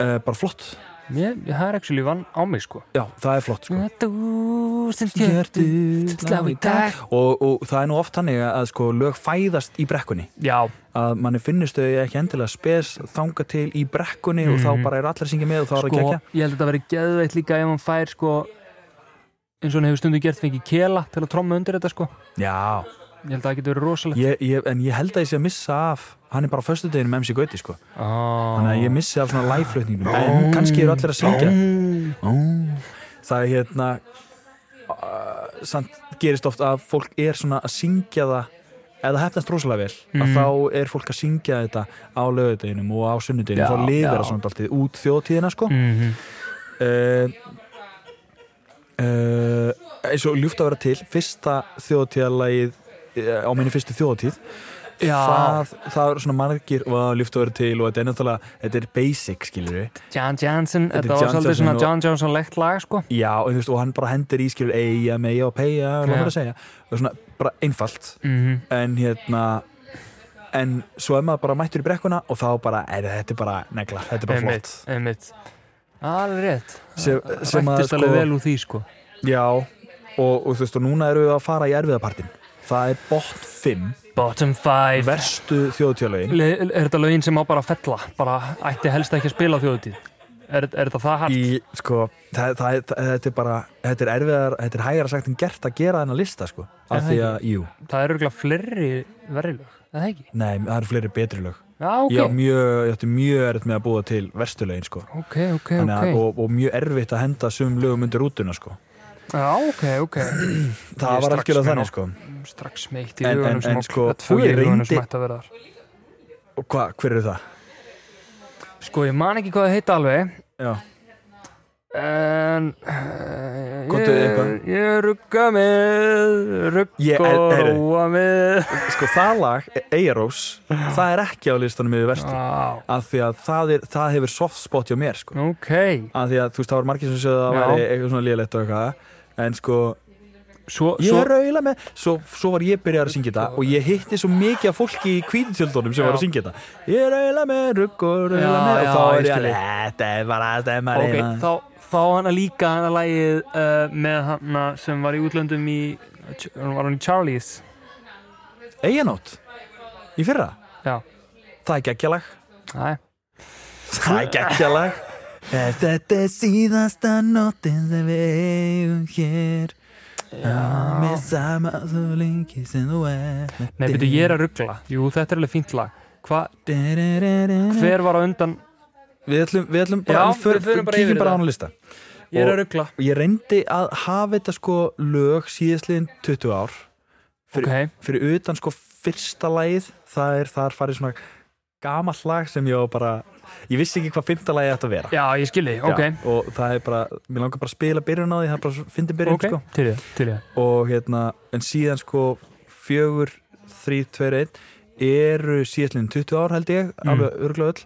[SPEAKER 1] uh, bara flott,
[SPEAKER 2] Mér, það er actually vann á mig sko
[SPEAKER 1] já, það er flott sko.
[SPEAKER 2] 1000 hjörtu slá í dag
[SPEAKER 1] og, og það er nú oft hannig að sko, lög fæðast í brekkunni
[SPEAKER 2] Já,
[SPEAKER 1] að manni finnist þau ekki endilega spes þanga til í brekkunni og þá bara er allir að syngja með og þá er það
[SPEAKER 2] Mhm. sko,
[SPEAKER 1] geggja
[SPEAKER 2] ég held að þetta veri geðveitt líka ef hann fær sko eins og hann hefur stundu gert fengið kela til að tromma undir þetta sko
[SPEAKER 1] Já,
[SPEAKER 2] ég held að það getur verið rosalegt
[SPEAKER 1] ég, ég, en ég held að ég sé að missa af hann er bara á föstudeginu með MC Gauti sko.
[SPEAKER 2] oh.
[SPEAKER 1] þannig að ég missi af svona live-flutningum en kannski eru allir að syngja Ó. það er hérna uh, samt gerist oft að fólk er svona að syngja það ef það hefnast rosalega vel
[SPEAKER 2] Mm.
[SPEAKER 1] að þá er fólk að syngja þetta á lögudeginum og á sunnudeginum,
[SPEAKER 2] Já,
[SPEAKER 1] þá lifir
[SPEAKER 2] já.
[SPEAKER 1] það svona alltaf út þjóðtíðina sko
[SPEAKER 2] mm -hmm.
[SPEAKER 1] uh, uh, eins og ljúft að vera til fyrsta þjóðtíðalagið eh, á minni fyrstu þjóðtíð
[SPEAKER 2] Já.
[SPEAKER 1] það, það er svona margir og ljúft að vera til og þetta er náttúrulega þetta er basic skilur við
[SPEAKER 2] John Johnson,
[SPEAKER 1] Þetta er
[SPEAKER 2] þetta var
[SPEAKER 1] John
[SPEAKER 2] svolítið
[SPEAKER 1] Johnson
[SPEAKER 2] svona
[SPEAKER 1] og-
[SPEAKER 2] John Johnson legt lag sko
[SPEAKER 1] já og, þú veist, og hann bara hendur í skilur eiga, meja og peja og
[SPEAKER 2] Já.
[SPEAKER 1] hvað maður að segja og svona bara einfalt
[SPEAKER 2] mm
[SPEAKER 1] en hérna en svo er maður bara mættur í brekkuna og þá bara, er, þetta er bara negla, þetta er bara flott
[SPEAKER 2] einmitt, einmitt alveg rétt,
[SPEAKER 1] sem, sem að
[SPEAKER 2] rættist alveg vel úr því sko
[SPEAKER 1] já og, og þú veist og núna erum við að fara í erfiðapartin það er bot 5
[SPEAKER 2] bottom five
[SPEAKER 1] verstu þjóðtjálögin
[SPEAKER 2] Le, er þetta lögin sem á bara að fella bara ætti helst ekki að spila á þjóðutíð er, er þetta það hart?
[SPEAKER 1] í, sko, það, það, það, þetta er bara þetta er erfiðar, þetta er hægara sagt en gert að gera þennan lista, sko, af
[SPEAKER 2] Er það
[SPEAKER 1] því að jú,
[SPEAKER 2] það eru örgulega fleiri verðilög er það ekki?
[SPEAKER 1] nei, það eru fleiri betri lög
[SPEAKER 2] já, ok,
[SPEAKER 1] ég, á mjög, ég átti mjög erfitt með að búa til verstu lögin, sko
[SPEAKER 2] ok, ok,
[SPEAKER 1] Þannig
[SPEAKER 2] ok
[SPEAKER 1] að, og, og mjög erfitt að henda sumum lögum undir rútuna, sko
[SPEAKER 2] já, ok, ok Ég er
[SPEAKER 1] það var
[SPEAKER 2] strax
[SPEAKER 1] algjörlega
[SPEAKER 2] með
[SPEAKER 1] þannig,
[SPEAKER 2] nóg.
[SPEAKER 1] sko
[SPEAKER 2] strax meitt í
[SPEAKER 1] En-
[SPEAKER 2] hugunum
[SPEAKER 1] en-
[SPEAKER 2] sem
[SPEAKER 1] en
[SPEAKER 2] á-
[SPEAKER 1] sko,
[SPEAKER 2] það er tvö
[SPEAKER 1] og
[SPEAKER 2] í
[SPEAKER 1] ég
[SPEAKER 2] hugunum sem
[SPEAKER 1] reyndi-
[SPEAKER 2] ætti að vera þar
[SPEAKER 1] og hva, hver eru það?
[SPEAKER 2] sko, ég man ekki hvað það heita alveg
[SPEAKER 1] Já,
[SPEAKER 2] en eh,
[SPEAKER 1] Komdu eitthvað.
[SPEAKER 2] ég, ég rugga með
[SPEAKER 1] Ég-
[SPEAKER 2] rugga
[SPEAKER 1] er-
[SPEAKER 2] og
[SPEAKER 1] heyrðu.
[SPEAKER 2] róa með
[SPEAKER 1] sko það lag, Eirós það er ekki á listanum yfir verstu
[SPEAKER 2] Á,
[SPEAKER 1] af því að það, er, það hefur soft spot hjá mér, sko
[SPEAKER 2] ok,
[SPEAKER 1] af því að, þú veist, það var margir sem sögðu að
[SPEAKER 2] Já.
[SPEAKER 1] það væri eitthvað svona lélegt og eitthvað en sko,
[SPEAKER 2] svo,
[SPEAKER 1] ég
[SPEAKER 2] svo
[SPEAKER 1] er auðvitað með svo, svo var ég byrjar að syngja þetta og ég hitti svo mikið af fólki í kvítutjöldunum sem
[SPEAKER 2] Já.
[SPEAKER 1] var að syngja þetta ég er auðvitað með, rugg og auðvitað
[SPEAKER 2] Já,
[SPEAKER 1] með
[SPEAKER 2] já,
[SPEAKER 1] og þá er
[SPEAKER 2] ég
[SPEAKER 1] ég
[SPEAKER 2] skil
[SPEAKER 1] alveg, þetta er bara að stemma
[SPEAKER 2] ok,
[SPEAKER 1] reyna."
[SPEAKER 2] þá, þá hana líka hana lagið uh, með hana sem var í útlöndum í hún var hann í Charlie's
[SPEAKER 1] Eyjanót, í fyrra
[SPEAKER 2] Já.
[SPEAKER 1] það er geggjalag
[SPEAKER 2] Æ,
[SPEAKER 1] það er geggjalag Ef Þetta er síðasta nóttin sem við eigum hér Já. Með sama þú lengi sem þú er
[SPEAKER 2] nei, byrju, ég er að ruggla jú, þetta er alveg fínt lag Hva,
[SPEAKER 1] Hver?
[SPEAKER 2] hver var á undan
[SPEAKER 1] Við ætlum, við ætlum bara,
[SPEAKER 2] Já,
[SPEAKER 1] við förum-
[SPEAKER 2] við förum bara
[SPEAKER 1] kíkjum
[SPEAKER 2] yfir
[SPEAKER 1] bara á
[SPEAKER 2] þetta.
[SPEAKER 1] hann lista
[SPEAKER 2] ég er
[SPEAKER 1] Og-
[SPEAKER 2] að ruggla
[SPEAKER 1] Og ég reyndi að hafa þetta sko lög síðastliðin 20 ár fyrir,
[SPEAKER 2] ok,
[SPEAKER 1] fyrir utan sko fyrsta lagið það er þar farið svona gamall lag sem ég á bara ég vissi ekki hvað fymta lagið ætti að vera
[SPEAKER 2] já, ég skilji, ok
[SPEAKER 1] Já, og það er bara, mér langar bara að spila byrjun á því það er bara fyndi byrjun
[SPEAKER 2] ok,
[SPEAKER 1] sko
[SPEAKER 2] til ég, til ég
[SPEAKER 1] og hérna, en síðan sko fjögur, þrý, tveir, einn eru síðastliðin 20 ár held ég
[SPEAKER 2] Mm.
[SPEAKER 1] alveg örgulega öll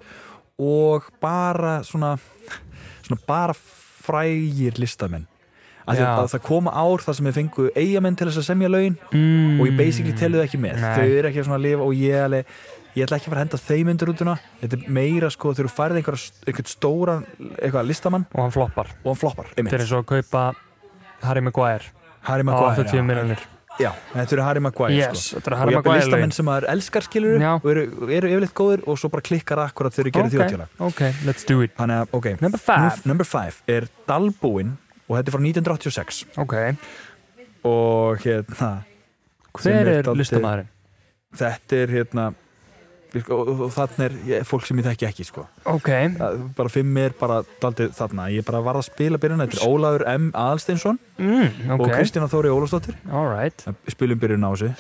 [SPEAKER 1] og bara svona svona bara frægir listamenn að,
[SPEAKER 2] Já.
[SPEAKER 1] að það koma ár þar sem við fengu eigamenn til þess að semja lögin
[SPEAKER 2] mm.
[SPEAKER 1] og ég basically telu þau ekki með
[SPEAKER 2] Nei.
[SPEAKER 1] þau eru ekki svona að lifa og ég alveg ég ætla ekki að fara að henda þeim undir útuna þetta er meira sko þegar þú færið einhver, einhvern stóran eitthvað listamann
[SPEAKER 2] og hann floppar,
[SPEAKER 1] og hann floppar
[SPEAKER 2] til
[SPEAKER 1] einmitt.
[SPEAKER 2] eins og að kaupa Harry Maguire
[SPEAKER 1] Harry
[SPEAKER 2] á
[SPEAKER 1] Maguire
[SPEAKER 2] 80
[SPEAKER 1] já.
[SPEAKER 2] miljonir
[SPEAKER 1] Já, þetta eru Harry Maguire
[SPEAKER 2] yes,
[SPEAKER 1] sko.
[SPEAKER 2] þetta er
[SPEAKER 1] og
[SPEAKER 2] Harry
[SPEAKER 1] ég er
[SPEAKER 2] Maguire lögin.
[SPEAKER 1] listamenn sem maður elskar skilur
[SPEAKER 2] Já.
[SPEAKER 1] og eru, eru yfirleitt góðir og svo bara klikkar akkurat þegar þau gerir okay.
[SPEAKER 2] ok, ok, let's do it
[SPEAKER 1] þannig að ok
[SPEAKER 2] Number five.
[SPEAKER 1] Nú- number five er Dalbúin og þetta er frá 1986
[SPEAKER 2] ok,
[SPEAKER 1] og hérna Sem
[SPEAKER 2] hver
[SPEAKER 1] er
[SPEAKER 2] er
[SPEAKER 1] dálítið-
[SPEAKER 2] listamæðurinn?
[SPEAKER 1] þetta er hérna og, og, og þarna er ég, fólk sem ég þekki ekki sko
[SPEAKER 2] ok,
[SPEAKER 1] Það- bara fimm er bara daldið þarna ég bara var að spila byrjun þetta er Ólafur M. Aðalsteinsson
[SPEAKER 2] mm,
[SPEAKER 1] og
[SPEAKER 2] ok,
[SPEAKER 1] Kristina Þóri Ólafsdóttir
[SPEAKER 2] alright
[SPEAKER 1] spilum byrjun á þessu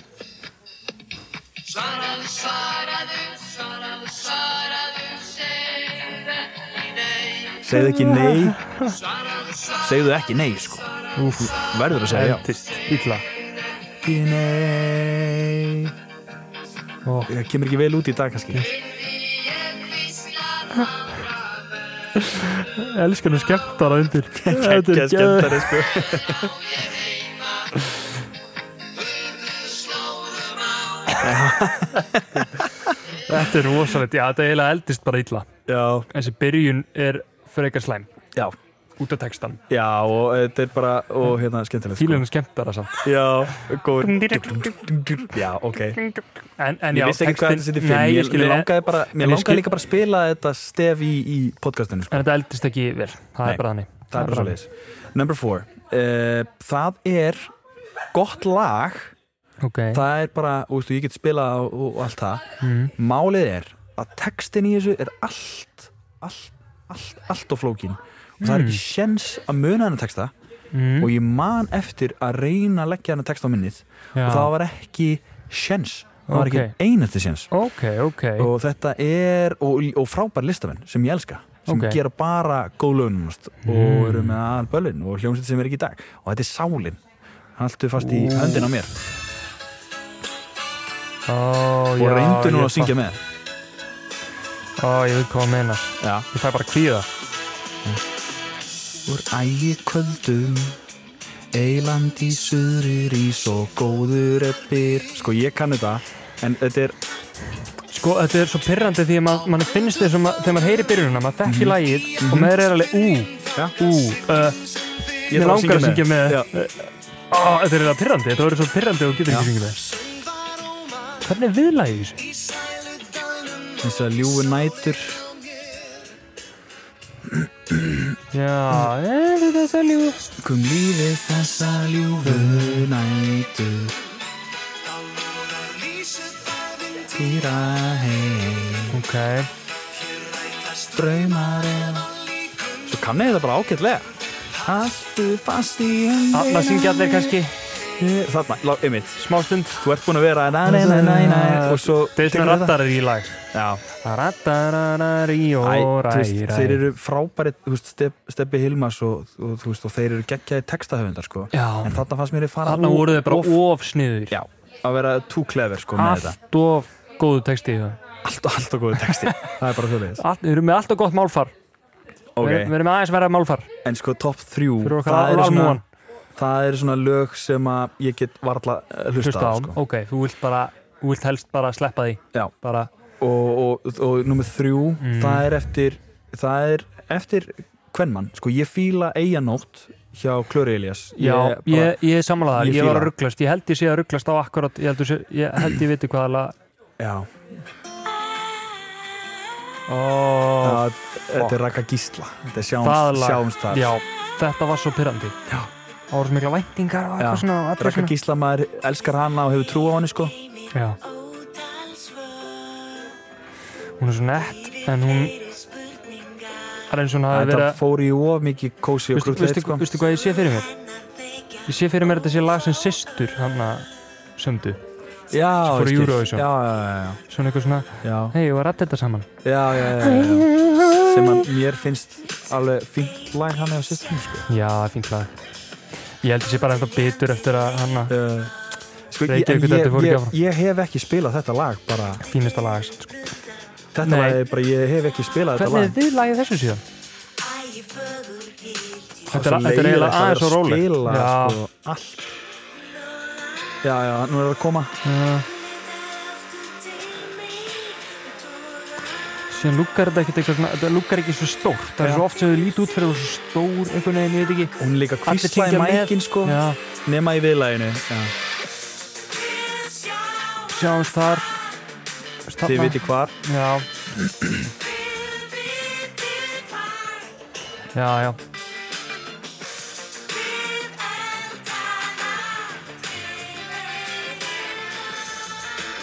[SPEAKER 5] Svaraðu, svaraðu, svaraðu, svaraðu, segðu ekki nei.
[SPEAKER 1] segðu ekki nei segðu ekki nei sko Úf, verður að segja já
[SPEAKER 2] Eldist illa
[SPEAKER 1] ekki nei
[SPEAKER 2] Ó.
[SPEAKER 1] það kemur ekki vel út í dag kannski
[SPEAKER 5] Ég hvísla bara vel.
[SPEAKER 2] Elskan er skemmtara undir Þetta
[SPEAKER 1] Gekkja
[SPEAKER 2] er geð-
[SPEAKER 1] skemmtari sko
[SPEAKER 2] Þetta er rosalegt, já þetta er eiginlega eldist bara illa
[SPEAKER 1] Já,
[SPEAKER 2] Þessi byrjun er frekar slæm
[SPEAKER 1] já,
[SPEAKER 2] út af textan
[SPEAKER 1] já og þetta er bara, og hérna, skemmtilegt sko.
[SPEAKER 2] Fílan er skemmtara samt
[SPEAKER 1] Já, góður
[SPEAKER 2] En,
[SPEAKER 1] Já, ok
[SPEAKER 2] en
[SPEAKER 1] Ég
[SPEAKER 2] já,
[SPEAKER 1] vissi ekki hvað þetta
[SPEAKER 2] textinn-
[SPEAKER 1] seti fyrir
[SPEAKER 2] Nei, ég
[SPEAKER 1] Mér,
[SPEAKER 2] skil
[SPEAKER 1] mér
[SPEAKER 2] það
[SPEAKER 1] langaði, bara,
[SPEAKER 2] En
[SPEAKER 1] mér
[SPEAKER 2] ég
[SPEAKER 1] langaði
[SPEAKER 2] skil-
[SPEAKER 1] líka bara að spila þetta stef í, í podcastinu sko.
[SPEAKER 2] En þetta eldist ekki vel, það
[SPEAKER 1] Nei,
[SPEAKER 2] er bara þannig
[SPEAKER 1] Það er bara
[SPEAKER 2] bara
[SPEAKER 1] svoleiðis Number four uh, Það er gott lag
[SPEAKER 2] Ok,
[SPEAKER 1] Það er bara, ústu, ég get spilað og, og allt það
[SPEAKER 2] mm,
[SPEAKER 1] Málið er að textin í þessu er allt Allt, allt, allt og flókin Og það er
[SPEAKER 2] Mm.
[SPEAKER 1] ekki sjens að muna hennar texta
[SPEAKER 2] mm,
[SPEAKER 1] Og ég man eftir að reyna að leggja hennar texta á minnið
[SPEAKER 2] já,
[SPEAKER 1] og það var ekki sjens það var
[SPEAKER 2] Ok.
[SPEAKER 1] ekki einasti sjens
[SPEAKER 2] Ok, ok
[SPEAKER 1] og þetta er, og, og frábær listamenn sem ég elska, sem
[SPEAKER 2] Ok.
[SPEAKER 1] gera bara góð lögnum
[SPEAKER 2] Mm.
[SPEAKER 1] og eru með aðal böllin og hljómsveit sem er ekki í dag og þetta er sálin, haltu fast í
[SPEAKER 2] Ú.
[SPEAKER 1] höndin á mér
[SPEAKER 2] Ó,
[SPEAKER 1] og
[SPEAKER 2] já,
[SPEAKER 1] reyndu nú
[SPEAKER 2] ég
[SPEAKER 1] að syngja
[SPEAKER 2] fatt-
[SPEAKER 1] með
[SPEAKER 2] Ó, ég veit hvað að meina
[SPEAKER 1] já.
[SPEAKER 2] Ég fæ bara kvíða
[SPEAKER 1] Úr ægi kvöldum Eiland í suðri rís og góður eppir Sko ég kann þetta en þetta er,
[SPEAKER 2] Sko, þetta er svo pyrrandi því að ma- mann finnst þess að þegar maður heyri byrjununa, maður þekki
[SPEAKER 1] Mhm.
[SPEAKER 2] lagið og maður er alveg, ú,
[SPEAKER 1] Já.
[SPEAKER 2] ú, uh,
[SPEAKER 1] ég
[SPEAKER 2] Mér
[SPEAKER 1] þarf
[SPEAKER 2] langar að syngja með
[SPEAKER 1] Já.
[SPEAKER 2] Ó, Þetta er eitthvað pyrrandi, þetta verður svo pyrrandi og þú getur ekki syngja með Hvernig er viðlagið í þessu?
[SPEAKER 1] eins og ljúfi nætur
[SPEAKER 2] Já,
[SPEAKER 1] Mm.
[SPEAKER 2] er þetta þess að lífu
[SPEAKER 1] Kom lífið þessa ljúfu nætu Týra heim
[SPEAKER 2] Ok,
[SPEAKER 1] Draumar eða Svo kann ég þetta bara ágætlega Haltu fast í
[SPEAKER 2] alla
[SPEAKER 1] höndina
[SPEAKER 2] syngja allir kannski
[SPEAKER 1] Þarna, lá, einmitt
[SPEAKER 2] smástund
[SPEAKER 1] Þú ert búin að vera na, na, na, na, na, Og svo
[SPEAKER 2] Þetta er svona
[SPEAKER 1] tekur þetta-
[SPEAKER 2] rattarar í lag
[SPEAKER 1] Já
[SPEAKER 2] Rattararar í
[SPEAKER 1] Æ,
[SPEAKER 2] og
[SPEAKER 1] þú veist,
[SPEAKER 2] ræ,
[SPEAKER 1] þeir
[SPEAKER 2] ræ
[SPEAKER 1] eru frábæri þú veist, Steb- Stebbi Hilmas og, og, þú veist, og þeir eru geggjaði textahöfundar sko.
[SPEAKER 2] Já.
[SPEAKER 1] en þarna fannst mér þið fara
[SPEAKER 2] Þarna
[SPEAKER 1] of-
[SPEAKER 2] voru
[SPEAKER 1] of-
[SPEAKER 2] þeir bara of sniður
[SPEAKER 1] Já, að vera too clever sko með þetta
[SPEAKER 2] Allt of góðu texti í það
[SPEAKER 1] Allt og allt og góðu texti Það er bara þjóðlegis
[SPEAKER 2] Allt- Við erum með allt of gott málfar Við við
[SPEAKER 1] okay.
[SPEAKER 2] erum með aðeins verða málfar
[SPEAKER 1] En sko top 3
[SPEAKER 2] Fyrir okkar
[SPEAKER 1] það eru, svona,
[SPEAKER 2] almúgan.
[SPEAKER 1] það eru svona lög sem að ég get varla eh, hlusta á
[SPEAKER 2] Hlusta á
[SPEAKER 1] sko.
[SPEAKER 2] Ok, þú vilt bara Þú vilt helst bara sleppa því
[SPEAKER 1] Já.
[SPEAKER 2] Bara
[SPEAKER 1] Og, og, og, og nummer 3
[SPEAKER 2] Mm.
[SPEAKER 1] Það er eftir Það er eftir Kvenmann Sko ég fíla eiganótt hjá Klöri Elias
[SPEAKER 2] Já, ég,
[SPEAKER 1] bara-
[SPEAKER 2] ég, ég samla það,
[SPEAKER 1] ég
[SPEAKER 2] ég, var
[SPEAKER 1] fíla.
[SPEAKER 2] að rugglast ég held ég sé að rugglast á akkurat ég held ég, sé- ég, held ég viti hvað alveg
[SPEAKER 1] Já,
[SPEAKER 2] oh,
[SPEAKER 1] það, þetta er Raka Gísla Þetta er
[SPEAKER 2] það
[SPEAKER 1] sjáumst,
[SPEAKER 2] lag,
[SPEAKER 1] sjáumst þar
[SPEAKER 2] já, þetta var svo pyrrandi
[SPEAKER 1] Já.
[SPEAKER 2] það voru svo mikla væntingar og
[SPEAKER 1] Já.
[SPEAKER 2] eitthvað svona, og allir
[SPEAKER 1] Raka
[SPEAKER 2] svona.
[SPEAKER 1] Gísla, maður elskar hana og hefur trú á henni sko
[SPEAKER 2] Já. hún er svo nett en hún það er eins og hún hafi
[SPEAKER 1] Þetta
[SPEAKER 2] verið
[SPEAKER 1] fór í of mikið kósi og
[SPEAKER 2] veistu,
[SPEAKER 1] krútleit
[SPEAKER 2] veistu,
[SPEAKER 1] sko
[SPEAKER 2] veistu hvað ég sé fyrir mér ég sé fyrir mér að þetta sé lag sem systur hann að sömdu
[SPEAKER 1] Já,
[SPEAKER 2] fór í
[SPEAKER 1] ég skil.
[SPEAKER 2] Eurovision.
[SPEAKER 1] Já, já,
[SPEAKER 2] svona eitthvað svona,
[SPEAKER 1] já, já.
[SPEAKER 2] hei, ég var að rætta þetta saman
[SPEAKER 1] já, já, já, já. sem að mér finnst alveg fínt lag hann eða sýstum sko.
[SPEAKER 2] já, fínt lag ég held ég sé bara eitthvað bitur eftir að hann að
[SPEAKER 1] Uh, sko ég, en
[SPEAKER 2] Reykjavíkur þetta
[SPEAKER 1] ég,
[SPEAKER 2] fór ekki
[SPEAKER 1] ég,
[SPEAKER 2] áfram.
[SPEAKER 1] ég hef ekki spilað þetta lag bara,
[SPEAKER 2] fínasta lag samt, sko.
[SPEAKER 1] þetta
[SPEAKER 2] Nei.
[SPEAKER 1] lag er bara ég hef ekki spilað þetta
[SPEAKER 2] hvernig er
[SPEAKER 1] lag
[SPEAKER 2] þið lagið þessu síðan? þetta
[SPEAKER 1] Svo
[SPEAKER 2] er, þetta er
[SPEAKER 1] leiðilegt að
[SPEAKER 2] eiginlega
[SPEAKER 1] vera
[SPEAKER 2] aðeins og
[SPEAKER 1] að
[SPEAKER 2] rólegt
[SPEAKER 1] spila,
[SPEAKER 2] já,
[SPEAKER 1] sko, allt já, já, nú er það að koma
[SPEAKER 2] já. síðan lukkar þetta ekkert eitthvað svona- þetta lukkar ekki svo stórt það er
[SPEAKER 1] Já.
[SPEAKER 2] svo oft sem þau líti út fyrir það svo stór einhvern veginn, ég veit ekki
[SPEAKER 1] hún er líka
[SPEAKER 2] Allir
[SPEAKER 1] kvísla í
[SPEAKER 2] syngja með.
[SPEAKER 1] mækin sko
[SPEAKER 2] já,
[SPEAKER 1] nema í viðlæginu já.
[SPEAKER 2] sjáumst þar
[SPEAKER 1] þið viti hvar
[SPEAKER 2] já já, já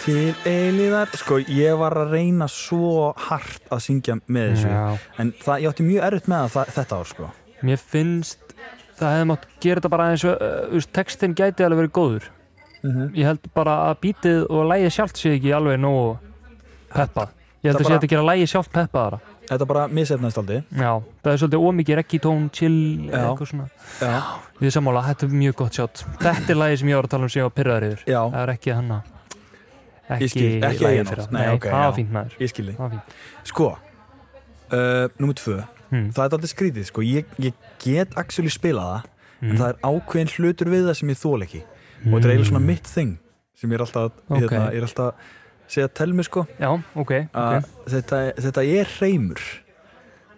[SPEAKER 1] til eilíðar sko ég var að reyna svo hart að syngja með þessu
[SPEAKER 2] Já.
[SPEAKER 1] en það, ég átti mjög erfitt með það þa- þetta ár sko
[SPEAKER 2] mér finnst það hefði mátt gera þetta bara eins og uh, uh, textin gæti alveg verið góður
[SPEAKER 1] Mhm.
[SPEAKER 2] ég held bara að bítið og lægið sjálft sé ekki alveg nógu peppað ég
[SPEAKER 1] Það
[SPEAKER 2] held að sé
[SPEAKER 1] bara-
[SPEAKER 2] hægt að gera lægið sjálft peppaðara
[SPEAKER 1] þetta bara misefnaðist aldrei
[SPEAKER 2] já, það er svolítið ómikið rekkitón, chill
[SPEAKER 1] Já.
[SPEAKER 2] eitthvað svona
[SPEAKER 1] já.
[SPEAKER 2] Ég er sammála, þetta er mjög gott sjátt. Þetta er lagið sem ég var að tala um sem ég var pyrraður yfir.
[SPEAKER 1] Já.
[SPEAKER 2] Það er ekki hann að...
[SPEAKER 1] Ég skil, ekki
[SPEAKER 2] lagið
[SPEAKER 1] Eyjanótt.
[SPEAKER 2] fyrra.
[SPEAKER 1] Nei,
[SPEAKER 2] Nei,
[SPEAKER 1] ok,
[SPEAKER 2] það
[SPEAKER 1] já.
[SPEAKER 2] var fínt maður.
[SPEAKER 1] ég skilði
[SPEAKER 2] Það var fínt.
[SPEAKER 1] sko, uh, nummer tvö það er alltaf skrítið sko. ég, ég get actually spilað það en það er ákveðin hlutur við það sem ég þól ekki og þetta er eiginlega svona mitt þing sem ég er alltaf,
[SPEAKER 2] Ok.
[SPEAKER 1] hérna, ég er alltaf að segja að telmi sko
[SPEAKER 2] Já, ok,
[SPEAKER 1] að
[SPEAKER 2] ok
[SPEAKER 1] þetta, þetta er reymur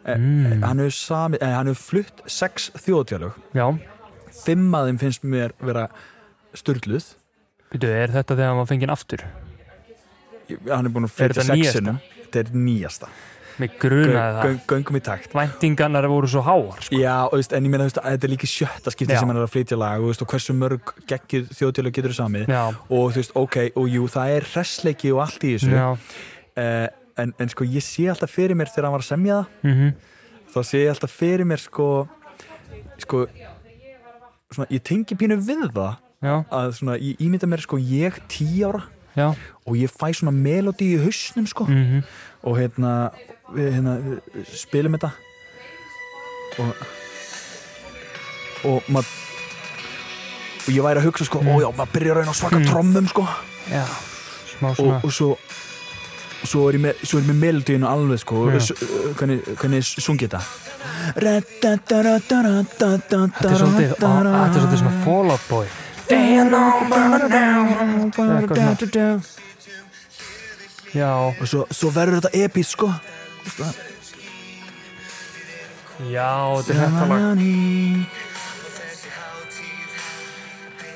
[SPEAKER 1] mm. hann hefur sami, eh, hann hefur flutt sex þjóðtjálög
[SPEAKER 2] Já,
[SPEAKER 1] fimm að þeim finnst mér vera styrluð
[SPEAKER 2] býtu, er þetta þegar hann var fenginn aftur?
[SPEAKER 1] hann er búin að
[SPEAKER 2] Er
[SPEAKER 1] flytja
[SPEAKER 2] þetta
[SPEAKER 1] sexinu þetta er nýjasta
[SPEAKER 2] Mér grunaði það
[SPEAKER 1] Göng- göngum í takt
[SPEAKER 2] Væntingarnar voru svo háar, sko
[SPEAKER 1] Já, og veist, en ég meina þú veist, að þetta er líka í sjötta skipti
[SPEAKER 2] Já.
[SPEAKER 1] sem hann er að flytja lag og, veist, og hversu mörg geggið þjóðtjölu getur þú samið
[SPEAKER 2] Já.
[SPEAKER 1] og þú veist, ok, og jú, það er hressleiki og allt í þessu
[SPEAKER 2] Já,
[SPEAKER 1] Eh, en, en sko, ég sé alltaf fyrir mér þegar hann var að semja það
[SPEAKER 2] mhm,
[SPEAKER 1] þá sé ég alltaf fyrir mér sko sko svona, ég tengi pínu við það
[SPEAKER 2] já,
[SPEAKER 1] að svona, ég ímynda mér sko ég tí ára
[SPEAKER 2] já
[SPEAKER 1] og ég fæ svona melodi í hausnum sko og hérna, við, hérna við spilum þetta og og maður og ég væri að hugsa sko, ó já, maður byrjar að reyna á svaka trommum sko
[SPEAKER 2] Já, smá
[SPEAKER 1] og,
[SPEAKER 2] svona
[SPEAKER 1] og svo svo er ég með, svo er ég með melodíinu alveg sko,
[SPEAKER 2] Já.
[SPEAKER 1] s- hvernig, hvernig sungi þetta Þetta er
[SPEAKER 2] Þetta er svolítið, á, þetta er svolítið svona Fall Out Boy Eitthvað svona. Já,
[SPEAKER 1] og svo, svo verður þetta epís sko
[SPEAKER 2] já, þetta er þetta lag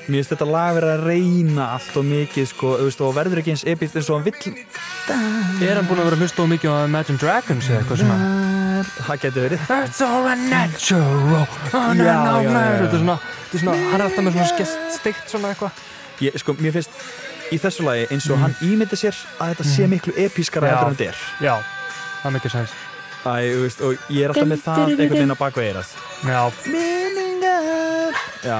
[SPEAKER 1] Mér finnst þetta lag verið að reyna allt og mikið sko, þú veist, og verður ekki eins epíst eins og hann vill
[SPEAKER 2] Er hann búin að vera að hlusta á mikið á Imagine Dragons eða eitthvað svona
[SPEAKER 1] það getur verið
[SPEAKER 2] It's all unnatural oh, no,
[SPEAKER 1] Já,
[SPEAKER 2] no,
[SPEAKER 1] já,
[SPEAKER 2] no.
[SPEAKER 1] já, já.
[SPEAKER 2] Þetta er svona, þetta er svona hann er alltaf með svona skest, stikt svona eitthvað
[SPEAKER 1] ég, sko, mér finnst í þessu lagi eins og hann ímynda sér að þetta sé miklu epískara
[SPEAKER 2] Mhm.
[SPEAKER 1] eftir en þetta er
[SPEAKER 2] Já. Já, það er mikið sens
[SPEAKER 1] Æ, þú veist, og ég er alltaf með það einhvern veginn á bakveg eirað
[SPEAKER 2] Já,
[SPEAKER 1] minningar já,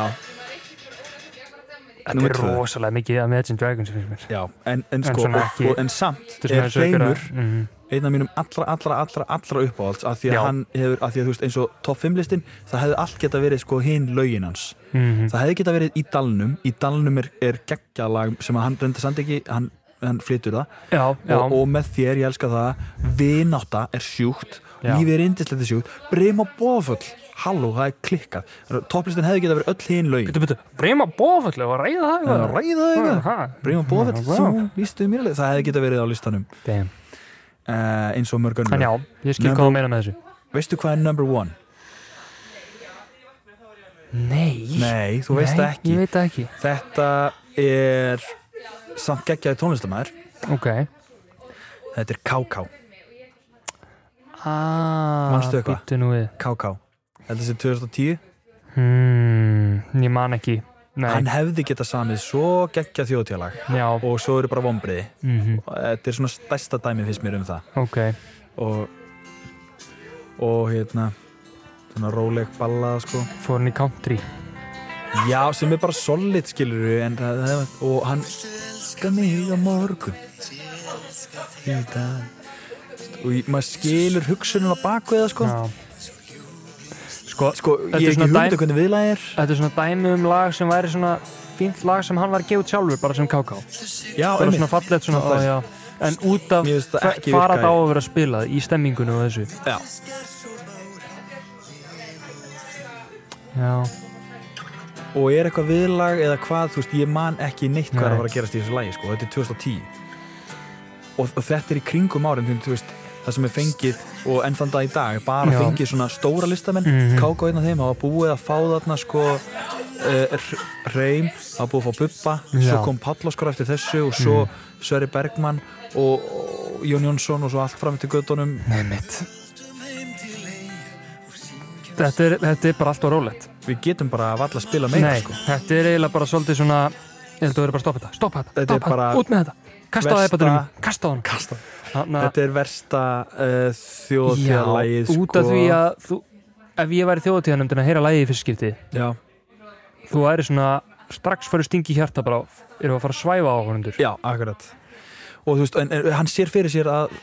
[SPEAKER 2] þetta
[SPEAKER 1] Númer
[SPEAKER 2] er
[SPEAKER 1] tvö.
[SPEAKER 2] rosalega mikið af Imagine Dragons finnst mér
[SPEAKER 1] já, en, en sko en,
[SPEAKER 2] svona ekki-
[SPEAKER 1] og, en samt er
[SPEAKER 2] Þetta svona eins og
[SPEAKER 1] hreimur
[SPEAKER 2] einhverja- Mhm.
[SPEAKER 1] einn af mínum allra, allra, allra, allra uppáhalds af því að
[SPEAKER 2] Já.
[SPEAKER 1] hann hefur, af því að þú veist eins og top 5 listin, það hefði allt geta verið sko hinn lögin hans,
[SPEAKER 2] Mhm.
[SPEAKER 1] það hefði geta verið í Dalnum, í Dalnum er, er geggjalag sem að hann reynda samt ekki, hann, hann flytur það
[SPEAKER 2] Já, já
[SPEAKER 1] og, og með þér, ég elska það, vináta er sjúkt,
[SPEAKER 2] Já.
[SPEAKER 1] lífið er indislegt sjúkt, breym og bofull, halló, það er klikkað, topplistin hefði geta verið öll hinn lögin,
[SPEAKER 2] Býttu, býttu, breyma bófallu og ræða það
[SPEAKER 1] það er að
[SPEAKER 2] eitthvað?
[SPEAKER 1] ræða
[SPEAKER 2] Mm. Ha,
[SPEAKER 1] þegar,
[SPEAKER 2] ha.
[SPEAKER 1] breym og bofull,
[SPEAKER 2] Já,
[SPEAKER 1] þú
[SPEAKER 2] já.
[SPEAKER 1] lístu mér alveg, það hefði geta verið á listanum
[SPEAKER 2] Damn.
[SPEAKER 1] uh, eins og mörg
[SPEAKER 2] En já,
[SPEAKER 1] önnur,
[SPEAKER 2] ég skil hvað þú meina með þessu
[SPEAKER 1] veistu hvað er number one?
[SPEAKER 2] Nei,
[SPEAKER 1] Nei, þú veist það ekki
[SPEAKER 2] Ég veit það ekki
[SPEAKER 1] Þetta er samt geggjaði tónlistamæður
[SPEAKER 2] Ok
[SPEAKER 1] Þetta er KK,
[SPEAKER 2] ah,
[SPEAKER 1] Manstu eitthvað?
[SPEAKER 2] bíddu nú við
[SPEAKER 1] KK Þetta sé 2010
[SPEAKER 2] hmm, Ég man ekki Nei,
[SPEAKER 1] Hann hefði getað samið svo geggjað þjóðtjálag
[SPEAKER 2] já,
[SPEAKER 1] og svo eru bara vombriði
[SPEAKER 2] mm
[SPEAKER 1] Þetta er svona stærsta dæmi fyrst mér um það
[SPEAKER 2] ok
[SPEAKER 1] og, og hérna svona róleg ballað sko
[SPEAKER 2] Fór hann í country
[SPEAKER 1] Já, sem er bara solid skilur en, það- það- og hann elskar mig á morgun í dag og ég- maður skilur hugsunum á bakveða sko
[SPEAKER 2] já. Sko,
[SPEAKER 1] Sko,
[SPEAKER 2] Þetta
[SPEAKER 1] ég
[SPEAKER 2] er
[SPEAKER 1] hef ekki
[SPEAKER 2] svona
[SPEAKER 1] hugmyndu
[SPEAKER 2] dæm-
[SPEAKER 1] hvernig viðlag er
[SPEAKER 2] þetta er svona dæmi um lag sem væri svona fínt lag sem hann var að gefa út sjálfur bara sem KK
[SPEAKER 1] Já,
[SPEAKER 2] Bara svona fallegt
[SPEAKER 1] Svona
[SPEAKER 2] svona, ó,
[SPEAKER 1] dæmi.
[SPEAKER 2] já En út af
[SPEAKER 1] Mér finnst það ekki
[SPEAKER 2] fara
[SPEAKER 1] virka
[SPEAKER 2] þá
[SPEAKER 1] í-
[SPEAKER 2] að vera að spila í stemmingunum og þessu
[SPEAKER 1] Já,
[SPEAKER 2] Já,
[SPEAKER 1] og er eitthvað viðlag eða hvað, þú veist, ég man ekki neitt hvað er
[SPEAKER 2] Nei.
[SPEAKER 1] að fara að gerast í þessu lagi, sko, þetta er 2010 og, og þetta er í kringum árin þú- þú veist, það sem er fengið og enn þann dag í dag, bara
[SPEAKER 2] Já.
[SPEAKER 1] fengið svona stóra listamenn, mm
[SPEAKER 2] Mhm.
[SPEAKER 1] -hmm. káka einn af þeim hafa búið að fá þarna, sko uh, reym, hafa búið að fá Bubba svo
[SPEAKER 2] Já. Mhm.
[SPEAKER 1] kom Palloskor eftir þessu og svo Sverri Bergmann og, og Jón Jónsson og svo allt fram til göttunum
[SPEAKER 2] Einmitt. Þetta er, þetta er bara allt og rólegt
[SPEAKER 1] við getum bara að valla að spila meira,
[SPEAKER 2] Nei,
[SPEAKER 1] sko
[SPEAKER 2] þetta er eiginlega bara svolítið svona Ég held að þú verður bara að stoppa þetta Stoppa þetta,
[SPEAKER 1] Þetta er
[SPEAKER 2] stoppa þetta,
[SPEAKER 1] bara
[SPEAKER 2] út með þetta Kasta á
[SPEAKER 1] versta-
[SPEAKER 2] iPadunum, kasta á hann
[SPEAKER 1] Kasta.
[SPEAKER 2] Þarna,
[SPEAKER 1] Þetta er versta uh, þjóðfélagið
[SPEAKER 2] Já,
[SPEAKER 1] sko.
[SPEAKER 2] út af því að þú, Ef ég væri þjóðatíðanumdinn að heyra lagið í fyrstskipti
[SPEAKER 1] Já,
[SPEAKER 2] Þú væri svona strax fyrir stingi í hjarta bara Erum við að fara að svæfa á honundur
[SPEAKER 1] já, akkurat Og þú veist, en, en hann sér fyrir sér að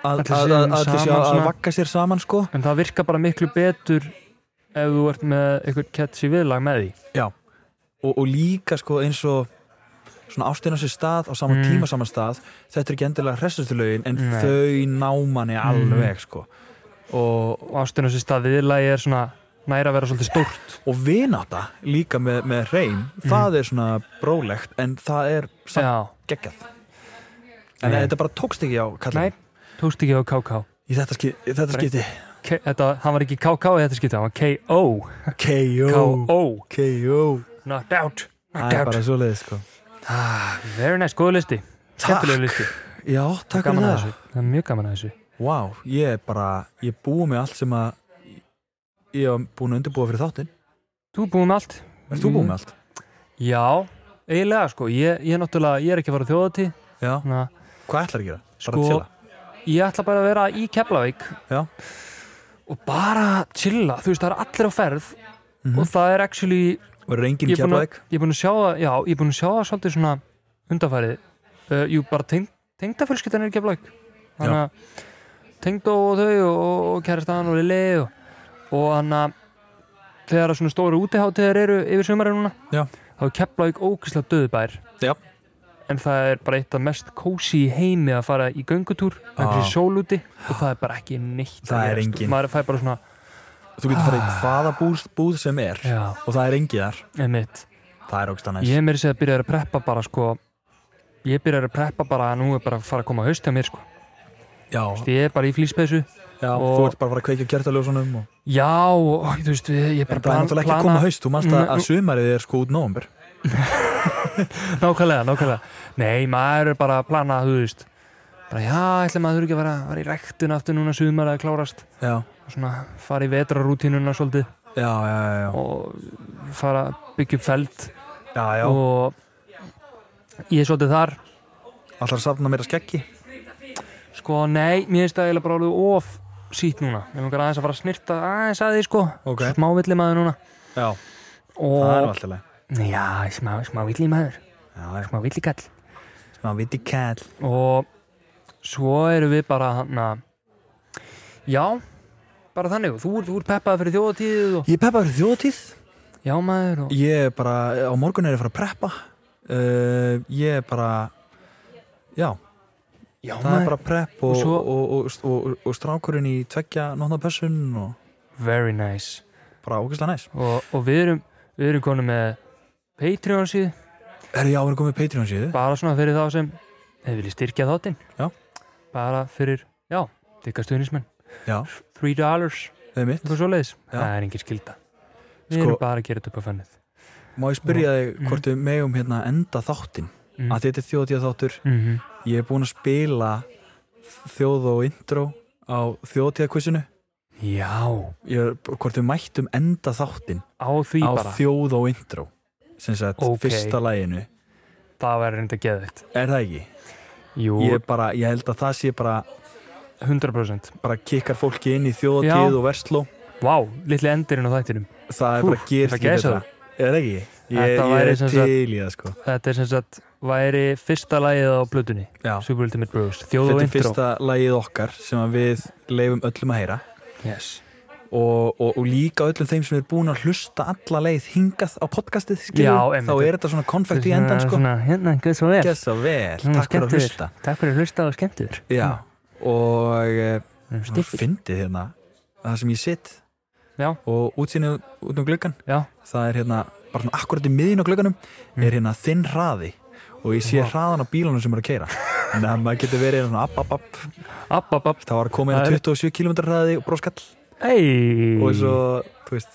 [SPEAKER 1] að
[SPEAKER 2] Allir
[SPEAKER 1] að-
[SPEAKER 2] séu
[SPEAKER 1] að- að
[SPEAKER 2] saman
[SPEAKER 1] allir séu að
[SPEAKER 2] svona.
[SPEAKER 1] vakka sér saman sko
[SPEAKER 2] En það virka bara miklu betur Ef þú ert með eitthvað catchy viðlag með því
[SPEAKER 1] Já Og, og líka sko eins og svona ástina sér stað á
[SPEAKER 2] Mm.
[SPEAKER 1] saman tíma saman stað þetta er ekki endilega hressustu lögin en
[SPEAKER 2] Nei.
[SPEAKER 1] þau ná manni alveg sko
[SPEAKER 2] og og ástina sér stað viðlagi er svona næra að vera svolítið stórt
[SPEAKER 1] og vináta líka með, með hreim það er svona brólegt en það er samt
[SPEAKER 2] Mm. Já,
[SPEAKER 1] geggjað en
[SPEAKER 2] Nei.
[SPEAKER 1] þetta bara tókst ekki á
[SPEAKER 2] nei,
[SPEAKER 1] kallin
[SPEAKER 2] tókst ekki á KK
[SPEAKER 1] í þetta, skip, í þetta
[SPEAKER 2] Nei.
[SPEAKER 1] skipti
[SPEAKER 2] K þetta, hann var ekki KK í þetta skipti, hann var KO
[SPEAKER 1] KO
[SPEAKER 2] KO,
[SPEAKER 1] KO
[SPEAKER 2] knocked out
[SPEAKER 1] það
[SPEAKER 2] knocked
[SPEAKER 1] er
[SPEAKER 2] out,
[SPEAKER 1] bara svo leiðis sko
[SPEAKER 2] very nice, góðu listi skemmtilegu listi,
[SPEAKER 1] já, takk fyrir
[SPEAKER 2] gaman að
[SPEAKER 1] það
[SPEAKER 2] þessu það er mjög gaman að þessu
[SPEAKER 1] vá, ég er bara, ég búi með allt sem að ég hef búin að undirbúa fyrir þáttinn
[SPEAKER 2] Þú er búin með allt
[SPEAKER 1] er þú búið
[SPEAKER 2] Mm.
[SPEAKER 1] með allt?
[SPEAKER 2] Já, eiginlega sko, ég, ég, náttúrulega- ég er ekki að fara á þjóðatíð
[SPEAKER 1] já,
[SPEAKER 2] þannig að
[SPEAKER 1] hvað ætlar að gera? bara að
[SPEAKER 2] Sko-
[SPEAKER 1] chilla
[SPEAKER 2] ég ætla bara að vera í Keflavík
[SPEAKER 1] Já.
[SPEAKER 2] og bara chilla, þú veist það er allir á ferð og það er actually
[SPEAKER 1] verður enginn
[SPEAKER 2] ég er búin að-
[SPEAKER 1] keflaðeg
[SPEAKER 2] ég er búin að sjá það, já, ég er búin að sjá það svolítið svona undarfærið uh, jú, bara teng, tengdafjölskyldan er í Keflavík þannig að tengdó og þau og, og, og kæristan og Lili og, og hann að þegar að svona stóru útiháttiðar eru yfir sumarið núna
[SPEAKER 1] Já.
[SPEAKER 2] þá er Keflavík ókislega döðbær
[SPEAKER 1] já,
[SPEAKER 2] en það er bara eitt af mest kósi í heimi að fara í göngutúr einhversi ah. sól úti og það er bara ekki neitt
[SPEAKER 1] Það
[SPEAKER 2] að
[SPEAKER 1] er
[SPEAKER 2] gerast.
[SPEAKER 1] engin-
[SPEAKER 2] maður fær bara svona,
[SPEAKER 1] þú getur farið í hvaða búð, búð sem er
[SPEAKER 2] Ah. já,
[SPEAKER 1] og það er enginn þar
[SPEAKER 2] emitt
[SPEAKER 1] það er ógst að næst
[SPEAKER 2] ég er meiri segja að byrja að preppa bara sko ég byrja að preppa bara að nú er bara að fara að koma haust hjá mér sko,
[SPEAKER 1] já,
[SPEAKER 2] ég er bara í flýspeysu
[SPEAKER 1] já,
[SPEAKER 2] og-
[SPEAKER 1] þú ert bara að fara að kveikja kjertaljósunum og
[SPEAKER 2] já, og þú veist, við- ég er bara Mm,
[SPEAKER 1] það er náttúrulega ekki að koma haust, þú manst að,
[SPEAKER 2] Nei,
[SPEAKER 1] að sumarið er sko út nóvambur
[SPEAKER 2] nákvæmlega, nákvæmlega nei, maður er bara að plana, þú veist bara já, ætla maður ekki að vera, vera í rektun aftur núna sumar að klárast
[SPEAKER 1] já,
[SPEAKER 2] svona fara í vetrarútínuna svolítið
[SPEAKER 1] já, já, já, já.
[SPEAKER 2] og fara að byggja upp feld
[SPEAKER 1] já, já.
[SPEAKER 2] og ég er svolítið þar
[SPEAKER 1] allar að safna meira skeggi
[SPEAKER 2] sko nei, mér finnst það eiginlega bara alveg of sítt núna, ég mér aðeins að fara að snirta aðeins að því sko,
[SPEAKER 1] Ok.
[SPEAKER 2] smá villi maður núna
[SPEAKER 1] já, það er
[SPEAKER 2] og,
[SPEAKER 1] alltaf leið
[SPEAKER 2] já, smá, smá villi maður
[SPEAKER 1] já, já,
[SPEAKER 2] smá villi kall
[SPEAKER 1] smá viti kall
[SPEAKER 2] og svo erum við bara hann já, bara þannig þú, ert- þú ert peppað fyrir þjóðatíð og
[SPEAKER 1] ég er peppað fyrir þjóðtíð
[SPEAKER 2] já maður og,
[SPEAKER 1] ég er bara, á morgun er ég að fara að preppa uh, ég er bara já,
[SPEAKER 2] já
[SPEAKER 1] það er
[SPEAKER 2] maður,
[SPEAKER 1] bara prep og,
[SPEAKER 2] Og svo-
[SPEAKER 1] og, og, og, og, og strákurinn í tveggja nótnapössun og
[SPEAKER 2] very nice
[SPEAKER 1] bara ógæslega næs
[SPEAKER 2] og, og við erum, við erum konum með Patreon síð
[SPEAKER 1] er ég áverið komið Patreon síðu?
[SPEAKER 2] bara svona fyrir þá sem hefur viljið styrkja þáttinn
[SPEAKER 1] Já.
[SPEAKER 2] bara fyrir, já, dykkastuðnismenn
[SPEAKER 1] já,
[SPEAKER 2] 3 dollars,
[SPEAKER 1] það er mitt
[SPEAKER 2] eitthvað svoleiðis
[SPEAKER 1] Já.
[SPEAKER 2] það er engin skilda við
[SPEAKER 1] Sko-
[SPEAKER 2] erum bara að gera þetta upp á fennið
[SPEAKER 1] Má ég spyrja
[SPEAKER 2] Mhm.
[SPEAKER 1] þig hvort við megum hérna enda þáttinn
[SPEAKER 2] Mm.
[SPEAKER 1] að þetta er þjóðtíða þáttur
[SPEAKER 2] mm -hmm.
[SPEAKER 1] ég er búinn að spila þjóð og intro á þjóðtíða
[SPEAKER 2] já,
[SPEAKER 1] ég er, hvort við mættum enda þáttinn
[SPEAKER 2] á því
[SPEAKER 1] á
[SPEAKER 2] bara
[SPEAKER 1] þjóð og intro sem sagt
[SPEAKER 2] Ókei.
[SPEAKER 1] fyrsta læginu
[SPEAKER 2] það verður reynda geðvitt
[SPEAKER 1] er það ekki?
[SPEAKER 2] jú,
[SPEAKER 1] Ég, er bara, ég held að það sé bara,
[SPEAKER 2] 100%
[SPEAKER 1] bara kikkar fólki inn í þjóðtíð
[SPEAKER 2] Já.
[SPEAKER 1] og versló
[SPEAKER 2] vá, litli endurinn á þættinum
[SPEAKER 1] það er
[SPEAKER 2] Hú,
[SPEAKER 1] bara gerist
[SPEAKER 2] það
[SPEAKER 1] ekki
[SPEAKER 2] gæsa
[SPEAKER 1] betra er það ekki? Ég,
[SPEAKER 2] Þetta
[SPEAKER 1] ég
[SPEAKER 2] væri
[SPEAKER 1] er
[SPEAKER 2] sem sagt-
[SPEAKER 1] til í það sko
[SPEAKER 2] þetta er sem sagt, væri fyrsta lagið á blötunni
[SPEAKER 1] Já.
[SPEAKER 2] Super Ultimate Bros, þjóð og
[SPEAKER 1] þetta er
[SPEAKER 2] intro
[SPEAKER 1] fyrsta lægið okkar sem að við leifum öllum að heyra
[SPEAKER 2] yes.
[SPEAKER 1] og, og, og líka öllum þeim sem er búin að hlusta alla leið hingað á podcastið skilur,
[SPEAKER 2] Já,
[SPEAKER 1] við,
[SPEAKER 2] einmitt.
[SPEAKER 1] þá er þetta svona konfekt í endan sko.
[SPEAKER 2] svona, hérna, hvað svo vel
[SPEAKER 1] gæsa vel,
[SPEAKER 2] Svona Mm.
[SPEAKER 1] takk fyrir að
[SPEAKER 2] skemmtiður.
[SPEAKER 1] hlusta
[SPEAKER 2] takk fyrir að hlusta og skemmtur
[SPEAKER 1] já, og eh, svona
[SPEAKER 2] Stiffi.
[SPEAKER 1] fyndið hérna það sem ég sitt
[SPEAKER 2] Já.
[SPEAKER 1] og útsýnið út um gluggan
[SPEAKER 2] já,
[SPEAKER 1] það er hérna, bara svona akkurat í miðin á glugganum er hérna þinn hraði og ég sé
[SPEAKER 2] Mm. Vá.
[SPEAKER 1] hraðan á bílunum sem eru að keira en það maður getur verið hérna svona app, app, app
[SPEAKER 2] app, app, app
[SPEAKER 1] það var að koma
[SPEAKER 2] Það
[SPEAKER 1] hérna
[SPEAKER 2] er-
[SPEAKER 1] 27 km hraði og broskall
[SPEAKER 2] Hey.
[SPEAKER 1] og svo, þú veist,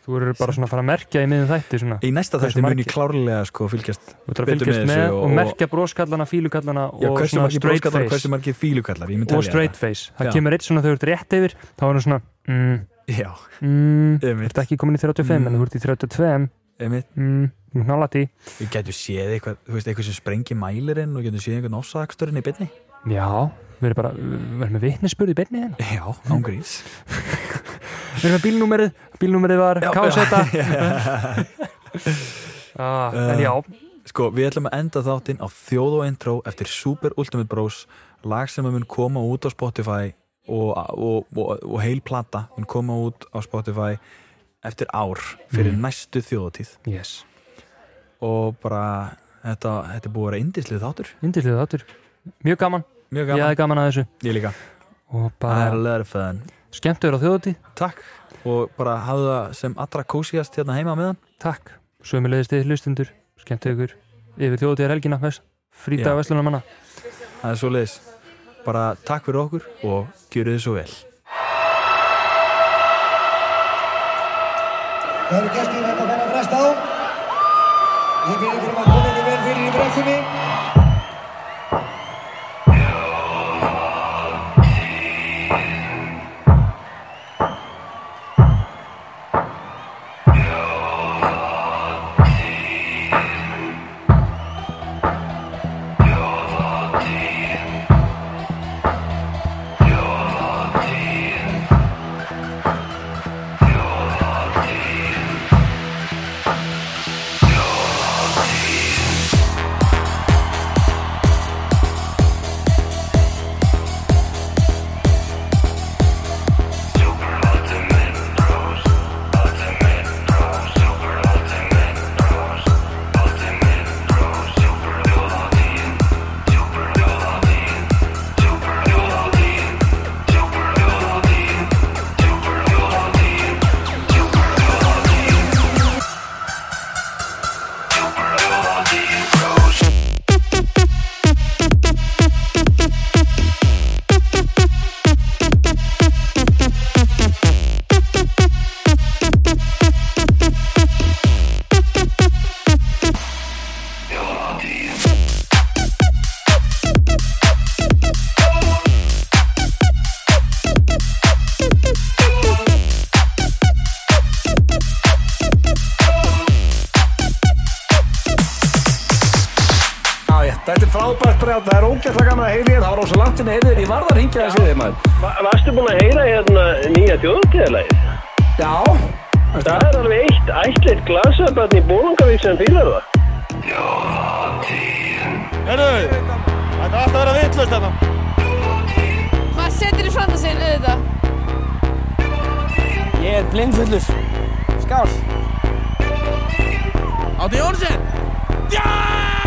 [SPEAKER 2] Þú eru bara svona að fara að merkja í miðum þætti svona.
[SPEAKER 1] í næsta
[SPEAKER 2] Hversu
[SPEAKER 1] þætti mun
[SPEAKER 2] margir?
[SPEAKER 1] ég klárlega sko fylgjast
[SPEAKER 2] Þú ert að
[SPEAKER 1] betur
[SPEAKER 2] fylgjast
[SPEAKER 1] með
[SPEAKER 2] með
[SPEAKER 1] þessu
[SPEAKER 2] og,
[SPEAKER 1] og-
[SPEAKER 2] merkja broskallana, fílukallana
[SPEAKER 1] Já,
[SPEAKER 2] og
[SPEAKER 1] hversu
[SPEAKER 2] svona
[SPEAKER 1] margir
[SPEAKER 2] straight
[SPEAKER 1] bróskallar og
[SPEAKER 2] face
[SPEAKER 1] hversu margir fílukallar ég mun
[SPEAKER 2] og
[SPEAKER 1] telja
[SPEAKER 2] straight face. Það
[SPEAKER 1] Já.
[SPEAKER 2] kemur eitt svona þegar þú ert rétt yfir þá er það svona mm,
[SPEAKER 1] þetta. Já,
[SPEAKER 2] mm, Þú
[SPEAKER 1] einmitt,
[SPEAKER 2] ert ekki komin í 35
[SPEAKER 1] Mm.
[SPEAKER 2] en þú ert í 32
[SPEAKER 1] einmitt
[SPEAKER 2] mm, Nála tí
[SPEAKER 1] Við getum séð eitthvað, þú veist, eitthvað sem sprengi mælirinn og getum séð einhvern ofsaksturinn í byrni
[SPEAKER 2] Já, við erum bara við erum með vitnisspurð í beinni hérna
[SPEAKER 1] Já, ángríns
[SPEAKER 2] Við erum með bílnúmerið, bílnúmerið var kásetta ah, En já,
[SPEAKER 1] Sko, við ætlum að enda þáttinn á þjóð og intro eftir Super Ultimate Bros lag sem mun koma út á Spotify og, og, og, og heil plata mun koma út á Spotify eftir ár fyrir næstu þjóðatíð
[SPEAKER 2] yes,
[SPEAKER 1] og bara, þetta, þetta er búið að vera indislið þáttur
[SPEAKER 2] yndirlið þáttur Mjög gaman,
[SPEAKER 1] Mjög
[SPEAKER 2] ég
[SPEAKER 1] gaman,
[SPEAKER 2] hafði gaman að þessu
[SPEAKER 1] ég líka I
[SPEAKER 2] og
[SPEAKER 1] had a
[SPEAKER 2] bara,
[SPEAKER 1] lot of fun
[SPEAKER 2] skemmtu þér á þjóðati,
[SPEAKER 1] Takk og bara hafa það sem allra kósiast hérna heima meðan
[SPEAKER 2] takk sömulegist þið hlustundur, skemmtu ykkur yfir þjóðati er helgina, veist
[SPEAKER 1] Já.
[SPEAKER 2] frítag veslunamanna
[SPEAKER 1] Það er svo leiðis Bara takk fyrir okkur og gjöru þið svo vel
[SPEAKER 6] Það eru gestir þetta að fara að bresta á. Ég byrði fyrir að koma ekki vel fyrir í brestinni.
[SPEAKER 7] Já, já, þetta er frábært brjátt, það er ógætla gaman að heyri þér, það var ósa langt inn að heyri þér, ég varð að ringja þessi þig maður.
[SPEAKER 8] Va- Varstu búin að heyra hérna nýja þjóðtíðalægið?
[SPEAKER 7] Já,
[SPEAKER 8] Það er alveg eitt ætlitt glasaðbarn í Bólungavík sem fýlar það.
[SPEAKER 9] Maður setur í fram að segja auðvitað.
[SPEAKER 7] ég er blindfullur. Skál. Átti Jónsson. Já!